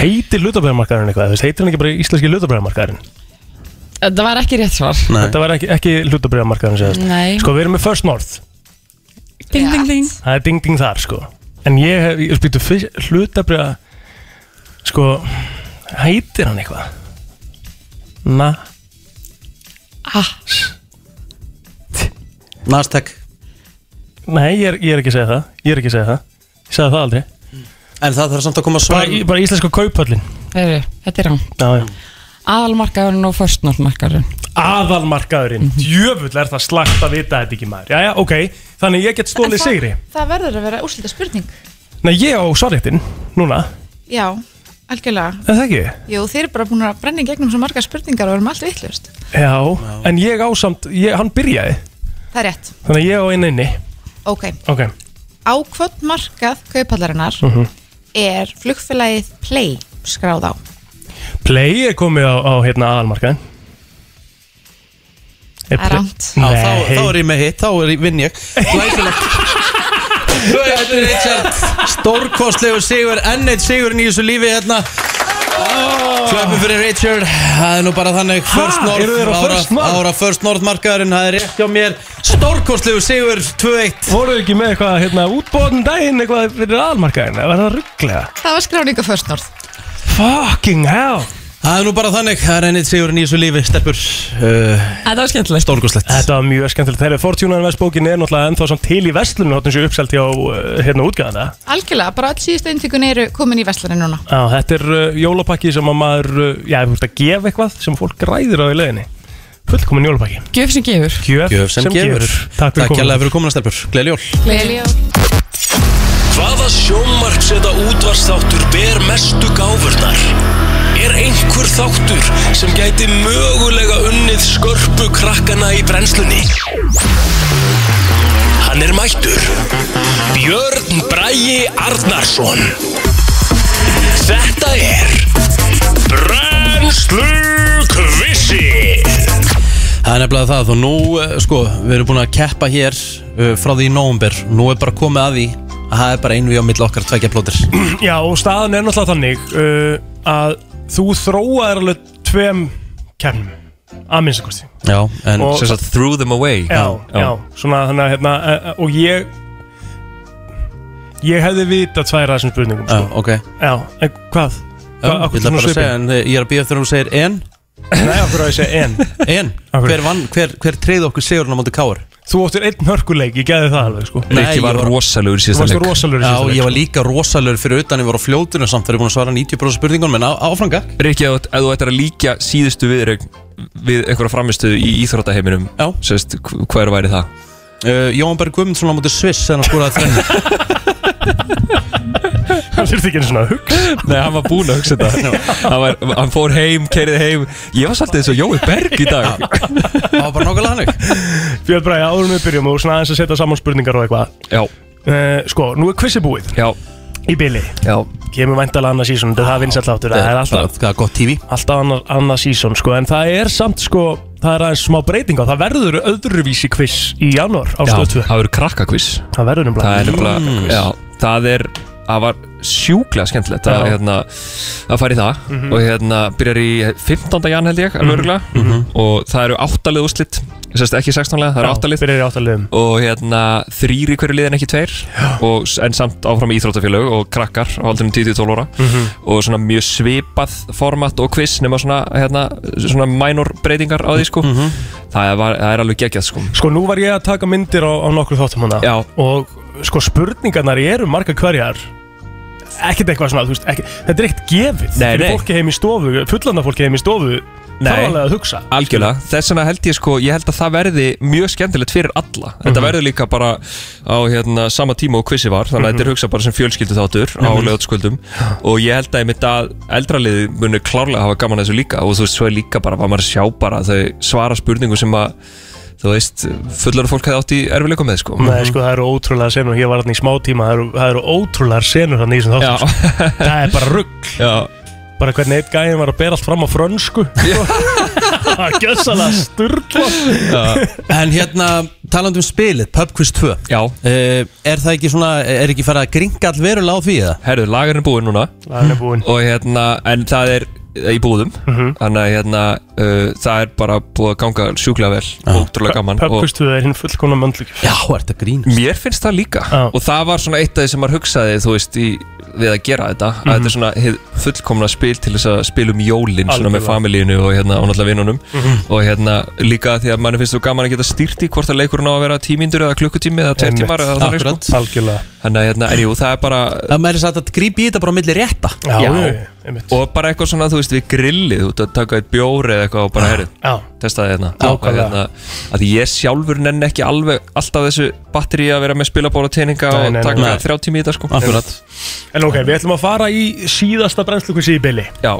Speaker 2: Heitir hlutabræðamarkaðurinn eitthvað? Þú veist, heitir hann ekki bara íslenski hlutabræðamarkaðurinn?
Speaker 11: Þetta var ekki rétt svar
Speaker 2: Þetta var ekki, ekki hlutabræðamarkaðurinn segðast
Speaker 11: Nei.
Speaker 2: Sko, við erum með First North
Speaker 11: Ding, ding, ding
Speaker 2: Það er ding-ding þar, sko En ég hef, ég spýtu hlutabræða Sko, heitir hann eitthvað? Na
Speaker 11: Ah,
Speaker 1: Nasdaq
Speaker 2: Nei, ég er, ég er ekki að segja það Ég er ekki að segja það Ég sagði það aldrei
Speaker 1: En það þarf samt að koma
Speaker 2: svar Bara, bara íslenska kauphöllin
Speaker 11: heyrðu, þetta er rán
Speaker 2: Já, já
Speaker 11: Aðalmarkaðurinn og förstnórmarkaðurinn
Speaker 2: Aðalmarkaðurinn
Speaker 1: Mhm.
Speaker 2: Djöfull er það slagt að vita þetta ekki maður Jæja, ok Þannig ég get stólið sigri
Speaker 12: Það verður að vera úrslita spurning
Speaker 2: Nei, ég á svarréttin Núna
Speaker 12: Já, algjörlega
Speaker 2: Er það ekki?
Speaker 12: Jú, þeir eru bara búin að brenna í gegnum svo margar spurningar og erum allt vittlust
Speaker 2: Já, en ég ásamt, ég, hann byrjaði
Speaker 12: Það er rétt,
Speaker 2: Þannig að ég á einu inni
Speaker 12: ok
Speaker 2: Ok
Speaker 12: Á hvort markað kaupallarinnar
Speaker 2: Mhm.
Speaker 12: er flugfélagið Play skráð á?
Speaker 2: Play er komið á, á hérna aðalmarkaðin
Speaker 12: Það er rangt.
Speaker 1: Á, þá, þá er ég með hitt, þá er ég vinn ég Glæsilegt Þetta er Richard Stórkostlegur sigur, enn eitt sigurinn í þessu lífi hérna Klöppum fyrir Richard Það er nú bara þannig First
Speaker 2: eru þeir á
Speaker 1: North,
Speaker 2: First
Speaker 1: ára,
Speaker 2: North?
Speaker 1: ára First North markaðurinn Það er rétt hjá mér Stórkostlegur sigur 2-1
Speaker 2: Voruð ekki með eitthvað hérna útbóðin daginn eitthvað fyrir aðalmarkaðin Það var það rugglega
Speaker 12: Það var skráninga First North
Speaker 2: Fucking hell
Speaker 1: Það er nú bara þannig, það er enn eitt sigurinn í þessu lífi Stelpur uh,
Speaker 11: Þetta var skemmtilegt
Speaker 1: Stórkostlegt
Speaker 2: Þetta var mjög skemmtilegt Þegar Fortunan Vestbókin er náttúrulega ennþá samt til í vestlunum Þannig sem uppselt hjá uh, hérna útgæðan það
Speaker 12: Algjörlega, bara all síðustu inntökun eru komin í veslarinn núna
Speaker 2: Já, þetta er uh, jólapakki sem að maður uh, Já, þú ert að gefa eitthvað sem fólk ræðir á í leiðinni Fullkomin jólapakki
Speaker 11: Gjöf sem gefur
Speaker 2: Gjöf,
Speaker 1: Gjöf sem gefur.
Speaker 2: Takk
Speaker 1: Takk
Speaker 2: fyrir komin
Speaker 1: hérlega fyrir komuna stelpur, gleðileg jól
Speaker 12: Gleðileg
Speaker 4: Hvaða sjónvarps eða útvarstáttur ber mestu gáfurnar? Er einhver þáttur sem gæti mögulega unnið skörpu krakkana í brennslunni? Hann er mættur. Björn Bragi Arnarsson. Þetta er Brennslu Kvissið.
Speaker 1: Það er nefnilega það og nú, eh, sko, við erum búin að keppa hér uh, frá því í nóvumber Nú er bara komið að því að það er bara einu við á milli okkar tveggja plótir
Speaker 2: Já, og staðan er náttúrulega þannig uh, að þú þróaðir alveg tveim kemnum að minnstakosti
Speaker 1: Já, en
Speaker 2: Og-
Speaker 1: sem sagt
Speaker 13: threw them away
Speaker 2: já, já, svona þannig að hérna uh, uh, og ég ég hefði vitað tværa þessum spurningum sko.
Speaker 1: Já, ok
Speaker 2: já en hvað?
Speaker 1: Já,
Speaker 2: Hva,
Speaker 1: Ég ætla bara að segja, en eh, ég er að býja þegar hún segir en
Speaker 2: Nei, af hverju að ég segja en
Speaker 1: En, hver, vann, hver, hver treyði okkur sigurinn á móti káar?
Speaker 2: Þú óttir einn hörkuleik, ég geði það alveg sko
Speaker 1: Nei, ég var-
Speaker 13: rosalegur í
Speaker 2: Þú
Speaker 13: síðasta
Speaker 2: varst
Speaker 13: leik.
Speaker 2: rosalegur í
Speaker 1: Já,
Speaker 2: síðasta leik, sko.
Speaker 1: ég var líka rosalur fyrir utan, ég var á fljótinu samt þegar ég búin að svara 90% spurningunum En á- áfranga
Speaker 13: Rikki, ef ef þú ættir að líkja síðustu viðreik við einhverja framistöðu í íþróttaheiminum sérst, hv- hver væri það?
Speaker 1: uh, Jóhann Berg Guðmundsson á móti Sviss þegar hann skoraði þrennu
Speaker 2: Hann þurfti ekki einu svona að hugsa
Speaker 13: Nei, hann var búinn að hugsa þetta hann, var, hann fór heim, keiriði heim Ég var svolítið eins og Jói Berg í dag
Speaker 1: Það var bara nokkuð hannig
Speaker 2: Björn Bræði, áður en við byrjum og svona aðeins að setja saman spurningar og eitthvað
Speaker 13: Já
Speaker 2: uh, Sko, nú er kvissi búið
Speaker 13: Já
Speaker 2: Í byli
Speaker 13: Já
Speaker 2: Kemur væntalega annað sísón, þetta er það vinsætt áttur Það er alltaf
Speaker 1: Það er gott tífi
Speaker 2: Alltaf annar, annað sísón, sko En það er samt, sko það er aðeins smá breyting á Það verður öðruvísi kviss í janúar á
Speaker 13: Já,
Speaker 2: stöð 2
Speaker 13: það verður krakkakviss
Speaker 2: Það verður nefnilega
Speaker 13: Það er
Speaker 2: Mm.
Speaker 13: nefnilega, já, það er Það var sjúklega skemmtilegt að,
Speaker 2: Já.
Speaker 13: hérna, að fara í það
Speaker 2: Mhm.
Speaker 13: og hérna byrjar í 15. jan held ég alveg örugglega.
Speaker 2: Mhm.
Speaker 13: og það eru áttalið úrslit Sest, ekki 16 lega, það eru
Speaker 2: Já,
Speaker 13: áttalið
Speaker 2: byrjar í áttaliðum
Speaker 13: og hérna þrýr í hverju lið en ekki tveir og, s- en samt áfram íþróttafélög og krakkar á aldrinum 10-12 óra
Speaker 2: Mhm.
Speaker 13: og svona mjög svipað format og quiz nema svona, hérna, svona minor breytingar á því sko
Speaker 2: Mhm.
Speaker 13: það, var, það er alveg geggjað sko
Speaker 2: Sko nú var ég að taka myndir á, á nokkur þáttum hana
Speaker 13: Já.
Speaker 2: Og sko spurningarnar eru margar hverjar Ekkert eitthvað svona, þú veist ekki, Þetta er ekkert gefið
Speaker 13: Nei,
Speaker 2: Fyrir
Speaker 13: nei.
Speaker 2: fólki heim í stofu, fullandar fólki heim í stofu
Speaker 13: Nei.
Speaker 2: Þarf alveg að hugsa
Speaker 13: Algjörlega, þess vegna held ég sko, ég held að það verði mjög skemmtilegt fyrir alla Þetta
Speaker 2: Mhm.
Speaker 13: verður líka bara á hérna, sama tíma og kvissi var Þannig að
Speaker 2: Mhm.
Speaker 13: þetta er hugsað bara sem fjölskyldu þáttur á
Speaker 2: Mhm.
Speaker 13: lögatskuldum Og ég held að ég mitt að eldralið muni klárlega hafa gaman að þessu líka Og þú veist, svo er líka bara, hvað maður sjá bara Þau svara spurningu sem að, þú veist, fullara fólk hefði átt í erfileikum með sko
Speaker 2: Nei, sko, það eru ótrúlega senur, ég var hann í smá tíma, það eru, það eru ótrúlega senur hann í þessum þáttum, sko. það er bara rugg,
Speaker 13: Já.
Speaker 2: bara hvernig eitt gæðin var að bera allt fram á frönsku, sko. gjössalega sturgla.
Speaker 1: En hérna, talandi um spilið, Pub Quiz 2
Speaker 13: Já
Speaker 1: Er það ekki svona, er ekki farið að gringa all verulega á því eða?
Speaker 13: Herðu, lagarinn er búinn núna
Speaker 2: Lagarinn er búinn
Speaker 13: Og hérna, en það er í búðum
Speaker 2: Mhm.
Speaker 13: Þannig að hérna, uh, það er bara búið að ganga sjúklega vel Ótrúlega gaman og-
Speaker 2: Pöppustuð er hinn fullkona möndlík.
Speaker 1: Já, er þetta grín?
Speaker 13: Mér finnst það líka Og það var svona eitt af því sem maður hugsaði Þú veist, í, við að gera þetta
Speaker 2: Mhm.
Speaker 13: Að þetta er svona hið fullkomna spil til þess að spila um jólin Svona með
Speaker 2: Algjörlega.
Speaker 13: familíinu og hérna og náttúrulega vinnunum
Speaker 2: Mhm.
Speaker 13: Og hérna líka því að manni finnst þú gaman að geta stýrt í Hvort að leikurinn á að vera tímindur eða klukkutími eða tveir tímar eða þannig sko.
Speaker 1: Akkurat
Speaker 2: Algjörlega
Speaker 13: Þannig að hérna, en jú, það er bara
Speaker 1: Það maður er satt að grípa í þetta bara á milli rétta
Speaker 13: Já, og bara eitthvað svona, þú veist, við grillið út að taka eitt bjóri eða eitthvað og bara herrið
Speaker 2: Já.
Speaker 13: testaði hérna
Speaker 2: Nákvæmlega.
Speaker 13: Að hérna, að því ég sjálfur nenn ekki alveg alltaf þessu batteri að vera með spilabóla teininga
Speaker 2: Nei,
Speaker 13: og
Speaker 2: nei, nei,
Speaker 13: taka
Speaker 2: nei.
Speaker 13: þrjá tími í þetta sko
Speaker 2: Akkúrat. En ok, við ætlum að fara í síðasta brennslukvissi í byli.
Speaker 13: Já.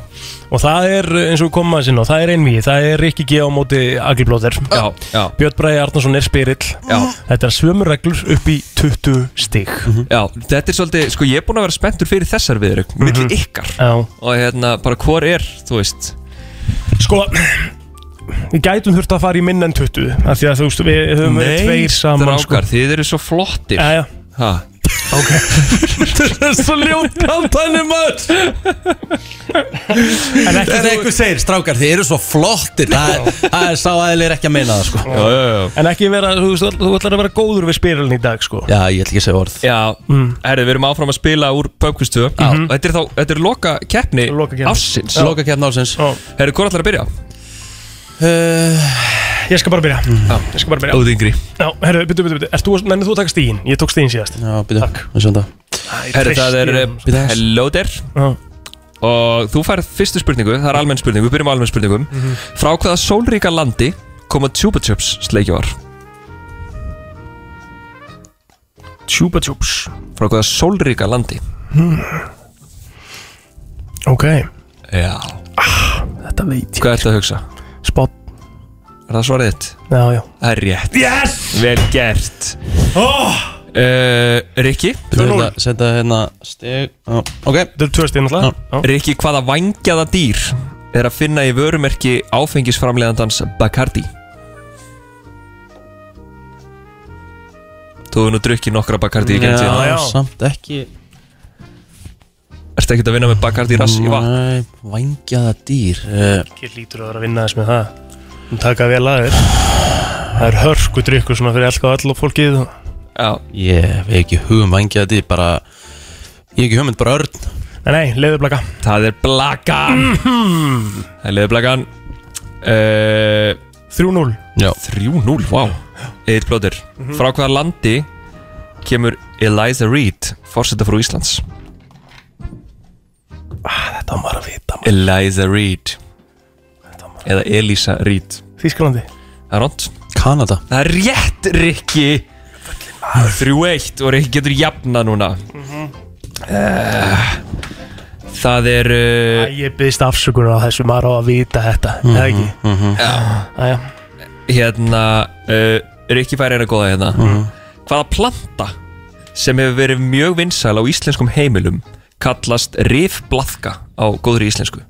Speaker 2: Og það er, eh, eins og koma að sinna, það er einví, það er Rikki G á móti Agli Blóðir.
Speaker 13: Já, já.
Speaker 2: Björn Bræði Arnason er spirill.
Speaker 13: Já.
Speaker 2: Þetta er svömu reglur upp í 20 stig.
Speaker 13: Já, þetta er svolítið, sko ég er búinn að vera spenntur fyrir þessar viður, mm milli ykkar
Speaker 2: Mhm. Já.
Speaker 13: og hérna, bara hvor er, þú veist
Speaker 2: Sko Við gætum þurft að fara í minna en 20 af Því að þú veist, við höfum verið tveir saman sko.
Speaker 13: strákar, þið eru svo flottir
Speaker 2: Já, já.
Speaker 13: Ha.
Speaker 2: Það er svo ljókald
Speaker 13: Þannig maður
Speaker 1: En ekki eitthvað segir, strákar, þið eru svo flottir Það er- það er sá aðeinslega ekki að meina það sko
Speaker 13: já, já, já.
Speaker 2: En ekki vera, þú veist, þú ætlar að vera góður við spyrilin í dag sko
Speaker 1: Já, ég ætla ekki að segja orð
Speaker 13: Já, mm. herri, við erum áfram að spila úr Pöpkustu mm -hmm. Þetta er þá, þetta er loka keppni
Speaker 2: Loka keppni.
Speaker 13: ársins
Speaker 2: Já. Loka
Speaker 1: keppni ársins
Speaker 13: Herri, hvað ætlar að byrja?
Speaker 2: Ég skal bara byrja Já, ég skal bara byrja
Speaker 13: Óð Eh. yngri
Speaker 2: Já, herru, byttu, byttu, byttu Erst þú, nennið þú að taka stígin? Ég tók stígin síðast
Speaker 1: Já, byrju, við sjöndum
Speaker 2: ég
Speaker 13: Herri, það
Speaker 2: treysti
Speaker 13: er
Speaker 2: honum. sko.
Speaker 13: eh, Hello there
Speaker 2: Já.
Speaker 13: Og þú færð fyrstu spurningu, það er almenn spurningu, við byrjum á almenn spurningum
Speaker 2: Mhm.
Speaker 13: Frá hvaða sólríka landi koma Chupa Chups sleikjavar?
Speaker 2: Chupa Chups
Speaker 13: Frá hvaða sólríka landi?
Speaker 2: Hmm. Ok,
Speaker 13: Já
Speaker 2: Þetta veit ég
Speaker 13: Hvað ertu að hugsa?
Speaker 2: Spot
Speaker 13: Er það svarið þitt?
Speaker 2: já, já
Speaker 13: Það er rétt
Speaker 2: Yes!
Speaker 13: Vel gert
Speaker 2: oh!
Speaker 13: uh, Rikki
Speaker 1: Þetta setja hérna steg á- Ok
Speaker 2: Þetta er tvö stíð náttúrulega
Speaker 13: Rikki, hvaða vangjaða dýr er að finna í vörumerki áfengisframlegandans Bacardi? Þú hefur nú drukkið nokkra Bacardi í genið
Speaker 1: Já,
Speaker 13: tíðan.
Speaker 1: samt ekki
Speaker 13: Ertu ekkert að vinna með Bacardi rass í vatn?
Speaker 1: Nei, Vængjaða dýr eh,
Speaker 2: Ekki lítur að vera að vinna þess með það Hún taka vel að þér Það er hörku drikkur svona fyrir elka all og fólkið og...
Speaker 13: Já
Speaker 1: Ég hef ekki hugum vængjaða dýr Bara Ég hef ekki hugmynd um bara örn
Speaker 2: Nei, nei, leiðu blaka
Speaker 13: Það er blaka Það er leðblakan uh,
Speaker 2: 3-0
Speaker 1: Já
Speaker 13: 3-0, vá Eitt blóður
Speaker 2: Mhm.
Speaker 13: Frá hvaða landi kemur Eliza Reid Fórseta frú Íslands
Speaker 2: Þetta var að vita
Speaker 13: Eliza Reid Eða Elisa Reid
Speaker 2: Þísklandi
Speaker 13: Það er rond
Speaker 1: Kanada
Speaker 13: Það er rétt, Rikki 3-1 og Rikki getur jafna núna Eh, Það er uh,
Speaker 2: Ég byggðist afsökunar á þessu maður á að vita þetta mm Eða
Speaker 13: Mhm,
Speaker 2: ekki Æja
Speaker 13: Hérna uh, Rikki fær eina góða hérna
Speaker 2: Mm-hmm.
Speaker 13: Hvaða planta sem hefur verið mjög vinsæl á íslenskum heimilum kallast rifblaðka á góðri íslensku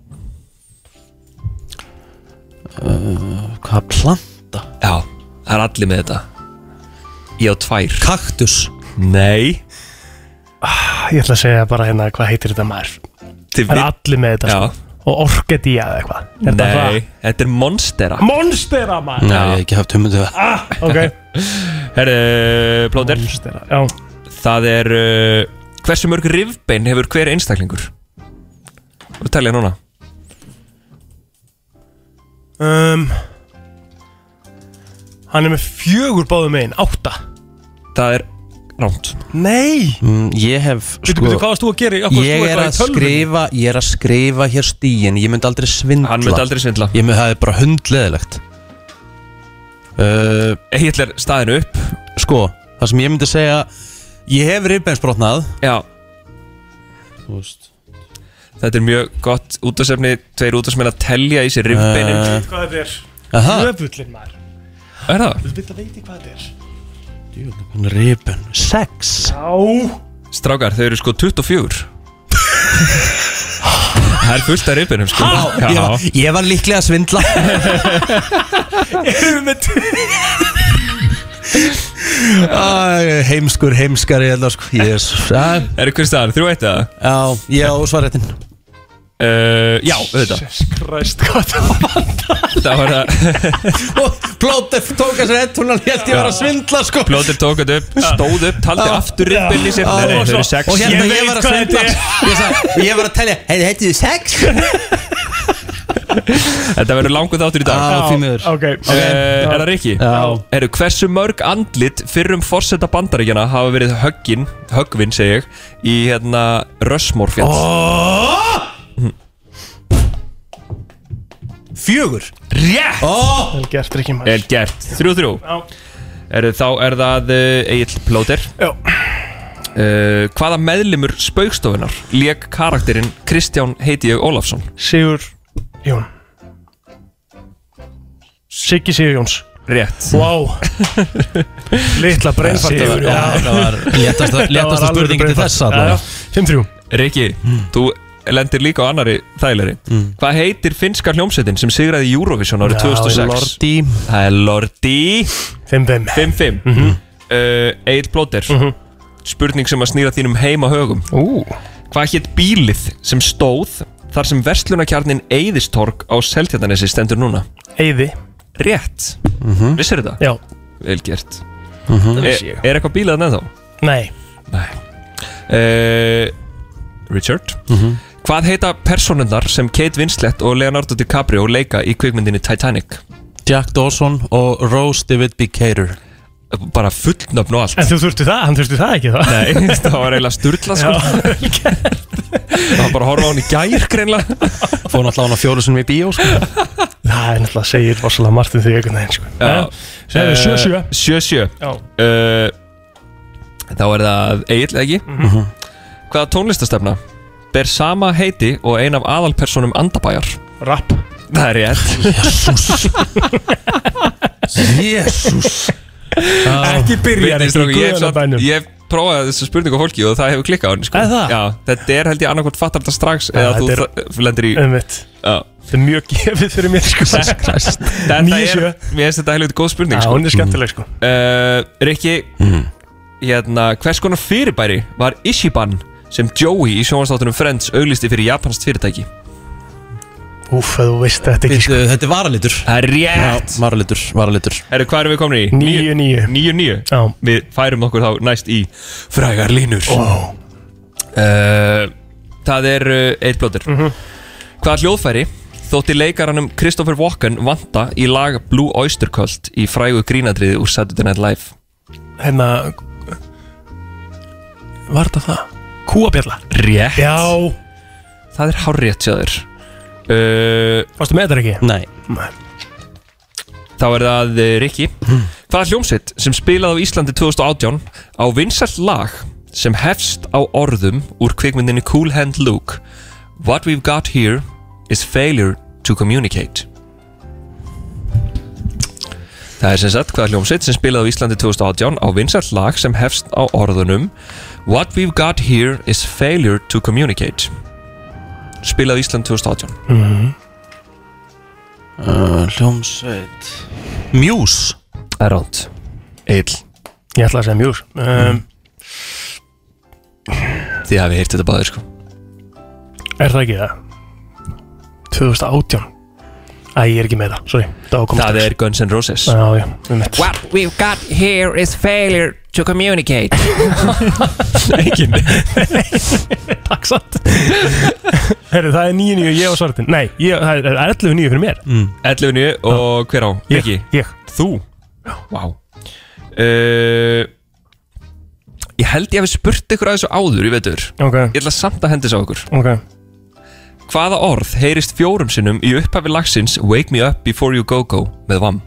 Speaker 1: Uh, Hvað Það er planta
Speaker 13: Já, það er allir með þetta Ég á tvær
Speaker 1: Kaktus
Speaker 13: Nei
Speaker 2: Ah, Ég ætla að segja bara hérna, hvað heitir þetta maður?
Speaker 13: mhm. Þið
Speaker 2: Það er
Speaker 13: vi-
Speaker 2: allir með þetta
Speaker 13: Já.
Speaker 2: sko. Og orkedía eða eitthvað Er þetta það?
Speaker 13: Nei, þetta er Monstera
Speaker 2: Monstera maður
Speaker 1: Nei, ég hef ekki haft um humundu
Speaker 2: ah, Ok
Speaker 13: Herðu, plóter
Speaker 2: Já
Speaker 13: Það er uh, Hversu mörg rifbein hefur hver einstaklingur? Þú talja núna
Speaker 2: um, Hann er með fjögur báðum megin, átta
Speaker 13: Það er rámt
Speaker 2: Nei
Speaker 1: mm, Ég hef sko-
Speaker 2: Bíddu,
Speaker 13: Sko,
Speaker 2: bíddu, hvað varst þú að gera í- af hverju
Speaker 1: Ég er
Speaker 2: varst þú eitthvað
Speaker 1: að
Speaker 2: í tölvunni?
Speaker 1: skrifa Ég er að skrifa hér stíin Ég myndi aldrei svindla
Speaker 13: Hann myndi aldrei svindla.
Speaker 1: Ég myndi það er bara hundleðilegt uh,
Speaker 13: Hitler staðinu upp
Speaker 1: Sko, það sem ég myndi segja Ég hef rifbeinsbrotnað
Speaker 13: Já Þetta er mjög gott útasefni Tveir útasefni að telja í sér rifbeinin
Speaker 1: Eh,
Speaker 2: Hvað þetta er?
Speaker 1: Aha.
Speaker 2: Nöfullin maður
Speaker 13: Er það?
Speaker 2: Þú veit að veit hvað þetta er
Speaker 1: Rifbein Sex
Speaker 2: Já
Speaker 13: Strákar, þau eru sko 24 Það er fullt af rifbeinum sko
Speaker 1: Já, ég, var, ég var líklega að svindla
Speaker 2: Erum við með
Speaker 1: Æ, Heimskur, heimskari hérna, sko. Jesus, að,
Speaker 13: Er það hver staðan? Þrjú eitt eða?
Speaker 1: Já, ég á svarréttin
Speaker 13: Uh, já, auðvitað
Speaker 2: Christ, hvað þetta
Speaker 13: Það var það
Speaker 1: Plóter tók að sér ett Hún held ég var að svindla sko
Speaker 13: Plóter tók þetta upp, stóð upp, taldi
Speaker 1: Já.
Speaker 13: aftur rifbein í sér Nei, nei, þau eru sex
Speaker 1: Ah, Og hérna ég,
Speaker 13: veit
Speaker 1: var að
Speaker 13: hvað þetta
Speaker 1: svindla
Speaker 13: er.
Speaker 1: Ég, sag, ég var að telja, heiði þetta þið sex?
Speaker 13: Þetta verður langur þáttur í dag
Speaker 1: Já, Ah, því miður.
Speaker 2: Ok,
Speaker 13: Eh, Er það Rikki?
Speaker 1: Já.
Speaker 13: Eru hversu mörg andlit fyrrum forseta bandaríkjana hafa verið höggin, höggvin segi ég, í hérna Rössmórfjall?
Speaker 1: Fjögur
Speaker 2: Rétt
Speaker 1: oh!
Speaker 2: Vel gert, Rikki maður
Speaker 13: Vel gert, 3-3
Speaker 2: Já.
Speaker 13: Eru þá er það uh, Egil Plóter
Speaker 2: Já
Speaker 13: uh, Hvaða meðlimur spaukstofunar Lék karakterinn Kristján heiti ég Ólafsson
Speaker 2: Sigur Jón Siggi Sigur Jóns
Speaker 13: Rétt
Speaker 2: Vá Litla brennfart
Speaker 13: Sigur Jón. Þetta var léttasta- léttasta spurningin til þessa, allavega.
Speaker 2: 5-3
Speaker 13: Riki,
Speaker 2: Hmm.
Speaker 13: þú lendir líka á annari þægilegri Hvað heitir finnska hljómsveitin sem sigraði Eurovision árið
Speaker 2: Já,
Speaker 13: 2006?
Speaker 1: Lordi.
Speaker 13: Það er Lordi
Speaker 2: 5-5
Speaker 13: 5-5 mm
Speaker 2: Mhm.
Speaker 13: Egil Plóter Spurning sem að snýra þínum heima högum
Speaker 2: Ú.
Speaker 13: Hvað hétt bílið sem stóð þar sem verslunarkjarnin Eiðistorg á Seltjartanesi stendur núna?
Speaker 2: Eyði
Speaker 13: Rétt
Speaker 2: Mhm.
Speaker 13: Vissir þetta?
Speaker 2: Já.
Speaker 13: Vel gert
Speaker 2: Mhm. Það
Speaker 13: er,
Speaker 2: vissi ég.
Speaker 13: er eitthvað bílað neð þá?
Speaker 2: Nei
Speaker 13: Nei uh, Richard
Speaker 2: Mhm.
Speaker 13: Hvað heita personundar sem Kate Winslet og Leonardo DiCaprio leika í kvikmyndinni Titanic?
Speaker 1: Jack Dawson og Rose David B. Cater
Speaker 13: Bara fullnöfn og allt
Speaker 2: En þú þurfti það, hann þurfti það ekki það
Speaker 13: Nei, það var eiginlega sturla sko Það var bara að horfa á hann í gær greinlega
Speaker 1: Fór náttúrulega hann á fjóru sinni í bíó sko.
Speaker 2: Það er náttúrulega segir rosalega margt um því einhvern veginn sko.
Speaker 13: Já.
Speaker 2: Segðu sjö, sjö.
Speaker 13: Eh, Sjö sjö
Speaker 2: Já.
Speaker 13: Eh, Þá er það Egil ekki
Speaker 2: Mhm.
Speaker 13: Hvaða tónlistastefna ber sama heiti og ein af aðalpersonum Andabæjar?
Speaker 2: Rapp
Speaker 13: Það er rétt
Speaker 1: Jésús Eh. Jésús
Speaker 2: Ekki byrjar
Speaker 13: Veitir, strákar, Ah, ég
Speaker 2: ekki í
Speaker 13: hef samt-
Speaker 2: guðanabænum.
Speaker 13: Ég hef prófaði þessu spurningu á fólki og það hefur klikkað á henni sko.
Speaker 2: Er það?
Speaker 13: Já, þetta er held ég annarkvæmt fattar þetta strax
Speaker 2: Já,
Speaker 13: eða þú
Speaker 2: þetta
Speaker 13: er, lendir í
Speaker 2: Einmitt.
Speaker 13: Já.
Speaker 2: Þetta er mjög gefið fyrir mér sko.
Speaker 13: Þetta er,
Speaker 2: Níu sjö.
Speaker 13: mér finnst þetta helviti góð spurning
Speaker 2: Já, hún er skemmtileg sko.
Speaker 13: uh, Rikki hérna, Hvers konar fyrirbæri var Ishiban sem Joey í sjónvastáttunum Friends auglisti fyrir japanskt fyrirtæki
Speaker 2: Úf, að þú veist þetta ekki sko.
Speaker 1: Eh, Þetta er varalitur
Speaker 13: Það er rétt
Speaker 1: Varalitur, varalitur
Speaker 13: Herru, hvað erum við komin í?
Speaker 2: Níu,
Speaker 13: 9-9
Speaker 2: níu. Já.
Speaker 13: Við færum okkur þá næst í frægar línur
Speaker 2: Ó.
Speaker 13: uh, Það er uh, eitt blóttir
Speaker 2: Mhm.
Speaker 13: Hvaða hljóðfæri þótti leikaranum Christopher Walken vanta í lag Blue Oyster Cult í frægu grínadriði úr Saturday Night Live
Speaker 2: Hérna Var þetta það? Kúabjalla
Speaker 13: Rétt
Speaker 2: Já
Speaker 13: Það er hár rétt sjáður uh,
Speaker 2: Varstu með þetta ekki?
Speaker 1: Nei
Speaker 2: Nei. Hmm.
Speaker 13: Þá er það uh, Rikki Hvaða hljómsveit sem spilaði á Íslandi 2018 á vinsalt lag sem hefst á orðum úr kvikmyndinni Cool Hand Luke What we've got here is failure to communicate Það er sem sagt hvaða hljómsveit sem spilaði á Íslandi 2018 á vinsalt lag sem hefst á orðunum What we've got here is failure to communicate Spilaði á Íslandi 2018
Speaker 1: uh,
Speaker 2: Mhm.
Speaker 1: uh, Hljómsveit Muse
Speaker 13: Það er ránt Egil
Speaker 2: Ég ætla að segja mjús um,
Speaker 13: Mm. Þið hafið heyrt þetta báðir sko
Speaker 2: Er það ekki það? 2018 Æ, ég er ekki með það, sorry Það,
Speaker 13: Það er Guns N' Roses
Speaker 2: Já, já, við mitt
Speaker 14: What we've got here is failure to communicate
Speaker 2: Engin Takk satt Herru, það er 9-9 og ég var svartin Nei, ég, það er 11-9 fyrir mér
Speaker 13: mm. 11 nýju og hver á?
Speaker 2: Ég,
Speaker 13: Rikki?
Speaker 2: ég.
Speaker 13: Þú? Já Vá uh, Ég held ég hafi spurt ykkur að þessu áður, ég veitur
Speaker 2: Ok.
Speaker 13: Ég ætla samt að hendi þessu á ykkur
Speaker 2: Ok,
Speaker 13: Hvaða orð heyrist fjórum sinnum í upphafi lagsins Wake me up before you go go með VAM?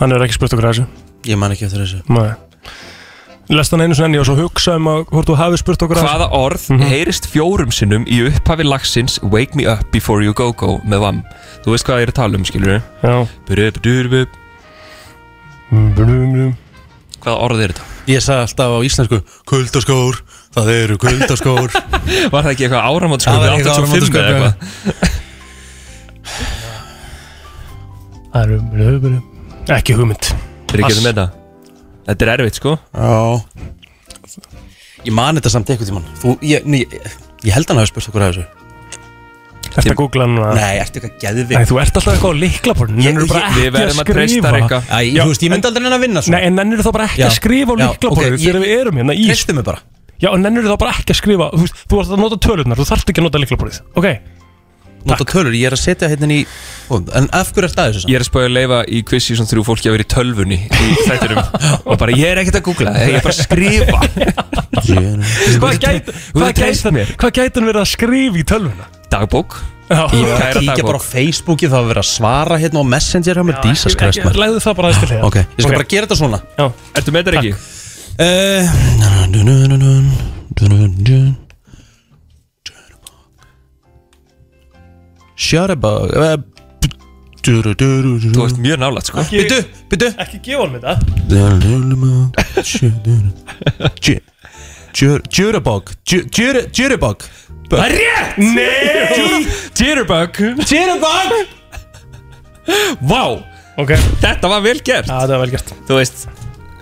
Speaker 2: hann er ekki spurt okkur að þessu
Speaker 1: Ég man ekki eftir þessu
Speaker 2: Nei Lest hann einu sinni og svo hugsa um að hvort þú hafi spurt okkur að
Speaker 13: Hvaða orð
Speaker 2: Mhm.
Speaker 13: heyrist fjórum sinnum í upphafi lagsins Wake me up before you go go með VAM? Þú veist hvað ég er að tala um, skilur
Speaker 2: Já
Speaker 13: Buruburuburubu
Speaker 2: Blum, blum
Speaker 13: Hvaða orð er þetta?
Speaker 1: Ég sagði alltaf á íslensku Kuldaskór, það eru kuldaskór
Speaker 13: Var það ekki eitthvað áramótskaup
Speaker 1: Það var
Speaker 13: í
Speaker 1: eitthvað
Speaker 13: 85 eða
Speaker 1: áramótaskaup,
Speaker 2: Það eru blum, blum Ekki hugmynd
Speaker 13: Þeir eru ekki með það Þetta er erfitt sko
Speaker 1: Já Ég man þetta samt eitthvað tímann Þú, ég, ný, ég, ég held hann hafi spurt okkur að þessu
Speaker 2: Ertu að googla hann? að-
Speaker 1: Nei, ertu eitthvað geðvig
Speaker 2: Nei, þú ert alltaf eitthvað á lyklaborðinu Nennirðu bara ekki að skrifa.
Speaker 1: Æ,
Speaker 2: Já,
Speaker 1: þú veist, ég myndi aldrei hann að vinna svo
Speaker 2: Nei, en nennir þá bara ekki
Speaker 1: Já.
Speaker 2: að skrifa á
Speaker 1: Já,
Speaker 2: lyklaborðinu
Speaker 1: ok,
Speaker 2: þegar
Speaker 1: ég-
Speaker 2: við erum hérna í
Speaker 1: Treystu mig bara
Speaker 2: Já, en nennir þá bara ekki að skrifa Þú veist, þú ert að nota tölurnar, þú þarft ekki að nota lyklaborðið Ok,
Speaker 1: Nota tölur, ég er að setja hérna í En af hverju er staðið þessu?
Speaker 13: Ég er að spája að leifa í quiz season 3 fólki að vera í tölvunni í þættinum og bara ég er ekkert að googla ég er bara að skrifa
Speaker 2: Hvað gæti- hvað gæti hann Hvað gæti hann verið að skrifa í tölvuna?
Speaker 13: Dagbók
Speaker 2: Já.
Speaker 1: Ég
Speaker 2: Kæra
Speaker 1: er að kíkja
Speaker 2: dagbók.
Speaker 1: bara á Facebooki Það var verið að svara hérna á Messenger hjá mér Dísa skræst maður
Speaker 2: Læðu það bara aðeins til þegar
Speaker 1: Ok, ég skal bara gera þetta svona
Speaker 2: Já.
Speaker 13: Ertu með þetta ekki?
Speaker 1: Eh, Shutterbug eh, Þú
Speaker 13: ert mjög nálægt sko
Speaker 1: Býtu, býtu
Speaker 2: Ekki gefa hann þetta
Speaker 1: Jurabug Jurabug
Speaker 13: Það er rétt!
Speaker 2: Nei!
Speaker 13: Jitterbug
Speaker 1: Jitterbug
Speaker 13: Vá!
Speaker 2: Ok
Speaker 13: Þetta var vel gert
Speaker 2: Já, þetta var vel gert
Speaker 13: Þú veist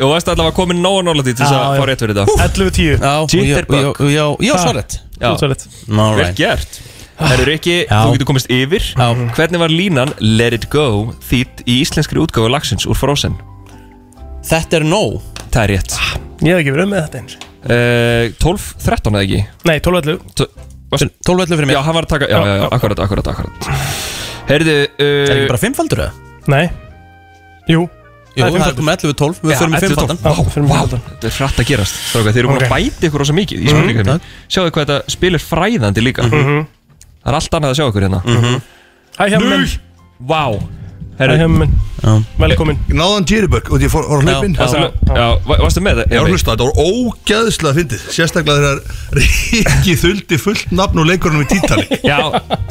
Speaker 13: Þú veist allavega komin nóg nálægt í til þess
Speaker 2: Já,
Speaker 13: að
Speaker 2: já.
Speaker 13: fá rétt fyrir þetta
Speaker 2: 11.10
Speaker 1: Já, og ég- og
Speaker 13: Jitterbug
Speaker 1: ég- já, já,
Speaker 13: Ha.
Speaker 1: svarrétt.
Speaker 13: Já.
Speaker 2: Þú svarrétt.
Speaker 13: Vel
Speaker 1: Alright.
Speaker 13: gert Herru Rikki,
Speaker 1: Já.
Speaker 13: þú getur komist yfir Já. Hvernig var línan Let it go þýtt í íslenskri útgáfu lagsins úr Frozen?
Speaker 1: Þetta er nóg Ah,
Speaker 13: Það er rétt
Speaker 2: Ég hef ekki
Speaker 1: um
Speaker 2: verið með þetta eins
Speaker 13: uh, 12.13 eða ekki?
Speaker 2: Nei, 12.11
Speaker 1: 12.11 fyrir mig
Speaker 13: Já, hann var að taka, já, já, já, akkurat, akkurat, akkurat Herðu uh,
Speaker 1: Er ekki bara fimmfaldur eða?
Speaker 2: Nei Jú
Speaker 1: Jú, það er
Speaker 2: fimmfaldur.
Speaker 1: komið 11.12 Við förum í fimmfaldan
Speaker 2: Já, fyrir mig
Speaker 13: Vá, þetta er frætt að gerast Stráka, þeir eru búin
Speaker 2: Ok.
Speaker 13: að bæta ykkur rosa mikið Í spurningunni Sjáðu hvað þetta spil er fræðandi líka Það er allt annað að sjá ykkur hérna
Speaker 2: Hæ, hjá minn
Speaker 13: Vá
Speaker 2: Hæ, hjá
Speaker 13: Herru,
Speaker 2: minn Velkomin
Speaker 15: Ég náði hann Jitterbug og ég fór fór að hlaupin
Speaker 13: varstu með- já, va- varstu með það?
Speaker 15: Ég var að hlusta, þetta var ógæðslega fyndið Sérstaklega þegar Ríki þuldi fullt nafn og leikurinn við Titanic
Speaker 13: Já,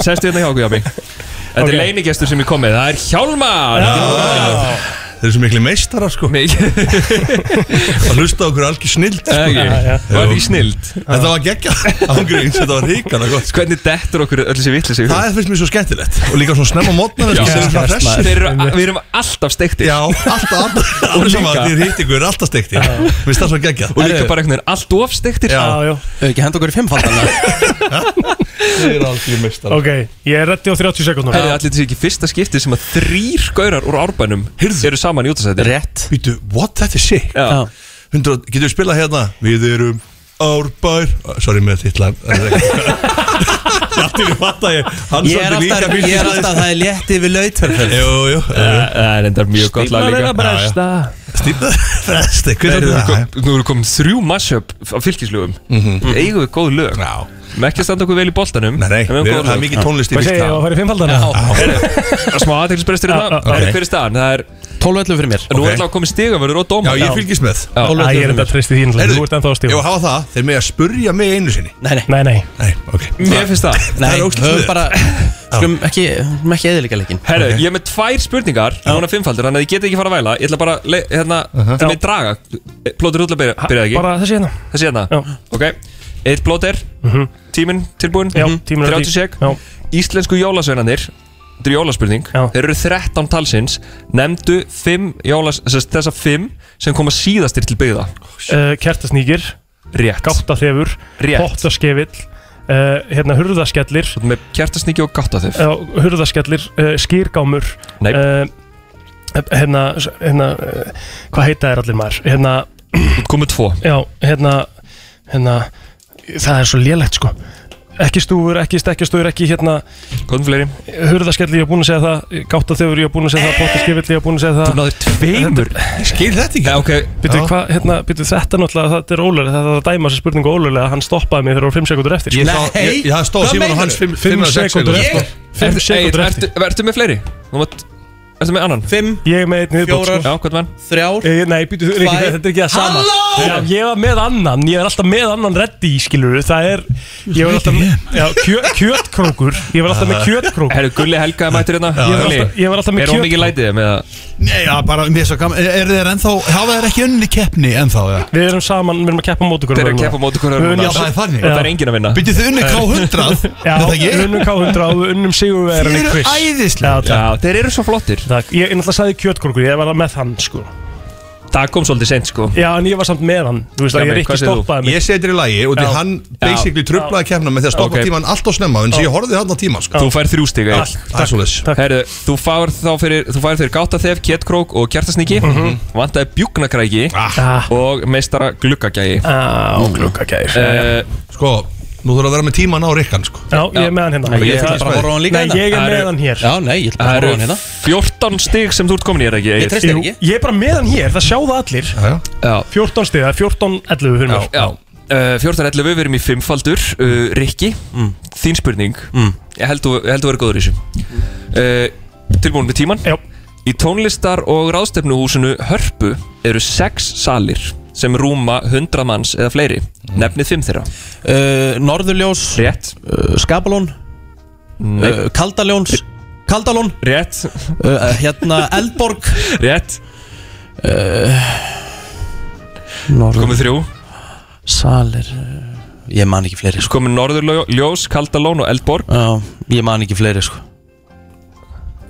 Speaker 13: sestu hérna hjá okkur, Jami Þetta er leinigestur sem ég kom með, það er Hjálmar
Speaker 15: Þeir eru svo miklu meistara sko Að hlusta á okkur algjör snild sko.
Speaker 13: Ekki, var því snild
Speaker 15: Þetta var geggja ángríns, þetta var ríkana gott
Speaker 13: Hvernig dettur okkur öll þessi vitlis
Speaker 15: Það er fyrst mér svo skemmtilegt Og líka svona snemma sko, mótnar
Speaker 13: Já. Þeir eru-
Speaker 15: Við
Speaker 13: við erum alltaf steiktir
Speaker 15: Já, alltaf, alltaf
Speaker 13: Og
Speaker 15: Alveg sama
Speaker 13: líka-
Speaker 15: að Þið hitt ykkur, alltaf steiktir Mér finnst það svo geggja
Speaker 13: Og líka bara einhvern veginn allt of steiktir
Speaker 15: Já. Já,
Speaker 2: já.
Speaker 1: Þau ekki henda okkur í fimmfaldan
Speaker 15: Þeir eru algjör meistara
Speaker 2: Ok, ég er reddi á 30 sekundum
Speaker 13: Herri, allir þessi ekki fyrsta skipti sem að þrýr gaurar úr árbænum eru saman í útasæti
Speaker 1: Rétt
Speaker 15: Býtu, what, þetta er sick
Speaker 13: Já.
Speaker 15: 100, getur við spilað hérna Við erum árbær Ah, Sorry með titla Allt í fatta ég Hann
Speaker 1: Ég
Speaker 15: samdi líka
Speaker 1: er alltaf, ég er
Speaker 15: bílstæðist.
Speaker 1: alltaf, það er létti við lautverð
Speaker 15: Jú, jú
Speaker 13: Það er endar mjög gott lag líka
Speaker 15: Stýpnaður Fresti,
Speaker 13: Herri,
Speaker 15: hvernig
Speaker 13: Nú eru
Speaker 15: er það? Mhm.
Speaker 13: kom- nú eru komin þrjú mashup á fylkislögum Eigum við góð lög
Speaker 15: Já.
Speaker 13: Mekkja standa okkur vel í boltanum
Speaker 15: Nei, nei,
Speaker 13: en við höfum
Speaker 15: við-
Speaker 13: góð
Speaker 15: það er
Speaker 13: lög.
Speaker 15: mikið tónlist í
Speaker 2: Hvað
Speaker 15: fyrst
Speaker 2: segir ég að fara í fimmfaldan?
Speaker 13: Það er Smá aðeinsbrestur
Speaker 2: Já,
Speaker 13: hérna
Speaker 2: já,
Speaker 13: Herri,
Speaker 15: ok.
Speaker 13: Hver er staðan? Það er
Speaker 1: 12.11 fyrir mér
Speaker 13: Nú
Speaker 15: Ok.
Speaker 13: er alltaf komið stigavörður og
Speaker 15: Já,
Speaker 13: dómar
Speaker 15: ég fylgist með
Speaker 13: Já.
Speaker 2: Æ, ég er enda að treysti þín
Speaker 15: Heyrðu,
Speaker 2: Þú ert ennþá að
Speaker 15: Ef
Speaker 2: stífa
Speaker 15: að hafa það, þeir með að spurja mig einu sinni
Speaker 1: Nei, nei,
Speaker 2: Nei, nei
Speaker 15: Nei, ok
Speaker 13: Mér finnst það
Speaker 1: nei,
Speaker 15: er ógeðslega
Speaker 1: höfum bara Skulum ekki, höfum ekki eðilega leikin
Speaker 13: Sko, Herru, ég er með tvær spurningar Núna fimmfaldur, þannig að ég get ekki fara að væla Ég ætla bara, að le- hérna, það með draga Plótur út að byrja, byrja ekki
Speaker 2: Bara þessi hérna
Speaker 13: Þessi hérna
Speaker 2: Já. Mhm.
Speaker 13: Ok Eitt blóter mm Tíminn tilbúin
Speaker 2: Já, tíminn er
Speaker 13: 30
Speaker 2: til-
Speaker 13: sek
Speaker 2: Já.
Speaker 13: Íslensku jólasveinanir þetta er jólaspurning Þeir eru 13 talsins Nemndu 5 jólas Þessar 5 sem koma síðastir til byggða
Speaker 2: uh, Kertasnýkir
Speaker 13: Rétt
Speaker 2: Gáttaþefur
Speaker 13: Rétt.
Speaker 2: Pottaskefil uh, hérna, Hurðaskellir
Speaker 13: Með kertasnýki og gáttaþef
Speaker 2: uh, Hurðaskellir, uh, skýrgámur
Speaker 13: Nei.
Speaker 2: uh, Hérna, hérna uh, Hvað heita er allir maður? Hérna
Speaker 13: Komið tvo
Speaker 2: Já, hérna, hérna Það er svo lélegt sko Ekki stúfur, ekki stekkjastúfur, ekki hérna
Speaker 13: Komum fleiri
Speaker 2: Hurðaskellir, ég hef búin að segja það Gáttaþefur, ég hef búin að segja
Speaker 15: Eh.
Speaker 2: það Pottaskefil, ég hef búin að segja það
Speaker 13: Þú náður tveimur Ég skil þetta ekki okay.
Speaker 2: Býtu, hva, hérna, býtu þetta náttúrulega, þetta er ólega Þetta er að dæma þessi spurningu ólega Hann stoppaði mig þegar það voru 5 sekundur eftir
Speaker 15: Ég sá- Nei. ég- það stóð Hvað Símon og meinarðu? hans fimm- fimm
Speaker 2: 5
Speaker 15: eða sex
Speaker 2: sekundur
Speaker 15: sekúndur sko.
Speaker 2: eftir
Speaker 15: eftir.
Speaker 2: 5
Speaker 13: Ertu-
Speaker 2: sekundur
Speaker 13: Egill,
Speaker 2: eftir
Speaker 13: ertu- Ertu með fleiri? Þú mátt- Ertu með annan?
Speaker 1: 5
Speaker 2: Ég er með einn viðbót,
Speaker 13: Fjórar
Speaker 2: sko.
Speaker 13: Já, hvern mann?
Speaker 1: Þrjár
Speaker 2: Eh, Nei, býtu, Riki,
Speaker 13: Tvær.
Speaker 2: þetta er ekki það sama Hérna,
Speaker 13: Halló!
Speaker 2: Já, Ég var með annan, ég er alltaf með annan reddi skilur, það er Ég var alltaf já, kjö, kjötkrókur Ég var alltaf með kjötkrókur
Speaker 13: Herru, Gulli Helga er mættur hérna
Speaker 2: Já, ég var alltaf- ég var alltaf með
Speaker 13: Er hún
Speaker 2: kjötkrók.
Speaker 13: mikið lætið með að
Speaker 15: Nei, já, bara mér er svo gaman Er, er þeir ennþá, hafa þeir ekki unni keppni ennþá, eða?
Speaker 2: Við erum saman, við erum að keppa mót okkur
Speaker 13: Þeir eru að keppa mót okkur
Speaker 2: Við
Speaker 13: öðrum
Speaker 2: unnum-
Speaker 13: núna. Já, það er þannig.
Speaker 2: Já.
Speaker 13: Og það er enginn að vinna. Bíddu, þið unnið K100,
Speaker 2: Já,
Speaker 13: er það ekki?
Speaker 2: við unnum K100 og við unnum Sigurvegarinn
Speaker 13: Þið
Speaker 2: í
Speaker 13: eru
Speaker 2: quiz
Speaker 13: æðislegir.
Speaker 2: Já, takk.
Speaker 13: Já, þeir eru svo flottir
Speaker 2: Takk, ég ég náttúrulega sagði kjötkrókur, ég var með hann sko
Speaker 13: Það kom svolítið sent sko
Speaker 2: Já, en ég var samt með hann, þú veist að ég er ekki stoppaði mig
Speaker 15: Ég setir í lagi og því
Speaker 2: Já.
Speaker 15: hann
Speaker 2: Já.
Speaker 15: basically trublaði keppna með því að stoppa
Speaker 13: Ok.
Speaker 15: tíman allt á snemma en sem
Speaker 13: Já.
Speaker 15: ég horfði þarna á tíman sko.
Speaker 13: Þú fær þrjú stig Egill.
Speaker 15: Takk, Það er takk, svoleiðis.
Speaker 13: Herru, þú fær þá fyrir Þú fær fyrir gáttaþef, kettkrók og kjartasniki
Speaker 2: Mhm.
Speaker 13: Mhm. Vantaði bjúknakræki
Speaker 2: Ah.
Speaker 13: Og meistara Eh, gluggagægi
Speaker 2: Á, gluggagægi
Speaker 1: Eh,
Speaker 15: Sko, nú þurfa að vera með tíman á Rikkan sko.
Speaker 2: Já, ég er með hann hérna
Speaker 15: Ég ætla bara að horfa á hann líka
Speaker 2: Nei, ég er
Speaker 15: hérna.
Speaker 2: með hann hér
Speaker 1: Já, nei, ég ætla bara að horfa á hann hérna.
Speaker 13: Það eru 14 stig sem þú ert komin í er ekki Egill?
Speaker 2: Jú, Ég er bara með hann hér, það sjá það allir
Speaker 13: Já
Speaker 2: 14 stig, það er 14, 11 fyrir mér
Speaker 13: Já, já. 14.11 við erum í fimmfaldur uh, Rikki, þín spurning ég, held þú, ég held þú verið góður í þessu uh, Tilbúin með tíman
Speaker 2: já.
Speaker 13: Í tónlistar og ráðstefnuhúsinu Hörpu eru sex salir sem rúma 100 manns eða fleiri Nefnið fimm þeirra
Speaker 1: uh, Norðurljós
Speaker 13: Rétt
Speaker 1: uh, Skapalón uh, Kaldaljóns Kaldalón
Speaker 13: Rétt
Speaker 1: uh, Hérna Eldborg
Speaker 13: Rétt
Speaker 1: uh,
Speaker 13: Komið þrjú
Speaker 1: Salir uh, Ég man ekki fleiri
Speaker 13: sko Komið Norðurljós, Kaldalón og Eldborg
Speaker 1: Já, ég man ekki fleiri sko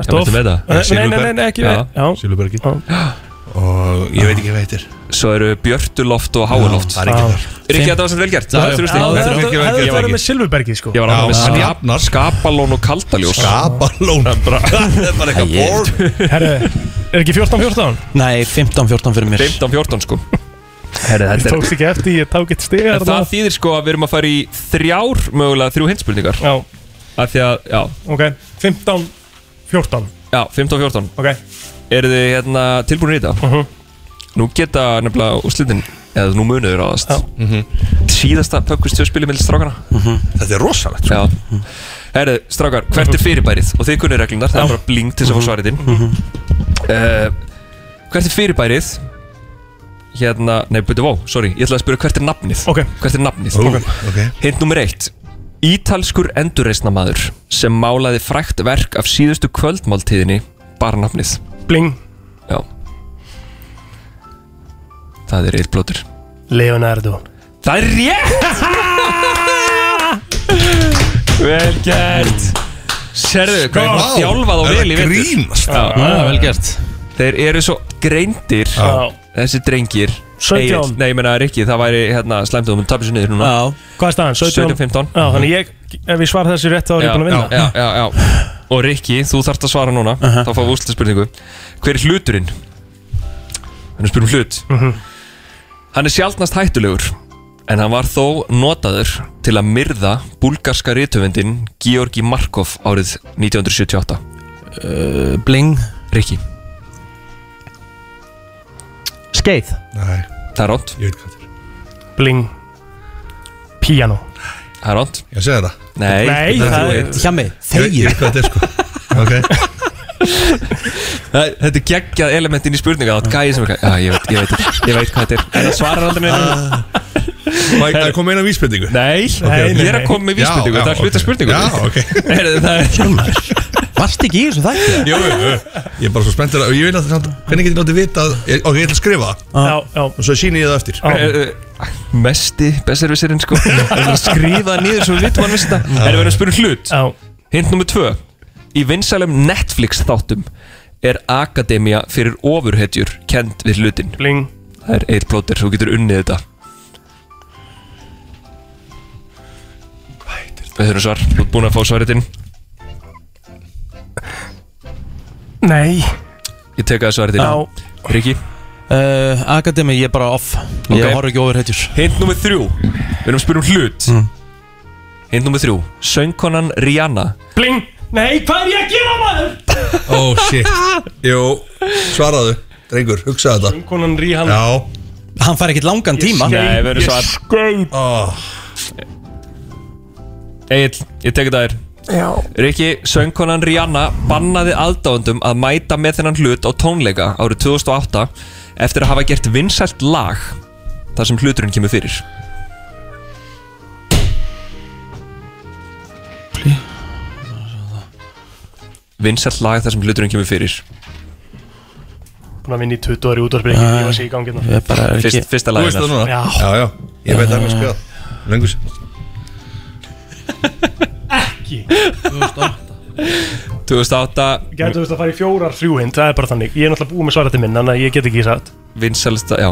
Speaker 13: Ertu of- með það?
Speaker 2: Nei, Eh, nei, nei, nei, ekki við Já.
Speaker 15: Silverbergi Og ég veit ekki hvað heitir
Speaker 13: Svo eru Björtuloft og Háuloft
Speaker 15: Já, það er ekki þar.
Speaker 13: Rikki, þetta var svolítið vel gert
Speaker 15: Já,
Speaker 13: Það var
Speaker 15: já.
Speaker 13: þrjú stig. Ég
Speaker 15: Já,
Speaker 13: var
Speaker 15: þetta-
Speaker 13: ekki- ég
Speaker 15: þetta
Speaker 13: var
Speaker 15: hefði farið
Speaker 13: ekki-
Speaker 15: með
Speaker 2: Silfurbergi sko
Speaker 13: Ég var
Speaker 15: Já,
Speaker 13: alveg
Speaker 15: hann
Speaker 13: með
Speaker 15: jafnar. sko.
Speaker 13: skap, skapalón og kaldaljós
Speaker 15: Skapalón
Speaker 13: Það er bara eitthvað bored.
Speaker 2: Herru, er ekki 14-14?
Speaker 1: Nei, 15-14 fyrir mér
Speaker 13: 15-14 sko Herri,
Speaker 2: Ég
Speaker 13: þetta er
Speaker 2: tókst ekki eftir, ég tók eitt stig
Speaker 13: En
Speaker 2: þarna.
Speaker 13: það þýðir sko að við erum að fara í þrjár mögulega þrjú hinspurningar
Speaker 2: Já
Speaker 13: Af því að, já,
Speaker 2: Ok, 15-14
Speaker 13: já 15-14
Speaker 2: Ok
Speaker 13: Eru þið hérna tilbúin í þetta?
Speaker 2: Mhm.
Speaker 13: Nú geta nefnilega úrslitin eða nú muniður aðast mm Síðasta pökkustjóðspili með strákana
Speaker 15: Þetta er rosalegt
Speaker 13: sko. Já Herri, strákar, hvert er fyrirbærið? Og þið kunnið reglunar, það er bara bling til þess að fá svarið inn uh, Hvert er fyrirbærið? Hérna, nei, betur vó, sorry Ég ætlaði að spyrja hvert er nafnið
Speaker 2: Ok.
Speaker 13: Hvert er nafnið?
Speaker 15: Ó, ok.
Speaker 13: Hint nummer eitt Ítalskur endurreisnamaður sem málaði frækt verk af síðustu kvöldmáltíðinni bara nafnið
Speaker 2: Bling
Speaker 13: Já Það er eitthblótur
Speaker 2: Leonardo
Speaker 13: Það er rétt Vel gert Serðu, hvað er
Speaker 2: Vá,
Speaker 13: það þjálfað og
Speaker 2: er
Speaker 13: vel í
Speaker 2: það
Speaker 13: vetur?
Speaker 2: grínast?
Speaker 13: Já.
Speaker 2: Já, vel
Speaker 1: gert
Speaker 13: Þeir eru svo greindir
Speaker 2: Já.
Speaker 13: Þessi drengir
Speaker 2: 17.
Speaker 13: Egill- Nei, ég menna Rikki, það væri hérna slæmt og þú tapir sér niður núna
Speaker 2: Hvað er staðan? 17?
Speaker 13: 17-15.
Speaker 2: Já, þannig ég, ef ég svar þessu rétt þá er ég búin að vinna
Speaker 13: já, já, já, já. Og Rikki, þú þarft að svara núna Þá fáum við úrslit spurningu Hver er hluturinn? Þannig spyrum um hlut
Speaker 2: Mhm.
Speaker 13: Hann er sjálfnast hættulegur En hann var þó notaður til að myrða búlgarska rithöfundin Georgi Markov árið 1978
Speaker 1: uh, Bling
Speaker 13: Rikki
Speaker 1: Skeið
Speaker 15: Nei
Speaker 13: Það er rátt
Speaker 15: Ég veit hvað þetta
Speaker 2: Bling Piano
Speaker 13: Það er rátt
Speaker 15: Ég segi það
Speaker 13: Nei,
Speaker 2: Nei,
Speaker 13: þú
Speaker 2: það er-
Speaker 13: veit.
Speaker 1: Hjami,
Speaker 15: Ég veit hvað þetta er sko Ok
Speaker 13: Það- Þetta er geggjað elementin í spurninga Það er gæði sem er gæði Já, ég veit, ég veit, ekki. ég veit hvað þetta er En það svarar aldrei neina
Speaker 15: Mike, það er komið eina vísbendingu
Speaker 13: Nei,
Speaker 15: nei,
Speaker 13: ég er
Speaker 15: nei.
Speaker 13: að koma með vísbendingu
Speaker 15: Já, já,
Speaker 13: Það er hluta
Speaker 15: ok.
Speaker 13: spurningu
Speaker 15: Já, ok.
Speaker 13: Hjálmar
Speaker 1: Varst ekki í þessu þætti?
Speaker 15: Jú, jú, jú. Ég er bara svo spenntur að Ég vil að það Hvernig getur ég látið vita að- ég- Ok, ég ætla að skrifa það
Speaker 2: Já, já
Speaker 15: Og svo síni ég það eftir
Speaker 2: Ah.
Speaker 13: Eh, eh, Mesti besservisirinn sko Það er að skrifa það niður svo við vitum hann vissi þetta Það er verið að spyrja hlut um Hint nummer tvö Í vinsalum Netflix þáttum er akademia fyrir ofurhetjur kend við hlutin Bling. Það er eitt plóter, þú getur unnið þetta Við þurfum svar, þú ert búin að fá svaritin
Speaker 2: Nei
Speaker 13: Ég tek að svaritin
Speaker 2: Já.
Speaker 13: Riki
Speaker 1: uh, Akademi, ég er bara off Ég
Speaker 13: Ok.
Speaker 1: horf ekki ofur hættjur
Speaker 13: Hint nummer þrjú Við erum að spyrja um hlut mm. Hint nummer þrjú Söngkonan Rihanna
Speaker 2: Bling Nei, hvað er ég að gera maður?
Speaker 15: Oh shit Jú, svaraðu, drengur, hugsa þetta
Speaker 2: Konan Ríhanna
Speaker 15: Já
Speaker 1: Hann fær ekkit langan tíma
Speaker 13: Nei, verður svar
Speaker 2: skeit
Speaker 15: oh.
Speaker 13: Egil, ég tek þetta þér
Speaker 2: Já
Speaker 13: Riki, söngkonan Rihanna bannaði aðdáðundum að mæta með þennan hlut á tónleika árið 2008 eftir að hafa gert vinsælt lag þar sem hluturinn kemur fyrir Vinsælt lag þar sem hluturinn kemur fyrir
Speaker 2: Búin að vinna í 20 ári útvarsbyrning Ég var sér í gangi hérna.
Speaker 13: Fyrst, Fyrsta
Speaker 15: Þú
Speaker 13: lagið
Speaker 15: veist það núna?
Speaker 2: Já.
Speaker 15: já, já. Ég veit það mér
Speaker 1: sko.
Speaker 15: spila Lengur sér
Speaker 13: 2008
Speaker 2: Gætu þú veist að fara í fjórar þrjúhind Það er bara þannig Ég er náttúrulega búið með svarati minn Þannig að ég get ekki sagt
Speaker 13: Vinsalsta, já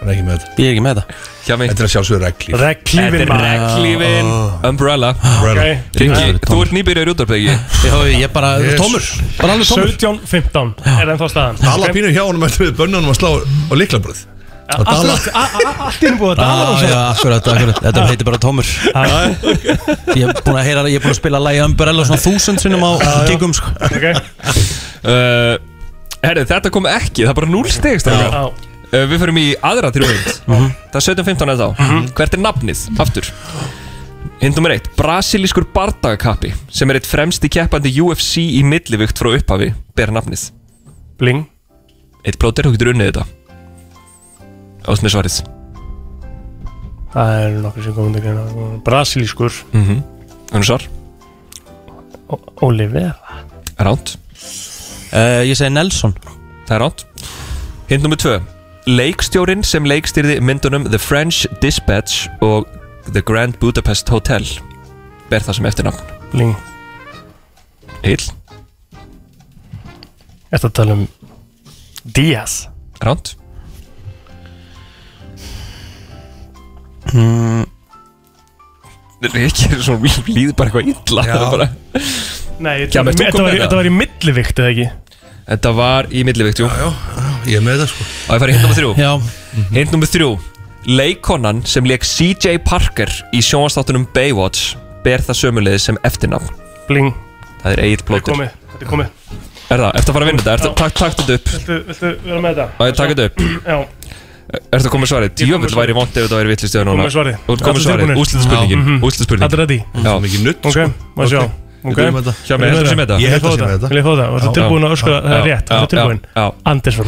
Speaker 15: Hann er ekki með þetta
Speaker 1: Ég er ekki með þetta
Speaker 13: Hjá mig
Speaker 15: Þetta er að sjálfsögur reglíf
Speaker 2: Regnhlífin,
Speaker 13: Þetta
Speaker 2: maður.
Speaker 13: er reglífin
Speaker 1: Ah.
Speaker 13: Umbrella
Speaker 15: Umbrella.
Speaker 2: Ok.
Speaker 13: Riki, þú ert nýbyrjar í útvarpegi
Speaker 1: Já, ég er bara
Speaker 15: Yes. tómur. Bara alveg tómur.
Speaker 2: 17-15 er ennþá staðan
Speaker 15: Alla pínum hjá honum eftir við bönnunum að slá á líklabröð Og dala
Speaker 2: Allt- a- a- Allt innbúið að
Speaker 13: Ah,
Speaker 1: Já,
Speaker 2: dala
Speaker 1: Ah,
Speaker 2: og
Speaker 1: já,
Speaker 2: svo
Speaker 1: akkurat, akkurat Þetta heitir bara tómur Ég er búin að heyra, ég er búin að spila lagi Umbrella svona þúsund sinnum á gigum sko.
Speaker 13: uh, Herri, þetta kom ekki, það er bara 0 stig strákar.
Speaker 2: Já.
Speaker 13: uh, Við förum í aðra þrjóðind
Speaker 1: Mhm.
Speaker 13: Það er 17.15 eða þá Hvert er nafnið, aftur Hinn nummer 1, brasilískur bardagakappi sem er eitt fremsti keppandi UFC í millivikt frá upphafi, ber nafnið
Speaker 2: Bling
Speaker 13: Eitt plóter, þú getur unnið þetta Ást með svarið
Speaker 2: Það eru nokkur sem komum til greina Brasilískur
Speaker 13: mm -hmm. Önnu svar,
Speaker 2: Oliver
Speaker 13: ránt
Speaker 1: uh, Ég segi Nelson
Speaker 13: Það er ránt Hinn nummer 2, leikstjórin sem leikstýrði myndunum The French Dispatch og The Grand Budapest Hotel ber það sem eftirnafn
Speaker 2: Bling
Speaker 13: Eil,
Speaker 2: Þetta tala um Díaz
Speaker 13: ránt
Speaker 1: mm,
Speaker 13: Rikki er svona líf- líður bara eitthvað illa
Speaker 2: Já.
Speaker 13: það er bara.
Speaker 2: Nei,
Speaker 13: Já, menn, þú kom með
Speaker 2: þetta var, í-
Speaker 13: það.
Speaker 2: þetta var í millivikt eða ekki
Speaker 13: Þetta var í millivikt, jú já, já, ég er með það sko Og ég fari hint nummer þrjú
Speaker 1: Já.
Speaker 13: Hint nummer þrjú Leikonan sem leik CJ Parker í sjónastáttunum Baywatch ber það sömulegið sem eftirnafn
Speaker 2: Bling
Speaker 13: Það er eigið
Speaker 2: Þetta er
Speaker 13: plótur
Speaker 2: komið, þetta er komið
Speaker 13: Er það, ertu að fara að vinna þetta? Ertu, takk, takk þetta upp
Speaker 2: Viltu, viltu vera með þetta?
Speaker 13: Á, ég taka þetta upp.
Speaker 2: Já,
Speaker 13: Ertu að koma með svarið?
Speaker 2: Ég kom með
Speaker 13: Djöfull væri vond ef þetta væri vittlist
Speaker 2: Kom með svarið.
Speaker 13: Þú ert komið
Speaker 2: Allir
Speaker 13: svarið,
Speaker 2: tilbúnir? Já,
Speaker 13: úslitaspurningin
Speaker 2: mhm.
Speaker 13: Úslitaspurningin
Speaker 2: Allir ready?
Speaker 13: Já
Speaker 15: Mikið nutt
Speaker 1: sko.
Speaker 2: ok, maður sjá
Speaker 13: sko. Við
Speaker 2: Ok,
Speaker 13: byrjum þetta. Hjá mér,
Speaker 2: Viljið
Speaker 13: heldur
Speaker 2: fá
Speaker 13: sem með þetta?
Speaker 2: Viljið
Speaker 13: Ég heldur
Speaker 2: fá
Speaker 13: sem með þetta. Já.
Speaker 2: Vil ég fá þetta? Varstu tilbúin að
Speaker 13: Já.
Speaker 2: öskra það
Speaker 13: Já.
Speaker 2: er rétt?
Speaker 13: Já.
Speaker 2: Varstu tilbúin?
Speaker 13: Já.
Speaker 2: Andersson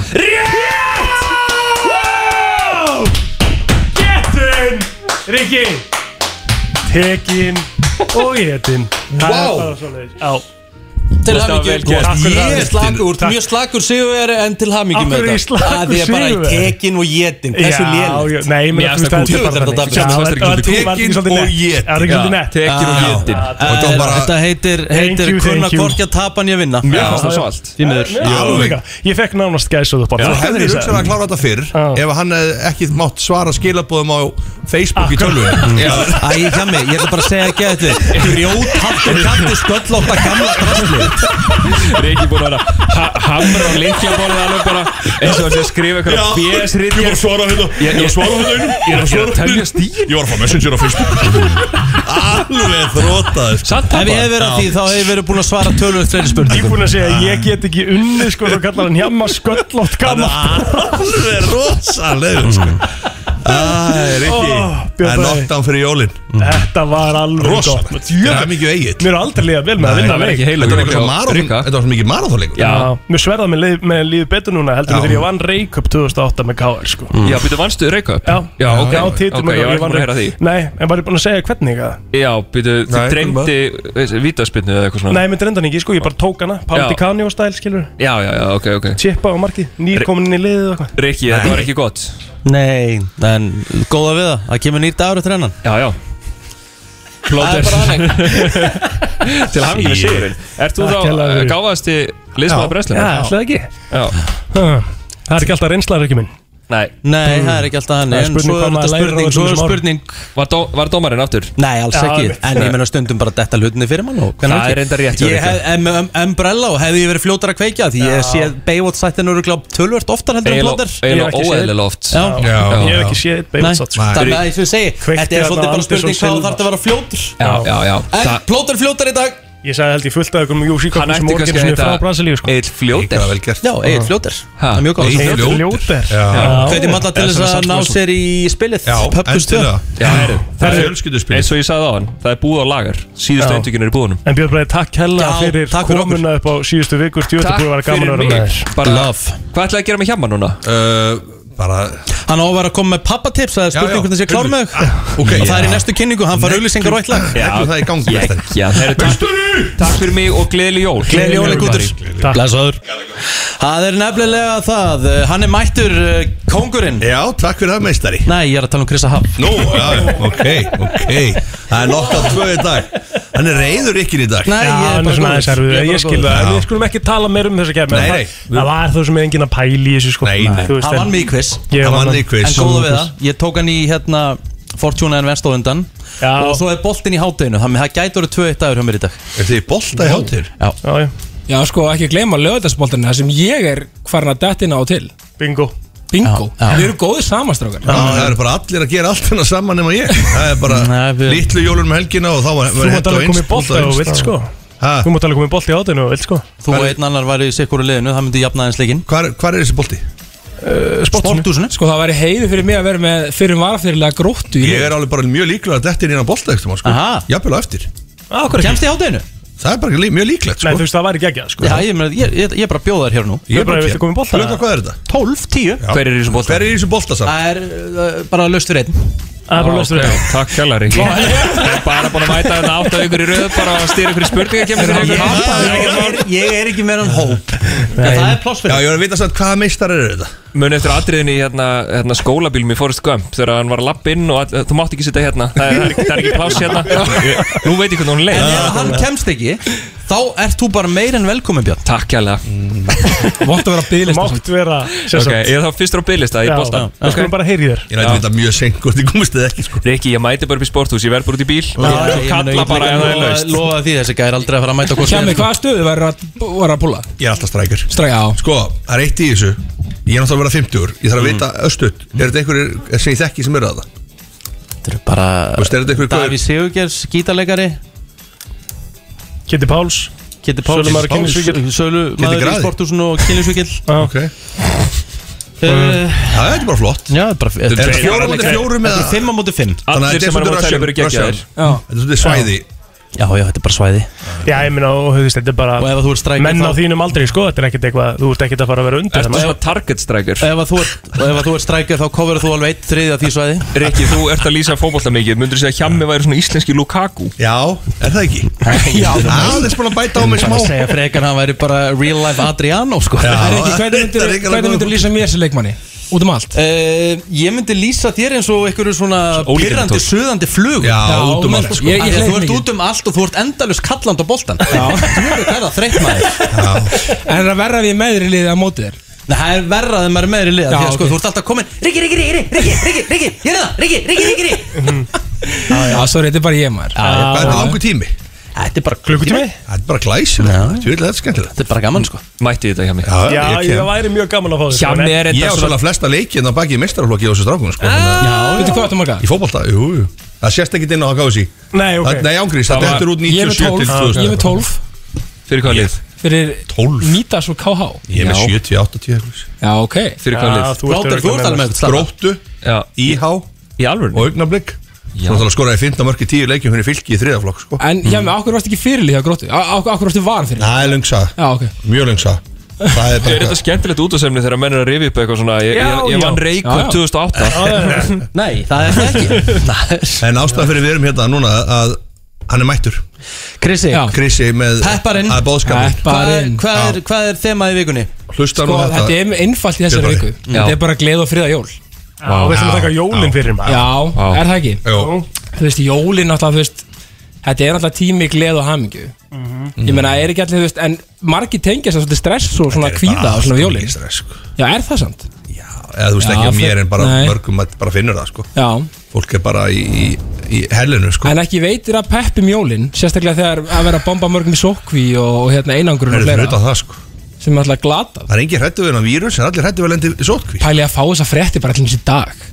Speaker 2: Rétt! Gettin! Rikki! Tekin og gettin Það er
Speaker 1: Vá.
Speaker 2: bara svoleiðis. Já
Speaker 1: Til
Speaker 2: Þetta var
Speaker 1: hamingju
Speaker 2: vel gert.
Speaker 1: Þú
Speaker 2: Takk fyrir
Speaker 1: ert
Speaker 2: það.
Speaker 1: slakur, þú ert mjög slakur sigurveri en til hamingju
Speaker 2: Af
Speaker 1: með
Speaker 2: hverju er ég
Speaker 1: þetta
Speaker 2: slakur
Speaker 1: Það er bara í
Speaker 2: sigurvegari?
Speaker 1: tekin og jetin Hversu
Speaker 2: Já, já,
Speaker 1: lélitt
Speaker 2: nei, ég meina, þú veist, það er bara þannig. Sjáum, þetta var- þetta var ekki svolítið nett. Það var ekki svolítið nett. Ah. Tekin og jetin. Og þetta var bara-
Speaker 1: Þetta heitir
Speaker 2: Thank
Speaker 1: heitir
Speaker 2: you, thank
Speaker 1: kunna
Speaker 2: you.
Speaker 1: hvorki að tapa en ég vinna
Speaker 2: Já, já.
Speaker 1: Því miður
Speaker 2: Já, líka. Ég fekk nánast gæsað upp á
Speaker 15: Þú hefðir hugsanlega að klára þetta fyrr Ef hann hefði ekki mátt svara skilabóðum á Facebook í Mm. tölvun
Speaker 1: Æ, ég hjá mig, ég ætla bara að segja ekki að þetta Grjót, hatt og katti sköllótt að gamla drastlið
Speaker 13: Riki búin að vera hamra á leiklaborðið alveg bara eins og hann sé að skrifa
Speaker 1: Já.
Speaker 13: eitthvað BS-rit
Speaker 1: Ég var að svara hérna. Ég var að svara hérna einum.
Speaker 13: Ég er að svara hérna stíl
Speaker 15: Ég var að fá messenger á Facebook Alveg þrótað
Speaker 13: Satt
Speaker 1: Ef ég hef verið að því, þá hef ég verið búin að svara tölvöld fleiri
Speaker 2: Ég er
Speaker 1: spurningum Ah.
Speaker 2: búin að segja að ég get ekki unni sko Svo kallar hann hjamma sköllótt gammal
Speaker 15: Alveg rosalegur sko Æ, Rikki
Speaker 2: Ó, Björn
Speaker 15: Það er
Speaker 2: Bragi.
Speaker 15: noktan fyrir jólin
Speaker 2: Þetta var alveg
Speaker 15: Rosa.
Speaker 2: gott Djöfull.
Speaker 15: Það er mikið eigið.
Speaker 2: Mér er aldrei liðað vel með að
Speaker 15: Nei,
Speaker 2: vinna
Speaker 15: það var
Speaker 2: leik.
Speaker 15: ekki heilagur Þetta var eitthvað hjá maraþon- Rikka. þetta var svo mikið marathonleikur.
Speaker 2: Já,
Speaker 15: Já.
Speaker 2: mér sverða með, leið- með lífið betur núna heldur en þegar ég vann Reykjöp 2008 með KR sko
Speaker 13: Já, býttu vannstu Reykjavík?
Speaker 2: Já,
Speaker 13: Mm. Já, ok,
Speaker 2: já, titil,
Speaker 13: ok, ég var ekki búin að heyra því
Speaker 2: Nei, en var ég búin að segja hvernig að
Speaker 13: Já, býttu, þið
Speaker 2: Nei,
Speaker 13: dreymdi vítaspinnu eða eitthvað svona
Speaker 2: Nei, mér dreymdi hann ekki, sko, ég bara tók hana Paldi
Speaker 13: Já.
Speaker 2: Kani og stæl, skilur
Speaker 13: Já, já, já, ok, ok
Speaker 2: Tippa á markið, nýrkomin inn í liðið og eitthvað
Speaker 13: Rikki, þetta var ekki gott
Speaker 1: Nei, en góða við það, það kemur nýrt dagur eftir hennan
Speaker 13: Já, já Plóter
Speaker 2: Það er bara
Speaker 13: Til hafingi með sigurinn Ert þú
Speaker 2: Takk hérlega
Speaker 13: þá
Speaker 2: fyrir.
Speaker 13: gáðasti liðsmaður brenslunar?
Speaker 2: Já, ætlaði ekki
Speaker 13: Já
Speaker 2: Ha, Það er ekki alltaf reynslaður ekki minn
Speaker 13: Nei
Speaker 1: Nei,
Speaker 2: Hmm.
Speaker 1: það er ekki alltaf hann En svo er þetta spurning, svo er spurning
Speaker 13: Var, dó, var dómarinn aftur?
Speaker 1: Nei, alls ekki, en ég meina stundum bara detta hlutinni fyrir mann og hvenær
Speaker 13: Það
Speaker 1: ekki.
Speaker 13: er reyndar rétt hjá
Speaker 1: Ég
Speaker 13: Rikka.
Speaker 1: hef, em, em, Umbrella og hefði ég verið fljótar að kveikja því ég sé Baywatch-sættin öruglega tölvört oftar heldur en
Speaker 13: Eiginlega-
Speaker 1: plóter
Speaker 13: eiginlega Ég hef ekki séð- óeðlilega oft.
Speaker 1: Já.
Speaker 13: Já, Já, já. ég hef ekki
Speaker 2: séð
Speaker 1: Nei,
Speaker 2: Baywatch-þátt, sko.
Speaker 1: Þannig að eins og ég segi, þetta er
Speaker 2: þarna
Speaker 1: svolítið bara
Speaker 2: Anderson
Speaker 1: spurning hvað
Speaker 2: Silva.
Speaker 1: þarf þetta að vera fljótur
Speaker 13: Já, já, já
Speaker 1: En
Speaker 13: Það-
Speaker 1: plóter fljótar í dag
Speaker 2: Ég sagði held ég fullt af ykkur um Jósi
Speaker 13: Hann
Speaker 2: Kokkun sem
Speaker 13: ætti
Speaker 2: orðinu
Speaker 13: kannski að
Speaker 2: sinni
Speaker 13: heita
Speaker 2: frá Brasilíu sko.
Speaker 13: Egil Fljóter
Speaker 1: Líka vel gert. Já, Egill Fljóter. Það er mjög gott.
Speaker 2: Egil
Speaker 1: Egill
Speaker 2: Fljóter
Speaker 1: Já. Hvetjum alla til þess að ná sér í spilið Pöpkus 2
Speaker 13: Já, heyrðu, það er
Speaker 15: fjölskylduspil
Speaker 13: Eins og ég sagði á hann Það er búð á lagar Síðustu
Speaker 2: Já.
Speaker 13: eintökin er í búðunum
Speaker 2: En Björn Bræði, takk hella
Speaker 13: Já,
Speaker 2: fyrir
Speaker 13: takk fyrir okkur.
Speaker 2: komuna upp á síðustu vikur Stjórnir búið að vera gaman að vera með þér
Speaker 13: Bara Love Hvað ætlaði að gera með hjamma núna?
Speaker 15: Uh, bara
Speaker 1: Hann á að vera að koma með pappatips Það er
Speaker 13: já,
Speaker 1: spurning hvernig það sé klár með þau.
Speaker 13: ok,
Speaker 1: Og það er í
Speaker 13: já.
Speaker 1: næstu kynningu, hann far auðlýsingar og eitt lag
Speaker 13: Já, það eru takk Takk fyrir mig og gleðileg jól
Speaker 1: Gleðileg jól, Guður. Takk. Blessaður. Það er nefnilega það, uh, hann er mættur uh, kóngurinn
Speaker 15: Já, takk fyrir það meistari
Speaker 1: Nei, ég er að tala um Krista Haf
Speaker 15: Nú, já, já, ok, ok Það er nokkað tvö í dag Hann er reyður ykkur í dag
Speaker 2: Já, hann er svona aðeins erfið, ég skil það sko. En Við skulum ekki tala meir um þessa kemur
Speaker 15: Nei, nei.
Speaker 2: Það var þú sem er engin að pæli í þessu sko Nei,
Speaker 1: Hann vann mig í quiz
Speaker 2: Hann vann
Speaker 1: í quiz En góða við það, ég tók hann í hérna Fortuna en verst á undan
Speaker 2: Já.
Speaker 1: Og svo er boltinn í hátteginu, þannig að það gætur að tvö eitt dagur hjá mér í dag
Speaker 15: Er þið bolta í hátir?
Speaker 1: Já,
Speaker 2: já
Speaker 16: Já, sko, ekki gleyma lögðarsbóltarinn Það sem ég er farin að detta inn á og til
Speaker 2: Bingo
Speaker 16: Bingo,
Speaker 1: Já, já.
Speaker 16: við erum góðir samastrákar
Speaker 15: Já, það eru bara allir að gera allt hennar saman nema ég Það er bara litlu jólun með helgina og þá var
Speaker 2: Þú mátt alveg koma í bolta og vilt sko Þú mátt alveg koma í bolta í átinu og vilt sko
Speaker 1: Þú og einn annar væri í sikkur liðinu, það myndi jafna aðeins leikin
Speaker 15: Hvar, hvar er þessi bolti?
Speaker 2: Eh,
Speaker 1: Uh, Sporthúsinu
Speaker 16: Sko, það væri heiði fyrir mig að vera með fyrir varafyrirlega gróttu í
Speaker 15: Ég er alveg bara mjög líklega að detta inn í hann bolta ekki, sko. Jafnvel á eftir
Speaker 2: Á, hverju ekki?
Speaker 1: í
Speaker 2: Kemst
Speaker 1: hátteginu?
Speaker 15: Það er bara lí- mjög líklegt sko.
Speaker 2: Nei, þú veist, það væri geggjað sko
Speaker 1: Já, ég, meina, ég, ég, ég er bara að bjóða þér hér nú
Speaker 15: Ég er bara að viltu koma í bolta?
Speaker 1: Klukkan
Speaker 15: hvað er þetta?
Speaker 1: 12, 10
Speaker 13: Hver er í þessum bolta?
Speaker 15: Hver er í þessum bolta
Speaker 1: Það er uh, bara löst fyrir einn
Speaker 2: Það er bara laust við einn.
Speaker 13: Takk hella, Riki Ég er bara búin að mæta þetta átt af ykkur í röð Bara að stýra ykkur í spurninga kemur
Speaker 1: Ég er- Ég er ekki
Speaker 2: um
Speaker 1: meira en hóp En það er pláss fyrir
Speaker 15: Já, ég var að vita samt hvaða meistar eru þetta
Speaker 13: Mun eftir atriðinni í hérna, hérna skólabílum í Forrest Gump Þegar hann var að lappa inn og all, þú mátt ekki sitta hérna Það er, það er ekki pláss hérna Nú veit ég hvernig hún leið
Speaker 1: En ef hann kemst ekki Þá ert þú bara meir en velkomin Björn
Speaker 13: Takk hérlega
Speaker 16: Mátt að vera
Speaker 2: bygglist Mátt vera sem
Speaker 13: Ok,
Speaker 2: sagt.
Speaker 13: ég er þá fyrstur á bygglista í
Speaker 2: Já,
Speaker 13: bólta
Speaker 2: já. Við skulum bara heyri þér
Speaker 15: Ég nætti þetta mjög seng hvort ég komist eða ekki sko
Speaker 13: Riki, ég mæti bara upp í sporthús, ég verð bara út í bíl
Speaker 1: Já,
Speaker 13: Og
Speaker 1: ég meina,
Speaker 13: kalla
Speaker 1: ég
Speaker 13: bara
Speaker 1: líka
Speaker 13: ef það er
Speaker 1: lofa-
Speaker 13: laust
Speaker 1: Lofa því þessi gæri aldrei að fara að mæta hvort sem
Speaker 16: Kjami,
Speaker 1: er, sko.
Speaker 16: hvaða stöðu væri að, væri að púla?
Speaker 15: Ég er alltaf strækir
Speaker 16: Stræk, já
Speaker 15: Sko, það er eitt í þessu Ég er náttúrulega að vera 50 Ég
Speaker 1: Mm.
Speaker 15: þarf að vita östut Er þetta einhverjir sem ég þekki sem eru að það?
Speaker 1: Þetta er bara
Speaker 15: Vist, er þetta einhverjir
Speaker 1: Daví Sigurgers, gítarleikari
Speaker 2: Kitty Páls
Speaker 1: Kitty Páls
Speaker 2: Sölumaður á Kynlífsvíkill.
Speaker 15: Kiddi
Speaker 1: Sölumaður í
Speaker 15: Graði.
Speaker 1: sporthúsinu og kynlisvíkil
Speaker 2: Ok
Speaker 1: Það
Speaker 15: Það er þetta bara flott
Speaker 1: Já, þetta er bara
Speaker 15: Þetta er fjóra móti fjóru með
Speaker 1: Þetta er fimm á móti fimm
Speaker 15: Þannig að þetta er svolítið Russian- Russian. Þetta er svolítið svæði
Speaker 1: Já, já, þetta er bara svæði
Speaker 2: Já, ég minna, og þú veist, þetta er bara
Speaker 1: Og ef að þú ert strækir
Speaker 2: Menn á
Speaker 1: þá-
Speaker 2: þínum aldrei, sko, þetta er ekkert eitthvað Þú ert ekkert að fara að vera undir
Speaker 13: Ertu
Speaker 2: þarna.
Speaker 13: svona target striker?
Speaker 1: Ef að þú ert- og ef að þú ert strækir þá coverðu þú alveg eitt þriðið af því svæði
Speaker 13: Rikki, þú ert að lýsa fótbolta mikið Mundur þú segja að Hjammi væri svona íslenski Lukaku?
Speaker 15: Já, er það ekki?
Speaker 1: Já,
Speaker 15: aðeins búin að bæta á mig smá
Speaker 1: Bara að segja frekar hann væri bara real life Adriano sko
Speaker 16: Riki, hvernig myndir, hvernig myndir lýsa mér sem leikmanni? Út um allt
Speaker 1: Uh, ég myndi lýsa þér eins og einhverju svona
Speaker 16: Ólíkindatól.
Speaker 1: pyrrandi, suðandi flug
Speaker 15: Já, út um allt, sko.
Speaker 1: Ég,
Speaker 15: Ég- ég
Speaker 1: þú
Speaker 15: hleyp
Speaker 1: ert
Speaker 15: mikið.
Speaker 1: út um allt og þú ert endalust kalland á boltan Djöfull er það þreytt maður
Speaker 16: En er það verra að við meðri liðið að móti þér?
Speaker 1: Nei, það er verra að maður er meðri liða
Speaker 16: Já,
Speaker 1: Því að sko,
Speaker 16: ok.
Speaker 1: þú ert alltaf komin Riki, Riki, Riki, Riki, Riki, Riki, ég er hérna. það, Riki, Riki, Riki, Riki
Speaker 16: Já, sorry, þetta er bara ég maður
Speaker 15: Hvað er þetta langur tími?
Speaker 1: Þetta er bara
Speaker 2: klukkutími
Speaker 15: Þetta er bara glæsum Þetta er skemmtilegt
Speaker 1: Þetta er bara gaman sko
Speaker 13: Mætti ég þetta Hjammi?
Speaker 2: Já, ég væri mjög gaman að fá sko, þér
Speaker 15: Hjammi er Ég á svolítið flesta leikið en það baki í mestaraflokki á þessu strákum sko.
Speaker 16: Já, veitu hvað áttu marga?
Speaker 15: Í fótbolta, jú, jú Það sést ekkert inn á HKSI
Speaker 2: Nei, ok.
Speaker 15: Það- Nei, ángrís,
Speaker 16: Það
Speaker 15: það
Speaker 16: var-
Speaker 15: dettur út
Speaker 16: Ég er með
Speaker 15: 97 til
Speaker 16: 12,
Speaker 15: 2000
Speaker 16: ég er með 12
Speaker 13: Fyrir hvað lið?
Speaker 16: Fyrir
Speaker 15: 12
Speaker 16: Mítas og KH
Speaker 15: Ég er með 70,
Speaker 16: Já.
Speaker 15: 80 eitthvað.
Speaker 16: Já, ok
Speaker 13: Fyrir hvað lið?
Speaker 15: Gróttu, IH
Speaker 13: Í alvörni?
Speaker 15: Og augnablik Svo náttúrulega skoraði 15 mörg í 10 leikjum fyrir fylki í þriðaflokk sko.
Speaker 16: En
Speaker 1: Mm.
Speaker 16: hjá mig, okkur varst ekki fyrirlið hjá gróttu Okkur varstu var fyrir
Speaker 15: Það er lungsa
Speaker 16: Já, ok
Speaker 15: Mjög lungsa Það er
Speaker 13: Er
Speaker 15: bara
Speaker 13: þetta skemmtilegt útasefni þegar menn er að rifja upp eitthvað svona Ég,
Speaker 15: Já,
Speaker 13: ég, ég vann
Speaker 15: já.
Speaker 13: reik
Speaker 15: Já, já.
Speaker 13: 2008
Speaker 1: Nei, það er það ekki
Speaker 15: En ástæðan fyrir við erum hérna núna að hann er mættur
Speaker 1: Krissi
Speaker 15: Krissi með
Speaker 1: Pepparinn
Speaker 15: að bóðskapin
Speaker 1: Hvað er- hvað er- Hvað er þemað í vikunni?
Speaker 15: Hlusta
Speaker 16: Sko, þetta er einfalt í þessari
Speaker 15: Björn
Speaker 16: viku
Speaker 15: Bari. Já.
Speaker 16: Þetta er bara gleð og friða jól
Speaker 2: Já, við ætlum að taka jólin fyrir maður
Speaker 16: Já, er það ekki?
Speaker 15: Jú.
Speaker 16: Þú veist, jólin náttúrulega, þú veist þetta er alltaf tími gleð og hamingju
Speaker 15: Mhm. Mm.
Speaker 16: Ég meina, er ekki allir, þú veist, en margir tengja sér svolítið stress og svona kvíða og svona jólin
Speaker 15: sko.
Speaker 16: Já, er það samt?
Speaker 15: eða þú veist
Speaker 16: Já,
Speaker 15: ekki að
Speaker 16: það-
Speaker 15: mér en bara
Speaker 16: nei.
Speaker 15: mörgum að bara finnur það sko
Speaker 16: Já
Speaker 15: fólk er bara í, í, í hellinu sko
Speaker 16: En ekki veitir að peppum jólin, sérstaklega þegar að vera að bomba mörgum í sókví og, og hérna einangrun
Speaker 15: Það er
Speaker 16: og
Speaker 15: fyrir
Speaker 16: fleira
Speaker 15: utan það, sko.
Speaker 16: Sem er alltaf glata
Speaker 15: það er engin hrættu við en að vírus en allir hrættu við að lendi í sótkví
Speaker 16: Pæli að fá þessa frétti bara allir eins í dag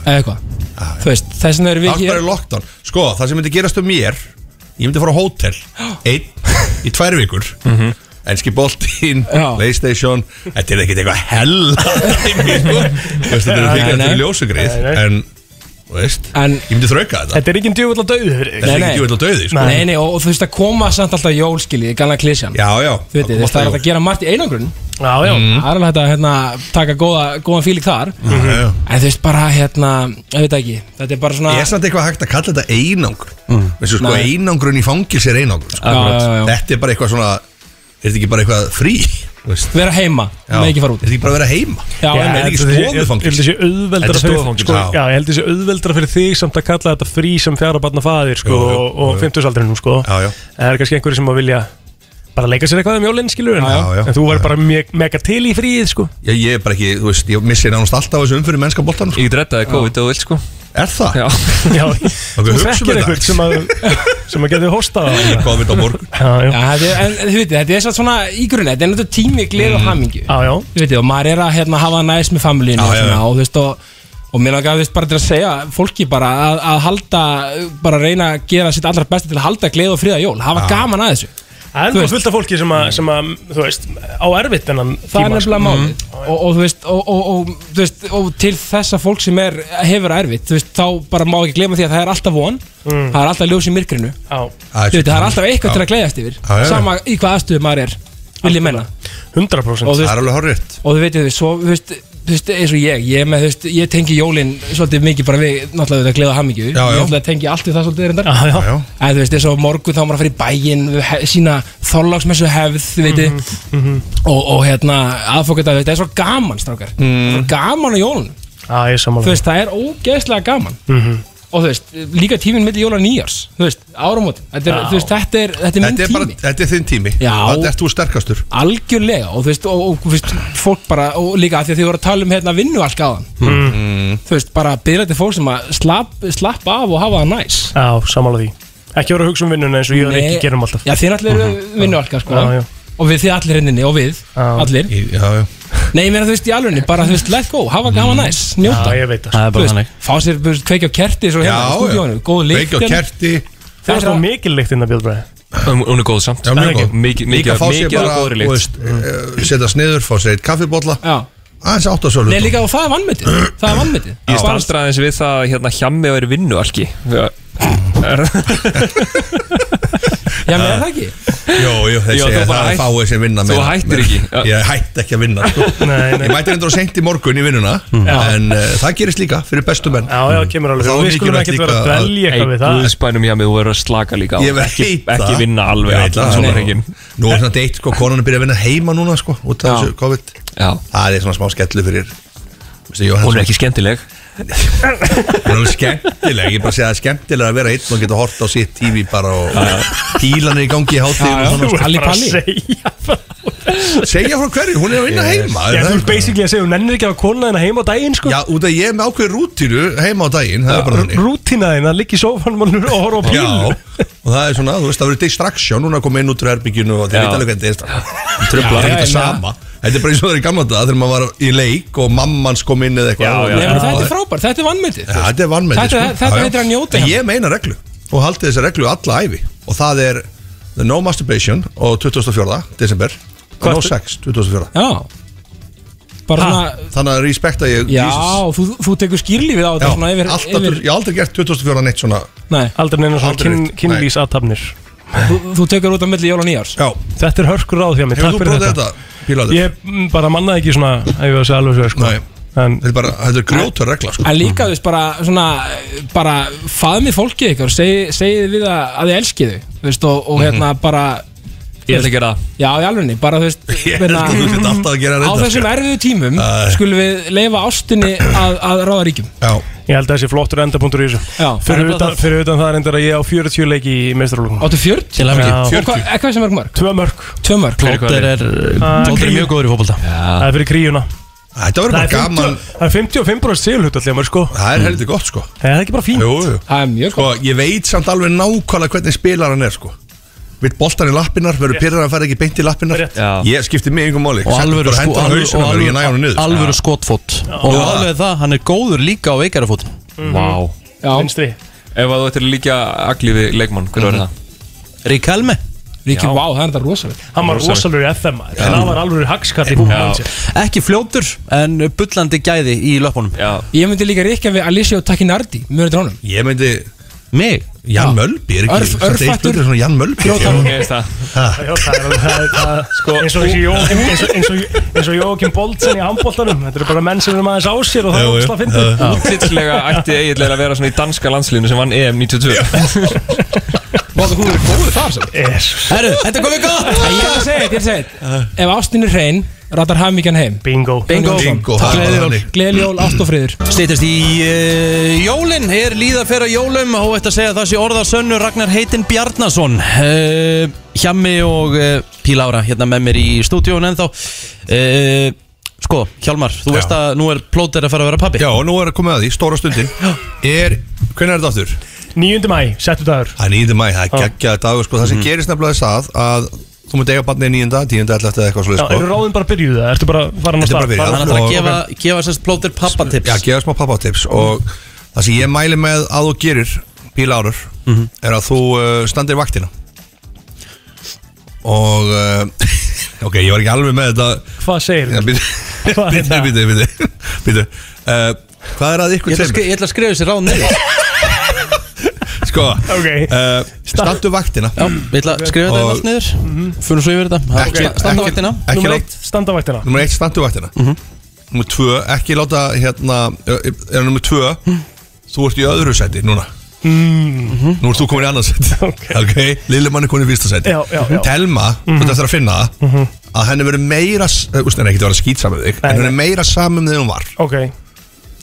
Speaker 16: Eða eitthvað Þú veist, þess vegna erum við
Speaker 15: allt bara í lockdown sko það sem myndi gerast um mér ég myndi fara á hótel einn í tvær vikur
Speaker 16: Mhm.
Speaker 15: Enski boltinn, Playstation Þetta er ekkert eitthvað hella dæmi, sko. Þú veist, Þetta eru
Speaker 2: Nei,
Speaker 15: fyrir þetta
Speaker 2: nei.
Speaker 15: er ljósugrið
Speaker 2: Nei, nei.
Speaker 15: En, þú veist, ég myndi þrauka þetta
Speaker 2: Þetta er enginn djöfull að dauði fyrir
Speaker 15: Þetta er ekki djúvill á dauði, sko.
Speaker 16: Nei, nei, og, og þú veist að koma samt alltaf jólskilið, gana klísjan
Speaker 15: Já, já
Speaker 16: Þú veit,
Speaker 15: það kom
Speaker 16: þess, það er
Speaker 15: alltaf jól. Mhm.
Speaker 16: hægt að gera margt í einangrun Já,
Speaker 2: já
Speaker 16: Það er alveg hægt að hérna, taka góða, góðan fíling þar
Speaker 15: Já, já.
Speaker 16: En þú veist bara, hérna, ég veit ekki Þetta er bara svona
Speaker 15: Ég er samt eitthvað hægt að kalla þetta einangrun
Speaker 13: Mm.
Speaker 15: Þessu sko
Speaker 16: Nei.
Speaker 15: einangrun í fangils er einangrun sko.
Speaker 16: Já, já, já.
Speaker 15: Þetta er bara eitthvað svona Er þetta ekki bara eitthvað frí? þú veist?
Speaker 16: Vera heima,
Speaker 15: Já.
Speaker 16: með ekki fara út
Speaker 15: Er þetta ekki bara að vera heima?
Speaker 2: Já,
Speaker 15: Er þetta ekki
Speaker 2: Ég held
Speaker 15: stofufangils?
Speaker 2: þessi auðveldra
Speaker 15: Þetta er
Speaker 2: fyrir,
Speaker 15: stofufangils
Speaker 2: sko, já, ég held þessi auðveldra fyrir þig samt að kalla þetta frí sem fjara barna faðir sko,
Speaker 15: Jú, jú,
Speaker 2: og- og
Speaker 15: jú.
Speaker 2: 50-saldrinum sko.
Speaker 15: en
Speaker 2: það er kannski einhverju sem að vilja bara leika sér eitthvað um jólinn skilur en,
Speaker 15: Já, já.
Speaker 2: en þú væri bara me- mega til í fríið sko.
Speaker 15: Já, ég er bara ekki, þú veist, ég missi nánast alltaf þessu umfyrir mennska boltan sko.
Speaker 13: Ég drettaði COVID og vilt sko
Speaker 15: Er það?
Speaker 13: Já,
Speaker 2: já
Speaker 15: Þú
Speaker 2: þekkir einhvern sem að sem að getur hóstað á
Speaker 15: Ég kom við á morgun
Speaker 2: Já,
Speaker 16: þetta er- en þú veit, þetta er samt svona í grunni Þetta er náttúrulega tími,
Speaker 15: Mhm.
Speaker 16: gleð og hamingju
Speaker 2: Já, já
Speaker 16: Þú veit, og maður er að hérna, hafa næs með familíinu
Speaker 2: Já,
Speaker 16: og
Speaker 2: já,
Speaker 16: svona
Speaker 2: já.
Speaker 16: Og þú veist, og, og mér langar þú veist, bara til að segja Fólki bara að, að halda Bara að reyna að gera sitt allra besta til að halda gleð og fríða jól Hafa gaman að þessu
Speaker 2: Það er
Speaker 16: Þú
Speaker 2: bara
Speaker 16: veist. Mm.
Speaker 2: fullt af fólki sem að, sem að þú veist, á erfitt sko. en
Speaker 16: það er nefnilega
Speaker 2: Mm.
Speaker 16: málið og, og, þú veist, og, og, og, þú veist, og til þessa fólk sem er, hefur erfitt þú veist, þá bara má ekki glema því að það er alltaf von
Speaker 2: Mm.
Speaker 16: það er alltaf ljós í myrkrinu
Speaker 2: er
Speaker 16: Þú veit, það er alltaf eitthvað
Speaker 2: Já.
Speaker 16: til að gleyðast yfir
Speaker 2: Já, já, já.
Speaker 16: sama í hvað aðstöðu maður er vil ég menna
Speaker 2: 100%
Speaker 16: Og þú veist-
Speaker 15: Það er alveg horrið
Speaker 16: og þú veit, þú veist, svo, þú veist, þú veist eins og ég, ég, er með, þú veist, ég tengi jólin svolítið mikið bara við náttúrulega við að gleyða hamingju
Speaker 15: Já, já.
Speaker 16: ég ætla að tengi allt við það svolítið reyndar
Speaker 2: já,
Speaker 15: já.
Speaker 16: en þú veist, eins og morgun þá á maður að fara í bæinn he- sína þorláksmessu hefð, þú veit og, og hérna aðfókvitað, þetta er svo gaman strákar mm. svo gaman á jólun
Speaker 2: Já, ég er sammála
Speaker 16: þú veist, það er ógeðslega gaman
Speaker 2: Mhm.
Speaker 16: og þú veist, líka tíminn milli jóla og nýjars þú veist, áramót, þetta er,
Speaker 15: Já.
Speaker 16: þú veist, þetta er, þetta er minn
Speaker 15: Þetta er bara-
Speaker 16: tími
Speaker 15: Þetta er þinn tími
Speaker 16: Já.
Speaker 15: Þetta er þú sterkastur
Speaker 16: algjörlega og þú veist, og, og þú veist, fólk bara, og líka af því að þið voru að tala um hérna vinnu allt áðan
Speaker 2: Hmm.
Speaker 15: Mm.
Speaker 16: þú veist, bara byrja til fólk sem að slapp, slapp af og hafa það næs
Speaker 2: Já, sammála því Ekki voru að hugsa um vinnuna eins og ég og Rikki gerum alltaf Mhm.
Speaker 16: Já, þið allir
Speaker 15: Mhm.
Speaker 16: eru vinnu allt sko
Speaker 2: Já, já.
Speaker 16: og við þið allir henninni og við, allir
Speaker 15: Í- Já, já
Speaker 16: Nei, ég meina þú veist, í alvegni, bara þú veist, let go, hafa, hafa næs, njóta
Speaker 2: Mm. Já, ég veit það.
Speaker 16: það Þú veist, Fá sér, þú veist, kveikja á kerti svo
Speaker 15: Já, já.
Speaker 16: hérna, stúdíónu, góð líkt
Speaker 15: Kveikja á kerti
Speaker 2: Það er svo mikil lykt inn að bjóðbræði
Speaker 13: Hún Um, hún er góð samt
Speaker 15: Já, mjög
Speaker 13: Ekki?
Speaker 15: góð
Speaker 13: Mikið,
Speaker 15: Líka
Speaker 13: mikið,
Speaker 15: fá sér
Speaker 13: mikið
Speaker 15: bara,
Speaker 13: af góðri Mm. líkt
Speaker 15: þú veist, eh, setjast niður, fá sér eitt kaffibólla aðeins átt að
Speaker 16: Nei, líka og það er vannmetið, það er vannmetið
Speaker 13: Ég staldra aðeins við það að hérna hjammi og er vinnu alki
Speaker 16: Já, með það ekki
Speaker 15: Jó, jó, þeir
Speaker 13: Já,
Speaker 15: segja
Speaker 13: þú bara
Speaker 15: það
Speaker 13: hætt-
Speaker 15: er fáið sem vinna
Speaker 13: þú
Speaker 15: meira.
Speaker 13: hættir
Speaker 15: Meira.
Speaker 13: ekki. Já.
Speaker 15: Ég hætti ekki að vinna sko.
Speaker 2: Nei, nei. Mm.
Speaker 15: Ég mætti reyndur á seint í morgun í vinnuna En uh, það gerist líka fyrir bestu menn
Speaker 2: Já, já, kemur alveg
Speaker 15: Þá
Speaker 2: fyrir.
Speaker 15: er
Speaker 2: Við skulum
Speaker 15: mikilvægt
Speaker 2: ekkert vera
Speaker 15: líka
Speaker 2: að dvelja eitthvað við það.
Speaker 13: Guðspænum hjá mig, þú verður að slaka líka á.
Speaker 15: Ég veit
Speaker 13: ekki,
Speaker 15: það
Speaker 13: ekki vinna alveg
Speaker 15: Ég veit
Speaker 13: allan
Speaker 15: það.
Speaker 13: sólarhringinn.
Speaker 15: Nú er svona deitt, sko, konan er byrjað að vinna heima núna sko, út af þessu COVID
Speaker 13: Já.
Speaker 15: Það er svona smá skellu fyrir Mr. Jóhannsson.
Speaker 13: Hún er ekki skemmtileg
Speaker 15: Hún er alveg skemmtileg, ég bara segja það er skemmtilega að vera einn og geta hort á sitt TV bara og pílan er í gangi í sko.
Speaker 2: Já, já.
Speaker 15: hátíð
Speaker 2: Þú ert Palli, bara að palli.
Speaker 15: Segja frá hverju, hún er að vinna heima
Speaker 2: Já,
Speaker 15: það
Speaker 2: þú
Speaker 15: er
Speaker 2: er basically að segja, hún nennir ekki að hafa konuna þina heima á daginn sko
Speaker 15: Já, út af ég er með ákveð rútínu heima á daginn Það er bara þannig
Speaker 2: Rútina þina, liggi í sófanum og og horfa á bíl
Speaker 15: Já, og það er svona, þú veist, það verður distraction Hún er að koma inn út úr herbygginu og þið
Speaker 13: Já.
Speaker 15: veit alveg hvernig distraction Tröfla, það er
Speaker 13: Já,
Speaker 15: ekki það
Speaker 13: já,
Speaker 15: sama Þetta er bara eins og það er í gamla dag þegar maður var í leik og mammans kom inn eða eitthvað
Speaker 16: Nei,
Speaker 15: Og-
Speaker 16: menn, þetta er frábært, þetta er vannmetið
Speaker 15: Já, þetta er sko. vannmenni
Speaker 16: Þetta- þetta heitir að njóta
Speaker 15: Ég meina reglu og haldi þessa reglu alla æfi og það er The No Masturbation og 24. desember og No Sex 24.
Speaker 16: Já Bara svona
Speaker 15: Þannig að respekta ég
Speaker 16: Já,
Speaker 15: Jesus.
Speaker 16: þú, þú tekur skýrlífið á þetta
Speaker 15: Já,
Speaker 16: svona yfir,
Speaker 15: alltaf, Ég hef aldrei gert 24. neitt svona
Speaker 16: Nei.
Speaker 2: Aldrei neina svona
Speaker 15: Aldrei
Speaker 2: kyn,
Speaker 15: neitt.
Speaker 2: kynlýsatafnir
Speaker 16: þú, þú tekur út á milli jól og nýjars
Speaker 15: Já
Speaker 2: Þetta er hörkur ráð hjá mig,
Speaker 15: Hefur
Speaker 2: takk
Speaker 15: þú
Speaker 2: fyrir
Speaker 15: prófað
Speaker 2: þetta,
Speaker 15: þetta, Pílaður?
Speaker 2: Ég mm, bara mannaði ekki svona, ef ég var að segja alveg svo sko. en,
Speaker 15: Þetta er bara, þetta er grjótur regla sko.
Speaker 16: En líka þú veist bara svona eh, bara faðmið fólkið ykkur segi, segið við að, að þið elskið þau þú veist, og, og hérna bara
Speaker 13: Mhm. Ég ætla að gera það
Speaker 16: Já, í alvegni, bara þú veist Ég
Speaker 13: held að þú sért alltaf að gera
Speaker 16: Á
Speaker 13: reyndar,
Speaker 16: þessum
Speaker 13: sko.
Speaker 16: erfiðu
Speaker 15: Mm.
Speaker 16: tímum
Speaker 13: Æ.
Speaker 16: skulum við leifa ástinni um að, að ráða ríkjum
Speaker 15: Já
Speaker 2: Ég held að það sé flottur endapunktur í þessu
Speaker 16: Það er
Speaker 2: Fyrir
Speaker 16: bara
Speaker 2: utan,
Speaker 16: það.
Speaker 2: fyrir utan það er endar að ég á 40 leiki í meistarlókunum
Speaker 16: Áttu 40?
Speaker 2: Til hamingju. 40.
Speaker 16: Hvað eh, hvað er sem mörg mörg?
Speaker 2: Tvö mörg
Speaker 16: Tvö mörg
Speaker 2: Plóter er-
Speaker 16: Ah,
Speaker 2: Plóter er
Speaker 16: kríu.
Speaker 2: mjög góður í fótbolta Það er fyrir kríuna
Speaker 15: Þetta verður bara gaman.
Speaker 2: Það er 55% sigurhlut allir mörg sko
Speaker 15: Það er heldur gott sko
Speaker 2: Það er ekki bara fínt
Speaker 15: Jú, jú.
Speaker 16: Það er mjög
Speaker 15: sko, Ég veit samt alveg nákvæmlega hvernig spilar hann er sko Vill boltan í lappinnar, verður pyrrar að fara ekki beint í lappinnar
Speaker 1: Já.
Speaker 15: Ég skipti mig yngum máli
Speaker 1: Og alvöru, sko,
Speaker 15: sko,
Speaker 1: alvöru,
Speaker 15: hausinu,
Speaker 1: og
Speaker 15: alvöru, ég næ honum
Speaker 1: alvöru,
Speaker 15: niður
Speaker 1: alvöru
Speaker 2: sko-
Speaker 1: skotfót Og
Speaker 13: Já.
Speaker 1: alveg það, hann er góður líka á veikara fót
Speaker 13: Vá
Speaker 16: Já
Speaker 2: Mhm. Vinstri
Speaker 13: Ef að þú ættir að líka agli við leikmann, hver var það?
Speaker 15: Mhm.
Speaker 1: Rík Helmi
Speaker 16: Ríki, vá, það er þetta rosalega
Speaker 2: Hann var rosalur í FM maður. En hann var alveg hagskall í fútbolta
Speaker 1: Ekki fljótur, en bullandi gæði í löpunum
Speaker 13: Já
Speaker 16: Ég myndi líka ríkja við Alessio Takinardi Mjög drónum
Speaker 15: Ég myndi
Speaker 1: Mig?
Speaker 15: Jan Mölby, er ekki
Speaker 16: Örf-
Speaker 15: samt eitt
Speaker 16: örfættur.
Speaker 15: betur en svona Jan Mölby
Speaker 16: Fljótar.
Speaker 15: Já.
Speaker 16: Ég veist
Speaker 13: það.
Speaker 15: Ha.
Speaker 2: Já, það er alveg- það er- það- sko, eins og þessi Jóakim eins og- eins og- eins og Jóakim Boltsen í handbóltanum þetta eru bara menn sem eru maður á sér og það er ósla fyndið
Speaker 13: Útlitslega ætti eiginlega að vera svona í danska landslíðinu sem vann EM 92
Speaker 16: Vá, þú er góður þar sem
Speaker 1: Herru, þetta komið gott
Speaker 16: Ég er að segja þetta, ég er að segja þetta Ef ástin er hrein, ratar hamingjan heim
Speaker 2: Bingo
Speaker 1: Bingo. Bingo, það er bara
Speaker 16: Gleðiljól,
Speaker 1: þannig.
Speaker 16: gleðiljól, ást og friður
Speaker 1: Stýttist í uh, jólin, er líða fyrir jólum og þetta segja að það sé orðasönnu Ragnar Heitin Bjarnason uh, Hjammi og uh, Píl Ára hérna með mér í stúdíón ennþá uh, Sko, Hjálmar, þú veist að nú er plóter að fara að vera pappi
Speaker 15: Já, og nú er að koma að því, stóra stundin Er, hvernig er þetta aftur?
Speaker 2: 9. mæ, settu dagur
Speaker 15: Það er 9. mæ, það er geggjaði dagur sko. Það
Speaker 16: Mhm.
Speaker 15: sem gerist nefnilega þess að, að Þú mútt eiga barnið 9. 10. 11. eða eitthvað
Speaker 2: Já,
Speaker 15: svolítið
Speaker 2: eru ráðin bara byrjuð það? Ertu bara farin að
Speaker 15: Sko. Þetta er bara
Speaker 2: starta?
Speaker 15: byrjað.
Speaker 2: Farin
Speaker 15: Þannig að
Speaker 2: og-
Speaker 15: gefa-
Speaker 2: ok.
Speaker 1: gefa sérst plóter Mm. pappatips
Speaker 15: Já, gefa smá pappatips og það sem ég mæli með að þú gerir píla árur
Speaker 1: Mhm.
Speaker 15: er að þú uh, standir vaktina og uh, ok, ég var ekki alveg með þetta
Speaker 2: Hvað segir
Speaker 15: þú?
Speaker 2: Hvað er
Speaker 15: Býtu, býtu, býtu, býtu uh, Hvað er að ykkur
Speaker 1: Ég ætla að skri-
Speaker 15: tveimur?
Speaker 1: ég ætla að skrifa þessi ráð niður
Speaker 15: Sko,
Speaker 2: okay.
Speaker 15: uh, standu vaktina
Speaker 1: Já, ég ætla að skrifa þetta
Speaker 15: Og-
Speaker 1: allt niður
Speaker 2: Mhm.
Speaker 1: Fyrir svo yfir þetta
Speaker 15: Ekki-
Speaker 1: Sta- Standa
Speaker 15: ekki-
Speaker 1: vaktina
Speaker 15: ekki
Speaker 1: Númer
Speaker 15: ráð-
Speaker 1: eitt.
Speaker 2: Standavaktina
Speaker 15: Númer eitt standu vaktina
Speaker 2: Mhm.
Speaker 15: Númer tvö, ekki láta hérna eh, eh, Númer tvö, þú ert í öðru seti núna
Speaker 2: Mm.
Speaker 15: Nú ert þú komin í annars seti Ok, okay. Lille mann er komin í fyrsta seti
Speaker 2: Já, já, Mhm. já.
Speaker 15: Telma, þú ert eftir að finna það Að henni verður meira Þú veist, henni ekki að vera skýtsamið þig En henni verður meira samum þegar hún var
Speaker 2: Ok,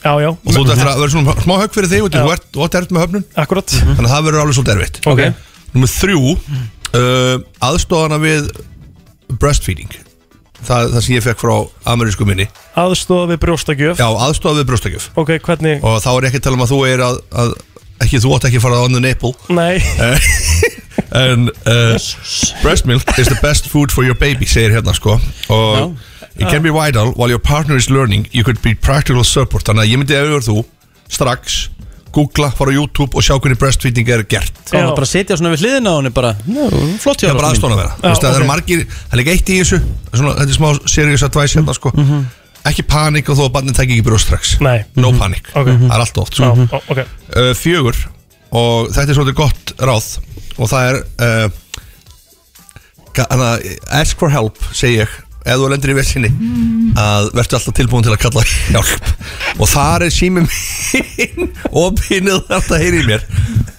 Speaker 2: já, já
Speaker 15: Og þú ert eftir að vera svona smá högg fyrir þig út í- Þú ert, þú ert erfitt með höfnun
Speaker 2: Akkurat
Speaker 15: Þannig að það verður alveg svolítið erfitt
Speaker 2: Ok. Mm.
Speaker 15: Númer þrjú uh, Aðstofana við breastfeeding Það, það sem ég fekk frá amerísku minni
Speaker 2: Aðstofa við brjóstakjöf
Speaker 15: Já, aðstofa við brjóstakjöf
Speaker 2: Ok, hvernig
Speaker 15: Og þá er ekki að tala um að þú er að, að ekki, Þú átt ekki að fara on the nipple
Speaker 2: Nei
Speaker 15: Eh, En uh, Breast milk is the best food for your baby segir hérna sko og it can be vital while your partner is learning you could be practical support þannig að ég myndi ef þú er þú strax googla, fara á YouTube og sjá hvernig breastfeeding er gert
Speaker 1: Já, Sko, bara setja svona við hliðina á henni bara Nú, Flott hjá
Speaker 15: Já, bara aðstóna vera Þú veist að það eru margir, það er líka eitt í þessu svona, Þetta er smá serious advice hérna sko Ekki panik og þó að barnið tekja ekki brjóð strax
Speaker 2: Nei.
Speaker 15: No panic,
Speaker 2: Ok.
Speaker 15: það er allt oft sko.
Speaker 2: Já, ó- ok.
Speaker 15: uh, Fjögur Og þetta er svolítið gott ráð Og það er uh, ga- hana, Ask for help, segi ég Ef þú lendir í vesinni
Speaker 2: Mm.
Speaker 15: Að verður alltaf tilbúin til að kalla hjálp Og þar er sími minn Og pinnið alltaf heyri í mér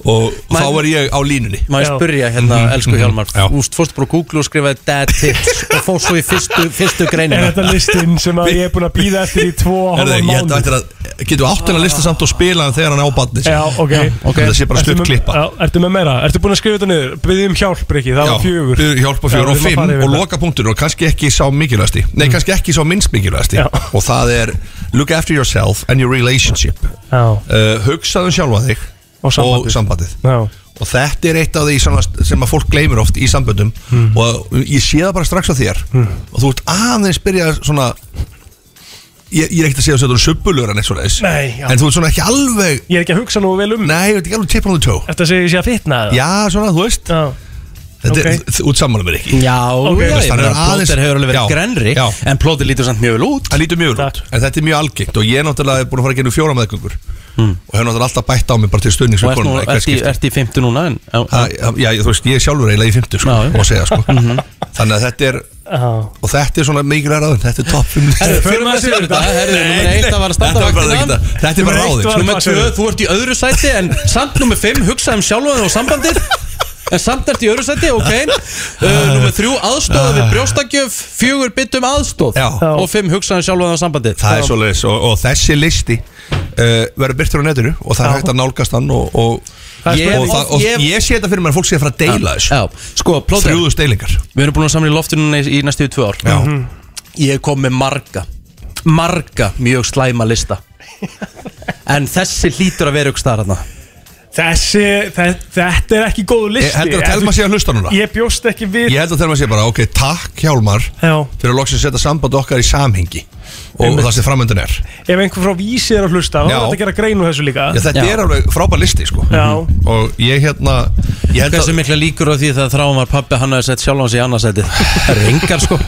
Speaker 15: Og þá er ég á línunni
Speaker 1: Má ég spyrja hérna,
Speaker 15: Mhm,
Speaker 1: elsku
Speaker 15: mhm.
Speaker 1: Hjálmar Úst, fórstu bara á Google og skrifaði dad tips og fórst svo í fyrstu, fyrstu greinina
Speaker 2: Er þetta listin sem að ég er búin að býða eftir í tvo og
Speaker 15: Herðu,
Speaker 2: halvan
Speaker 15: ég held að
Speaker 2: mánu?
Speaker 15: þetta er að Getur átt hennar lista samt og spila hann þegar hann á badni
Speaker 2: Já, ok, ok
Speaker 15: Það sé bara
Speaker 2: Ertu
Speaker 15: stutt
Speaker 2: með-
Speaker 15: klippa
Speaker 2: Já, Ertu með meira? Ertu búin að skrifa þetta niður? Byðið um hjálp, Riki, það var fjögur
Speaker 15: biðju Hjálpa fjögur og
Speaker 2: Já, við erum að
Speaker 15: fimm
Speaker 2: fara
Speaker 15: og
Speaker 2: yfir þetta. Mm.
Speaker 15: loka punktur og kannski ekki sá mikilvægasti Nei, kannski ekki sá minnst mikilvægasti Og það er Look after yourself and your relationship
Speaker 2: Já,
Speaker 15: uh, Hugsaðu um sjálfa þig
Speaker 2: Og sambandið.
Speaker 15: sambandið.
Speaker 2: já
Speaker 15: Og þetta er eitt af því sem að, sem að fólk gleymir oft í samböndum
Speaker 2: Mm.
Speaker 15: og ég sé það bara strax á þér og þú ert aðeins byrja svona ég, ég er ekkert að segja þess að þú eru subbulur en eitthvað svoleiðis.
Speaker 2: Nei, já.
Speaker 15: en þú ert svona ekki alveg
Speaker 2: Ég er ekki að hugsa nú vel um
Speaker 15: Nei, ég veit ekki alveg tippin á þú tó
Speaker 2: Þetta segir ég sé að fitna eða?
Speaker 15: Já, svona, þú veist
Speaker 2: Já
Speaker 15: Þetta
Speaker 2: Ok.
Speaker 15: er út saman með ekki
Speaker 1: Já,
Speaker 2: Ok.
Speaker 1: já, ég
Speaker 15: Þannig
Speaker 1: meina
Speaker 15: að aðeins-
Speaker 1: plóter hefur alveg verið
Speaker 15: Já,
Speaker 1: grenri
Speaker 15: já.
Speaker 1: En plóter lítur samt mjög vel út
Speaker 15: Það lítur mjög vel út En þetta er mjög algengt Og ég er náttúrulega búin að fara að gera um fjóra meðgöngur Og hefur náttúrulega alltaf bætt á mig bara til stöðnings
Speaker 1: Hmm. Og ert nú- ert í- ert í 50 núna en, já,
Speaker 15: Já, já, þú veist, ég er sjálfur eiginlega í 50 sko, og segja, sko.
Speaker 1: Mhm.
Speaker 15: Þannig að þetta er Og þetta er svona mikilvæg ráðin Þetta er topp fimm listi.
Speaker 1: Förum að séu þetta, herðu,
Speaker 15: Nei,
Speaker 1: nummer eitt að var að standa
Speaker 15: þetta var bara
Speaker 1: vaktina
Speaker 15: þetta. Þetta er bara
Speaker 1: Númer eitt
Speaker 15: ráðið,
Speaker 1: var-
Speaker 15: sko.
Speaker 1: Númer tvö, þú ert í öðru sæti en samt nummer fimm, hugsaði um sjálfan þig og sambandið En samt ertu í öru seti, ok uh, Númer þrjú, aðstóð við brjóstakjöf Fjögur byttum aðstóð Já. Og fimm um hugsaðan sjálfan á sambandi
Speaker 15: Það er svoleiðis og, og þessi listi uh, verður byrtur á netinu og það er hægt að nálgast hann og, og,
Speaker 1: Það er
Speaker 15: ég, og,
Speaker 1: spurning.
Speaker 15: það, og ég,
Speaker 1: Ég-
Speaker 15: sé þetta fyrir mér að fólk sé að fara að deila þessu
Speaker 1: já, sko, plóter.
Speaker 15: Þrjúðust deilingar
Speaker 1: Við erum búin að samla í loftinu í, í næstu tvö ár
Speaker 15: Já.
Speaker 2: Mhm.
Speaker 1: Ég kom með marga Marga mjög slæma lista En þessi hlýtur að vera ykkur starf þarna
Speaker 2: Þessi, þe- þetta er ekki góð listi
Speaker 15: Ég heldur að
Speaker 2: En
Speaker 15: Telma
Speaker 2: þú-
Speaker 15: sé að hlusta núna.
Speaker 2: Ég bjóst ekki við
Speaker 15: Ég held að þegar maður sé bara, ok, takk Hjálmar
Speaker 2: Já.
Speaker 15: fyrir að loksa að setja samband okkar í samhengi og
Speaker 2: Einmitt.
Speaker 15: það sem framöndun er
Speaker 2: Ef einhver frá vísi er að hlusta þá er
Speaker 15: Já.
Speaker 2: þetta að gera greinu þessu líka
Speaker 15: Já, Þetta er alveg frábær listi sko
Speaker 2: Já.
Speaker 15: og ég hérna ég held
Speaker 1: Hversu
Speaker 15: að,
Speaker 1: mikla líkur á því þegar þráum var pappi hann hafi sett sjálfan sig í annarsæti Það eru engar sko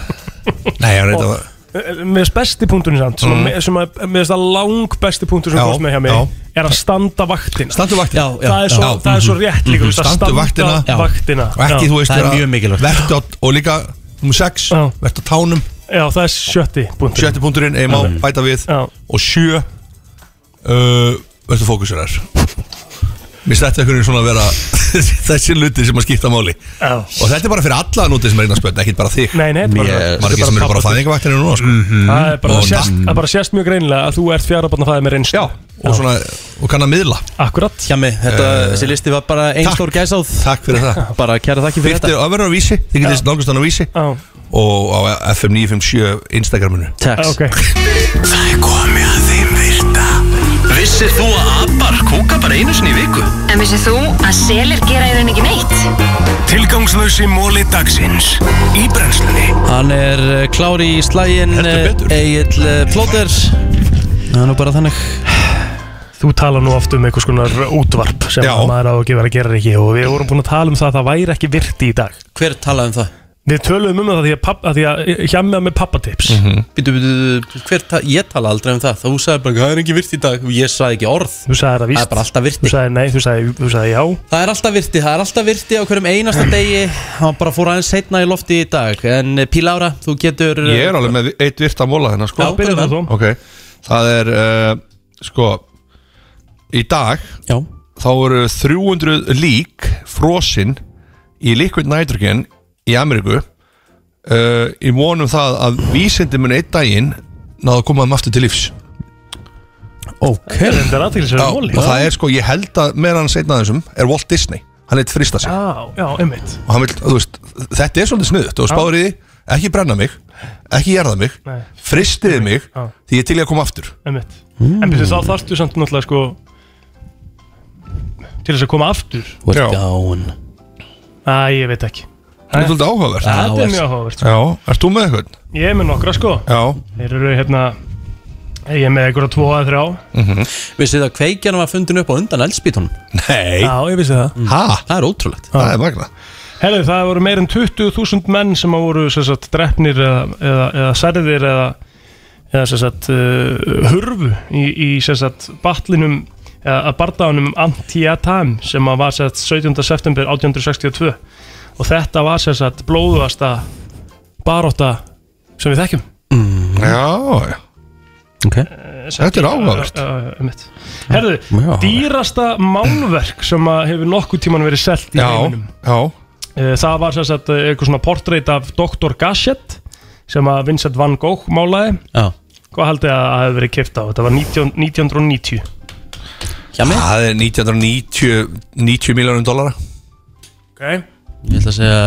Speaker 15: Nei, ég
Speaker 2: Og- Eh, Mér finnst besti punkturinn samt sem,
Speaker 1: Mm.
Speaker 2: mm. sem að, mér finnst að lang besti punktur sem
Speaker 1: Já,
Speaker 2: komst með hjá mig
Speaker 1: já.
Speaker 2: er að standa vaktina
Speaker 15: Standu vaktina
Speaker 2: já, Það er svo, það er svo rétt líka þú veist, að
Speaker 15: Mhm. Standu vaktina,
Speaker 2: standa vaktina
Speaker 15: Og ekki, þú veist, vera-
Speaker 1: mikilvægt
Speaker 15: vertu á- og líka nummer 6, vertu á tánum
Speaker 2: Já, það er sjötti punkturinn
Speaker 15: Sjötti punkturinn, ég má bæta við Og sjö uh, Vertu fókusur þær Mér stætti einhvern veginn svona að vera Þessi luti sem að skipta máli
Speaker 2: Já.
Speaker 15: Og þetta er bara fyrir alla núti sem er einhvern spönd Ekkert bara þig
Speaker 2: Nei, nei, þetta er bara- þetta
Speaker 15: Margir
Speaker 2: er bara
Speaker 15: sem eru bara
Speaker 2: pabbi.
Speaker 15: á fæðingavættinu núna sko.
Speaker 2: Það er bara
Speaker 15: Og
Speaker 2: að sést,
Speaker 15: nafn-
Speaker 2: að bara sést mjög greinilega að þú ert fjarabarnafæði með reynslu Já,
Speaker 15: og svona, og kann að miðla Eh,
Speaker 2: Akkurat
Speaker 1: Hjami, þetta, þessi listi var bara einn stór gæsáð
Speaker 15: Takk fyrir það
Speaker 1: Bara kæra þakki fyrir
Speaker 15: Byrtið
Speaker 1: þetta
Speaker 15: að vera á vísi, þið getist nálgast hann á vísi
Speaker 2: Já.
Speaker 15: Og á FM 957 Instagraminu
Speaker 1: Text
Speaker 4: Það er komið að þeim virta Vissir þú að abar kúka bara einu sinni í viku?
Speaker 6: En vissið þú að selir gera í raun ekki neitt?
Speaker 4: Tilgangslösi móli dagsins Í brennslunni
Speaker 1: Hann er eh, klár í slægin Egil eh, Plóter Það er nú bara þannig
Speaker 2: Þú tala nú oft um einhvers konar útvarp sem
Speaker 1: Já.
Speaker 2: að maður á ekki verið að gera ekki og við vorum búin að tala um það að það væri ekki virti í dag
Speaker 1: Hver talaði um það?
Speaker 2: Við töluðum um það því að, papp, að, því að hjamja með pappatips
Speaker 15: Mhm.
Speaker 1: Býtu, býtu, hver ta Ég tala aldrei um það Þú sagði bara, það er ekki virti í dag og Ég sagði ekki orð
Speaker 2: Þú sagði það víst
Speaker 1: Það er bara alltaf virti
Speaker 2: Þú sagði nei, þú sagði, þú sagði já
Speaker 1: Það er alltaf virti, það er alltaf virti á hverjum einasta degi Hann bara fór aðeins setna í lofti í dag En eh, Pílára, þú getur eh,
Speaker 15: Ég er alveg með eitt virt að móla þennan sko
Speaker 1: Já, byrjaðu þú.
Speaker 15: Ok, það er uh, sko Í dag
Speaker 1: Já.
Speaker 15: Þá eru 300 lík frosin í liquid nitrogen í Ameríku uh, í vonum það að vísindi mun einn daginn náðu að koma þeim aftur til lífs
Speaker 1: Ok
Speaker 2: Þetta er aðtilsverðan móli
Speaker 15: og það er sko, ég held að með hann setna þessum er Walt Disney, hann eitt frista sig
Speaker 2: Já, já, einmitt
Speaker 15: og hann vil, þú veist, þetta er svolítið snuðt og spáður í því, ekki brenna mig ekki gerða mig,
Speaker 2: Nei.
Speaker 15: fristiði mig
Speaker 2: Já.
Speaker 15: því ég er til í að koma aftur
Speaker 2: Einmitt En byrju þá þarftu samt náttúrulega sko Til þess að koma aftur
Speaker 1: Þú ert gán
Speaker 2: Æ, ég veit ekki
Speaker 15: Þetta er svolítið áhugavert
Speaker 2: Þetta er mjög áhugavert sko.
Speaker 15: Já, ert þú með eitthvað?
Speaker 2: Ég er með nokkra sko
Speaker 15: Já
Speaker 2: Þeir eru hérna Ég er með einhverja tvo að þrjá
Speaker 1: eh,
Speaker 15: Mhm.
Speaker 1: Vissið að kveikjan var fundin upp á undan eldspítunum
Speaker 15: Nei
Speaker 2: Já, ég vissi það
Speaker 15: Ha?
Speaker 1: Það er ótrúlegt
Speaker 15: Það er magna
Speaker 2: Herðu, það voru meir en 20.000 menn sem að voru sem sagt, drefnir eða, eða, eða særðir eða, eða sem sagt, uh, hurfu í, í sem sagt, batlinum eða að bardaðunum Antiatam sem að var sem sagt, 17. september 1862 og þetta var sem sagt, blóðuasta baróta sem við þekkjum
Speaker 15: mm. Já, Eh,
Speaker 1: okay.
Speaker 15: Þetta er áhugavert.
Speaker 2: uh, Herðu,
Speaker 15: Já.
Speaker 2: dýrasta málverk sem að hefur nokkuð tíman verið selt
Speaker 15: Já,
Speaker 2: í heiminum
Speaker 15: já
Speaker 2: Eh, Það var sem sagt eh, eitthvað svona portrait af Dr. Gasset sem að Vincent van Gogh málaði
Speaker 1: Já.
Speaker 2: Hvað haldið að það hefði verið kipta á? Þetta var 19, 1990
Speaker 15: Ah. Það er 1990 90 miljónum dollara
Speaker 2: okay.
Speaker 1: Ég ætla að segja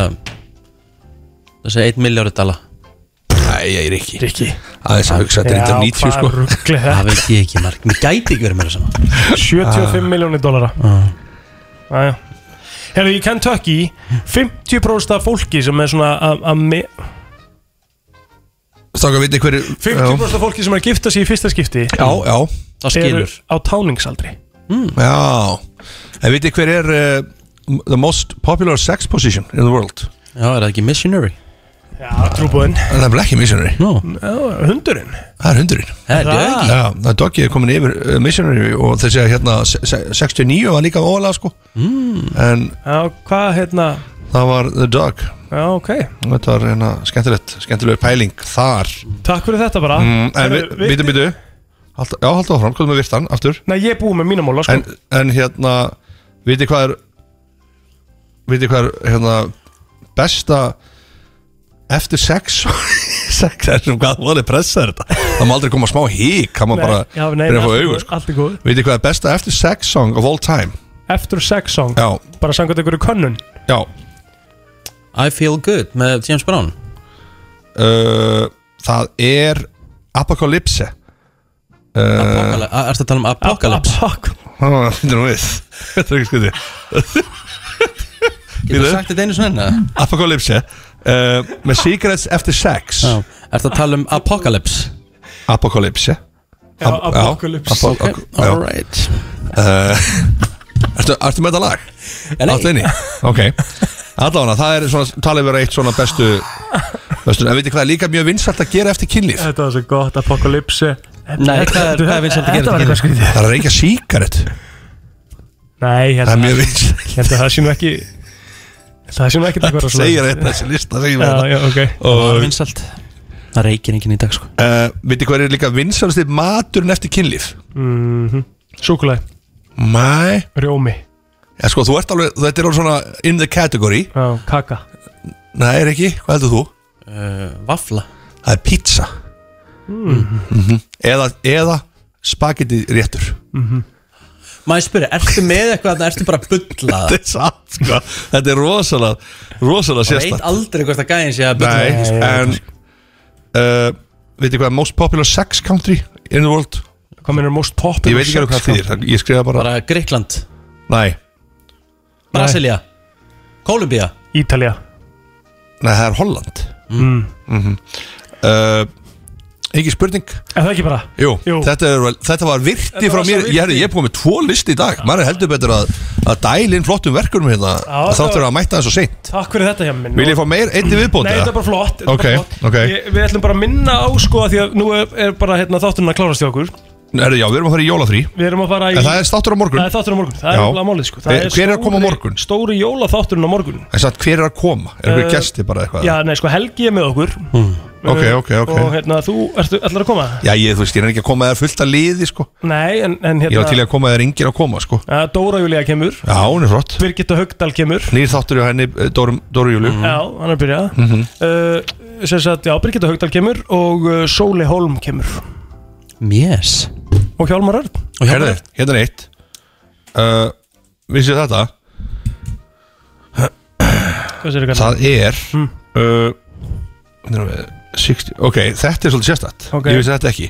Speaker 1: Það segja 1 miljóri dala
Speaker 15: Nei, ég er ekki
Speaker 2: Rikki
Speaker 15: Aðeins að hugsa þetta er
Speaker 2: Já,
Speaker 15: 90
Speaker 2: hvað
Speaker 15: sko
Speaker 2: rugl er þetta?
Speaker 1: Það veit ég ekki marg Mér gæti ekki verið meira saman
Speaker 2: 75 ah. miljónir dólara
Speaker 1: ah.
Speaker 2: Aja. Hefur í Kentucky 50% af fólki sem er svona að- að me-
Speaker 15: Stáka veit hverju
Speaker 2: 50% af fólki sem er að gifta sig í fyrsta skipti
Speaker 15: Já, já
Speaker 2: Það skilur. Eru á táningsaldri
Speaker 1: Mm.
Speaker 15: Já En veit hver er uh, the most popular sex position in the world?
Speaker 1: Já, er það ekki missionary?
Speaker 2: Já, trúbúinn
Speaker 15: Það er nefnilega ekki missionary
Speaker 1: no.
Speaker 2: Hundurinn
Speaker 15: Það er hundurinn
Speaker 1: Það er
Speaker 2: Það? doggy.
Speaker 15: Já, það er doggy er komin yfir uh, missionary og þessi að hérna se- se- 69 var líka óalega sko mm. En
Speaker 2: Já, hvað hérna
Speaker 15: það var the dog
Speaker 2: Já, ok
Speaker 15: Þetta var hérna skemmtilegt, skemmtileg pæling þar
Speaker 2: Takk fyrir þetta bara
Speaker 15: mm, En
Speaker 2: Herru, við-
Speaker 15: býtu, býtu Halda- Já, halda áfram, hvað er með virtan, aftur
Speaker 2: Nei, ég er búið með mínum móla sko.
Speaker 15: en, en hérna, viti hvað er veit ég hvað er, hérna, besta eftir sex sex er sem hvað voru pressa þetta það má aldrei koma smá hík það má
Speaker 2: Nei,
Speaker 15: bara
Speaker 2: já, nei,
Speaker 15: byrja að fá
Speaker 2: allt í
Speaker 15: augu
Speaker 2: góðu,
Speaker 15: sko.
Speaker 2: allt í góðu.
Speaker 15: veit ég hvað er besta eftir sex song of all time
Speaker 2: After sex song
Speaker 15: já
Speaker 2: Bara samkvæmt einhverju könnun
Speaker 15: já
Speaker 1: I feel good með James Brown
Speaker 15: uh, það er Apocalypse uh,
Speaker 1: Apokala- Er þetta að tala um Apocalypse?
Speaker 15: Það finnir hún við Þetta er ekki skuti
Speaker 1: Getur sagt þetta einu svona
Speaker 15: Apocalypse uh, Með Secrets After Sex
Speaker 1: Er þetta að tala um Apocalypse?
Speaker 15: Apocalypse
Speaker 1: Já,
Speaker 15: Ap-
Speaker 1: Apocalypse.
Speaker 15: Apo-
Speaker 1: Ok,
Speaker 15: já.
Speaker 1: alright.
Speaker 15: uh, ertu, ertu með þetta lag?
Speaker 1: nei.
Speaker 15: Áttu inni? Ok Allána, það er svona, talið vera eitt svona bestu bestu, en veitir hvað er líka mjög vinsalt að gera eftir kynlíf
Speaker 2: Þetta var svo gott, apokalypsi
Speaker 15: Nei, hvað er- hvað er vinsælt að gera
Speaker 2: Þetta var
Speaker 15: eftir kynlíf?
Speaker 2: eitthvað skrítið
Speaker 15: Það er að reykja síkarett
Speaker 2: Nei,
Speaker 15: Það er mjög vinsælt
Speaker 2: Þetta það sé nú ekki Það sé nú ekki eitthvað rosalega.
Speaker 15: segir þetta, þessi lista segir
Speaker 2: Já,
Speaker 15: þetta
Speaker 2: já, ok.
Speaker 1: Það var vinsælt. Það reykir enginn í dag sko
Speaker 15: uh, Veitir hvað er líka vinsælsti maturinn eftir kynlíf?
Speaker 2: Mhm. Súkulæði
Speaker 15: Mæ
Speaker 2: Rjómi
Speaker 15: Já sko, þú ert alveg, þetta er alveg svona in the category
Speaker 2: Já, kaka
Speaker 15: Nei, er ekki, hvað heldur þú?
Speaker 1: Uh, vafla
Speaker 15: Það er pizza
Speaker 1: Mhm.
Speaker 15: Mhm. Eða, eða spagetti réttur
Speaker 2: Mhm.
Speaker 1: Maður spyrir, ertu með eitthvað þarna, ertu bara að bulla
Speaker 15: Þetta er satt sko Þetta er rosalega, rosalega
Speaker 1: Það veit
Speaker 15: sérstætt
Speaker 1: aldrei hvort að gæðin sé að bulla
Speaker 15: Nei, en uh, Veitir hvað, most popular sex country in the world
Speaker 2: Hvað meinar most popular
Speaker 15: Ég veit ekki alveg
Speaker 2: sex
Speaker 15: hvað þýðir,
Speaker 2: country?
Speaker 15: það- ég skrifa bara
Speaker 1: sko. Bara Greikland
Speaker 15: Nei,
Speaker 1: Brasilia Kolumbía
Speaker 2: Ítalja
Speaker 15: nei, það er Holland
Speaker 2: Mm.
Speaker 15: Mhm. uh, Ekki spurning
Speaker 2: Er það ekki bara?
Speaker 15: Jú, Þetta, er, þetta var virti
Speaker 2: Þetta
Speaker 15: frá
Speaker 2: var
Speaker 15: mér
Speaker 2: svo
Speaker 15: Ég, herri, ég er búin með tvo list í dag Maður er heldur betur að, að dæla inn flottum verkurum hérna
Speaker 2: Já,
Speaker 15: Þáttur
Speaker 2: það-
Speaker 15: að mæta þessu seint
Speaker 2: Takk fyrir þetta hjá minn
Speaker 15: Vil ég fá meir einni viðbót?
Speaker 2: Nei,
Speaker 15: eða?
Speaker 2: þetta er bara flott, þetta er
Speaker 15: Ok,
Speaker 2: bara flott.
Speaker 15: ok.
Speaker 2: Ég, Við ætlum bara að minna á sko að Því að nú er, er bara hérna, þátturinn að klárast hjá okkur
Speaker 15: Herri, já, við erum að fara í jólafrí
Speaker 2: Við erum að fara í
Speaker 15: En það er státtur á morgun
Speaker 2: Það er þátturinn á morgun, það
Speaker 15: Já.
Speaker 2: er alveg málið sko Það
Speaker 15: Hver- Hver er að koma á
Speaker 2: stóri-
Speaker 15: morgun?
Speaker 2: Stóri jólaþátturinn á morgun
Speaker 15: En satt, hver er að koma? Er einhver
Speaker 2: Eh,
Speaker 15: gesti bara eitthvað? Hmm.
Speaker 2: Já, nei, sko Helgi er með okkur
Speaker 15: Ok,
Speaker 2: Uh,
Speaker 15: ok, ok
Speaker 2: Og hérna, þú ertu allar að koma?
Speaker 15: Já, ég, þú veist, ég er ekki að koma þér fullt að liði, sko
Speaker 2: Nei, en, en
Speaker 15: Ég var til í
Speaker 2: hérna
Speaker 15: að koma þér engir að koma, sko
Speaker 2: að Dóra Júlía kemur
Speaker 15: Já, hún er flott
Speaker 2: Birgitta Haugdal kemur
Speaker 15: Nýr þáttur hjá henni, eh, Dóru, Dóru Júliu
Speaker 2: Já, hann er að byrja
Speaker 15: Mhm.
Speaker 2: uh, Sem sagt, já, Birgitta Haugdal kemur Og uh, Sóli Holm kemur
Speaker 1: Yes
Speaker 2: Og Hjálmar Örn
Speaker 15: Herði, hérna er eitt uh, Vissið þetta?
Speaker 2: Hvað Hm. sér
Speaker 15: Það er uh, hérna erum við, 60, Ok, þetta er svolítið sérstætt
Speaker 2: Ok.
Speaker 15: Ég vissi þetta ekki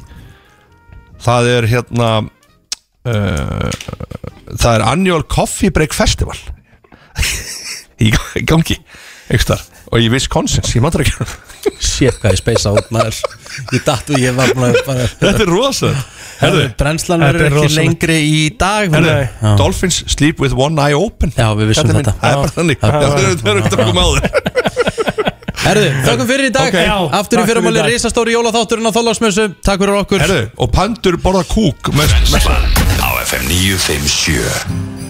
Speaker 15: Það er hérna uh, Það er Annual Coffee Break Festival Í ga- í gangi Ekstar Og í Wisconsin, ég maður ekki
Speaker 1: Sér hvað ég speisa út maður Ég datt og ég var búin að bara
Speaker 15: Þetta er rosalega Herðu,
Speaker 1: Brennslan
Speaker 15: Þetta
Speaker 1: verður
Speaker 15: er
Speaker 1: ekki
Speaker 15: rosalegt.
Speaker 1: lengri í dag
Speaker 15: Herðu,
Speaker 1: þannig- Já.
Speaker 15: Dolphins sleep with one eye open
Speaker 1: Já, við vissum
Speaker 15: Þetta er minn-
Speaker 1: þetta.
Speaker 15: Það er bara þannig
Speaker 1: Já.
Speaker 15: Það er- það er ekkert að koma á þér
Speaker 1: Herðu, þakkum fyrir í dag
Speaker 15: Ok. Já,
Speaker 1: Aftur í
Speaker 15: takk fyrir í
Speaker 1: fyrramáli
Speaker 15: dag.
Speaker 1: risastóri jólaþátturinn á Þólasmössu Takk fyrir okkur
Speaker 15: Herðu, og pandur borða kúk með, með,
Speaker 17: á FM 957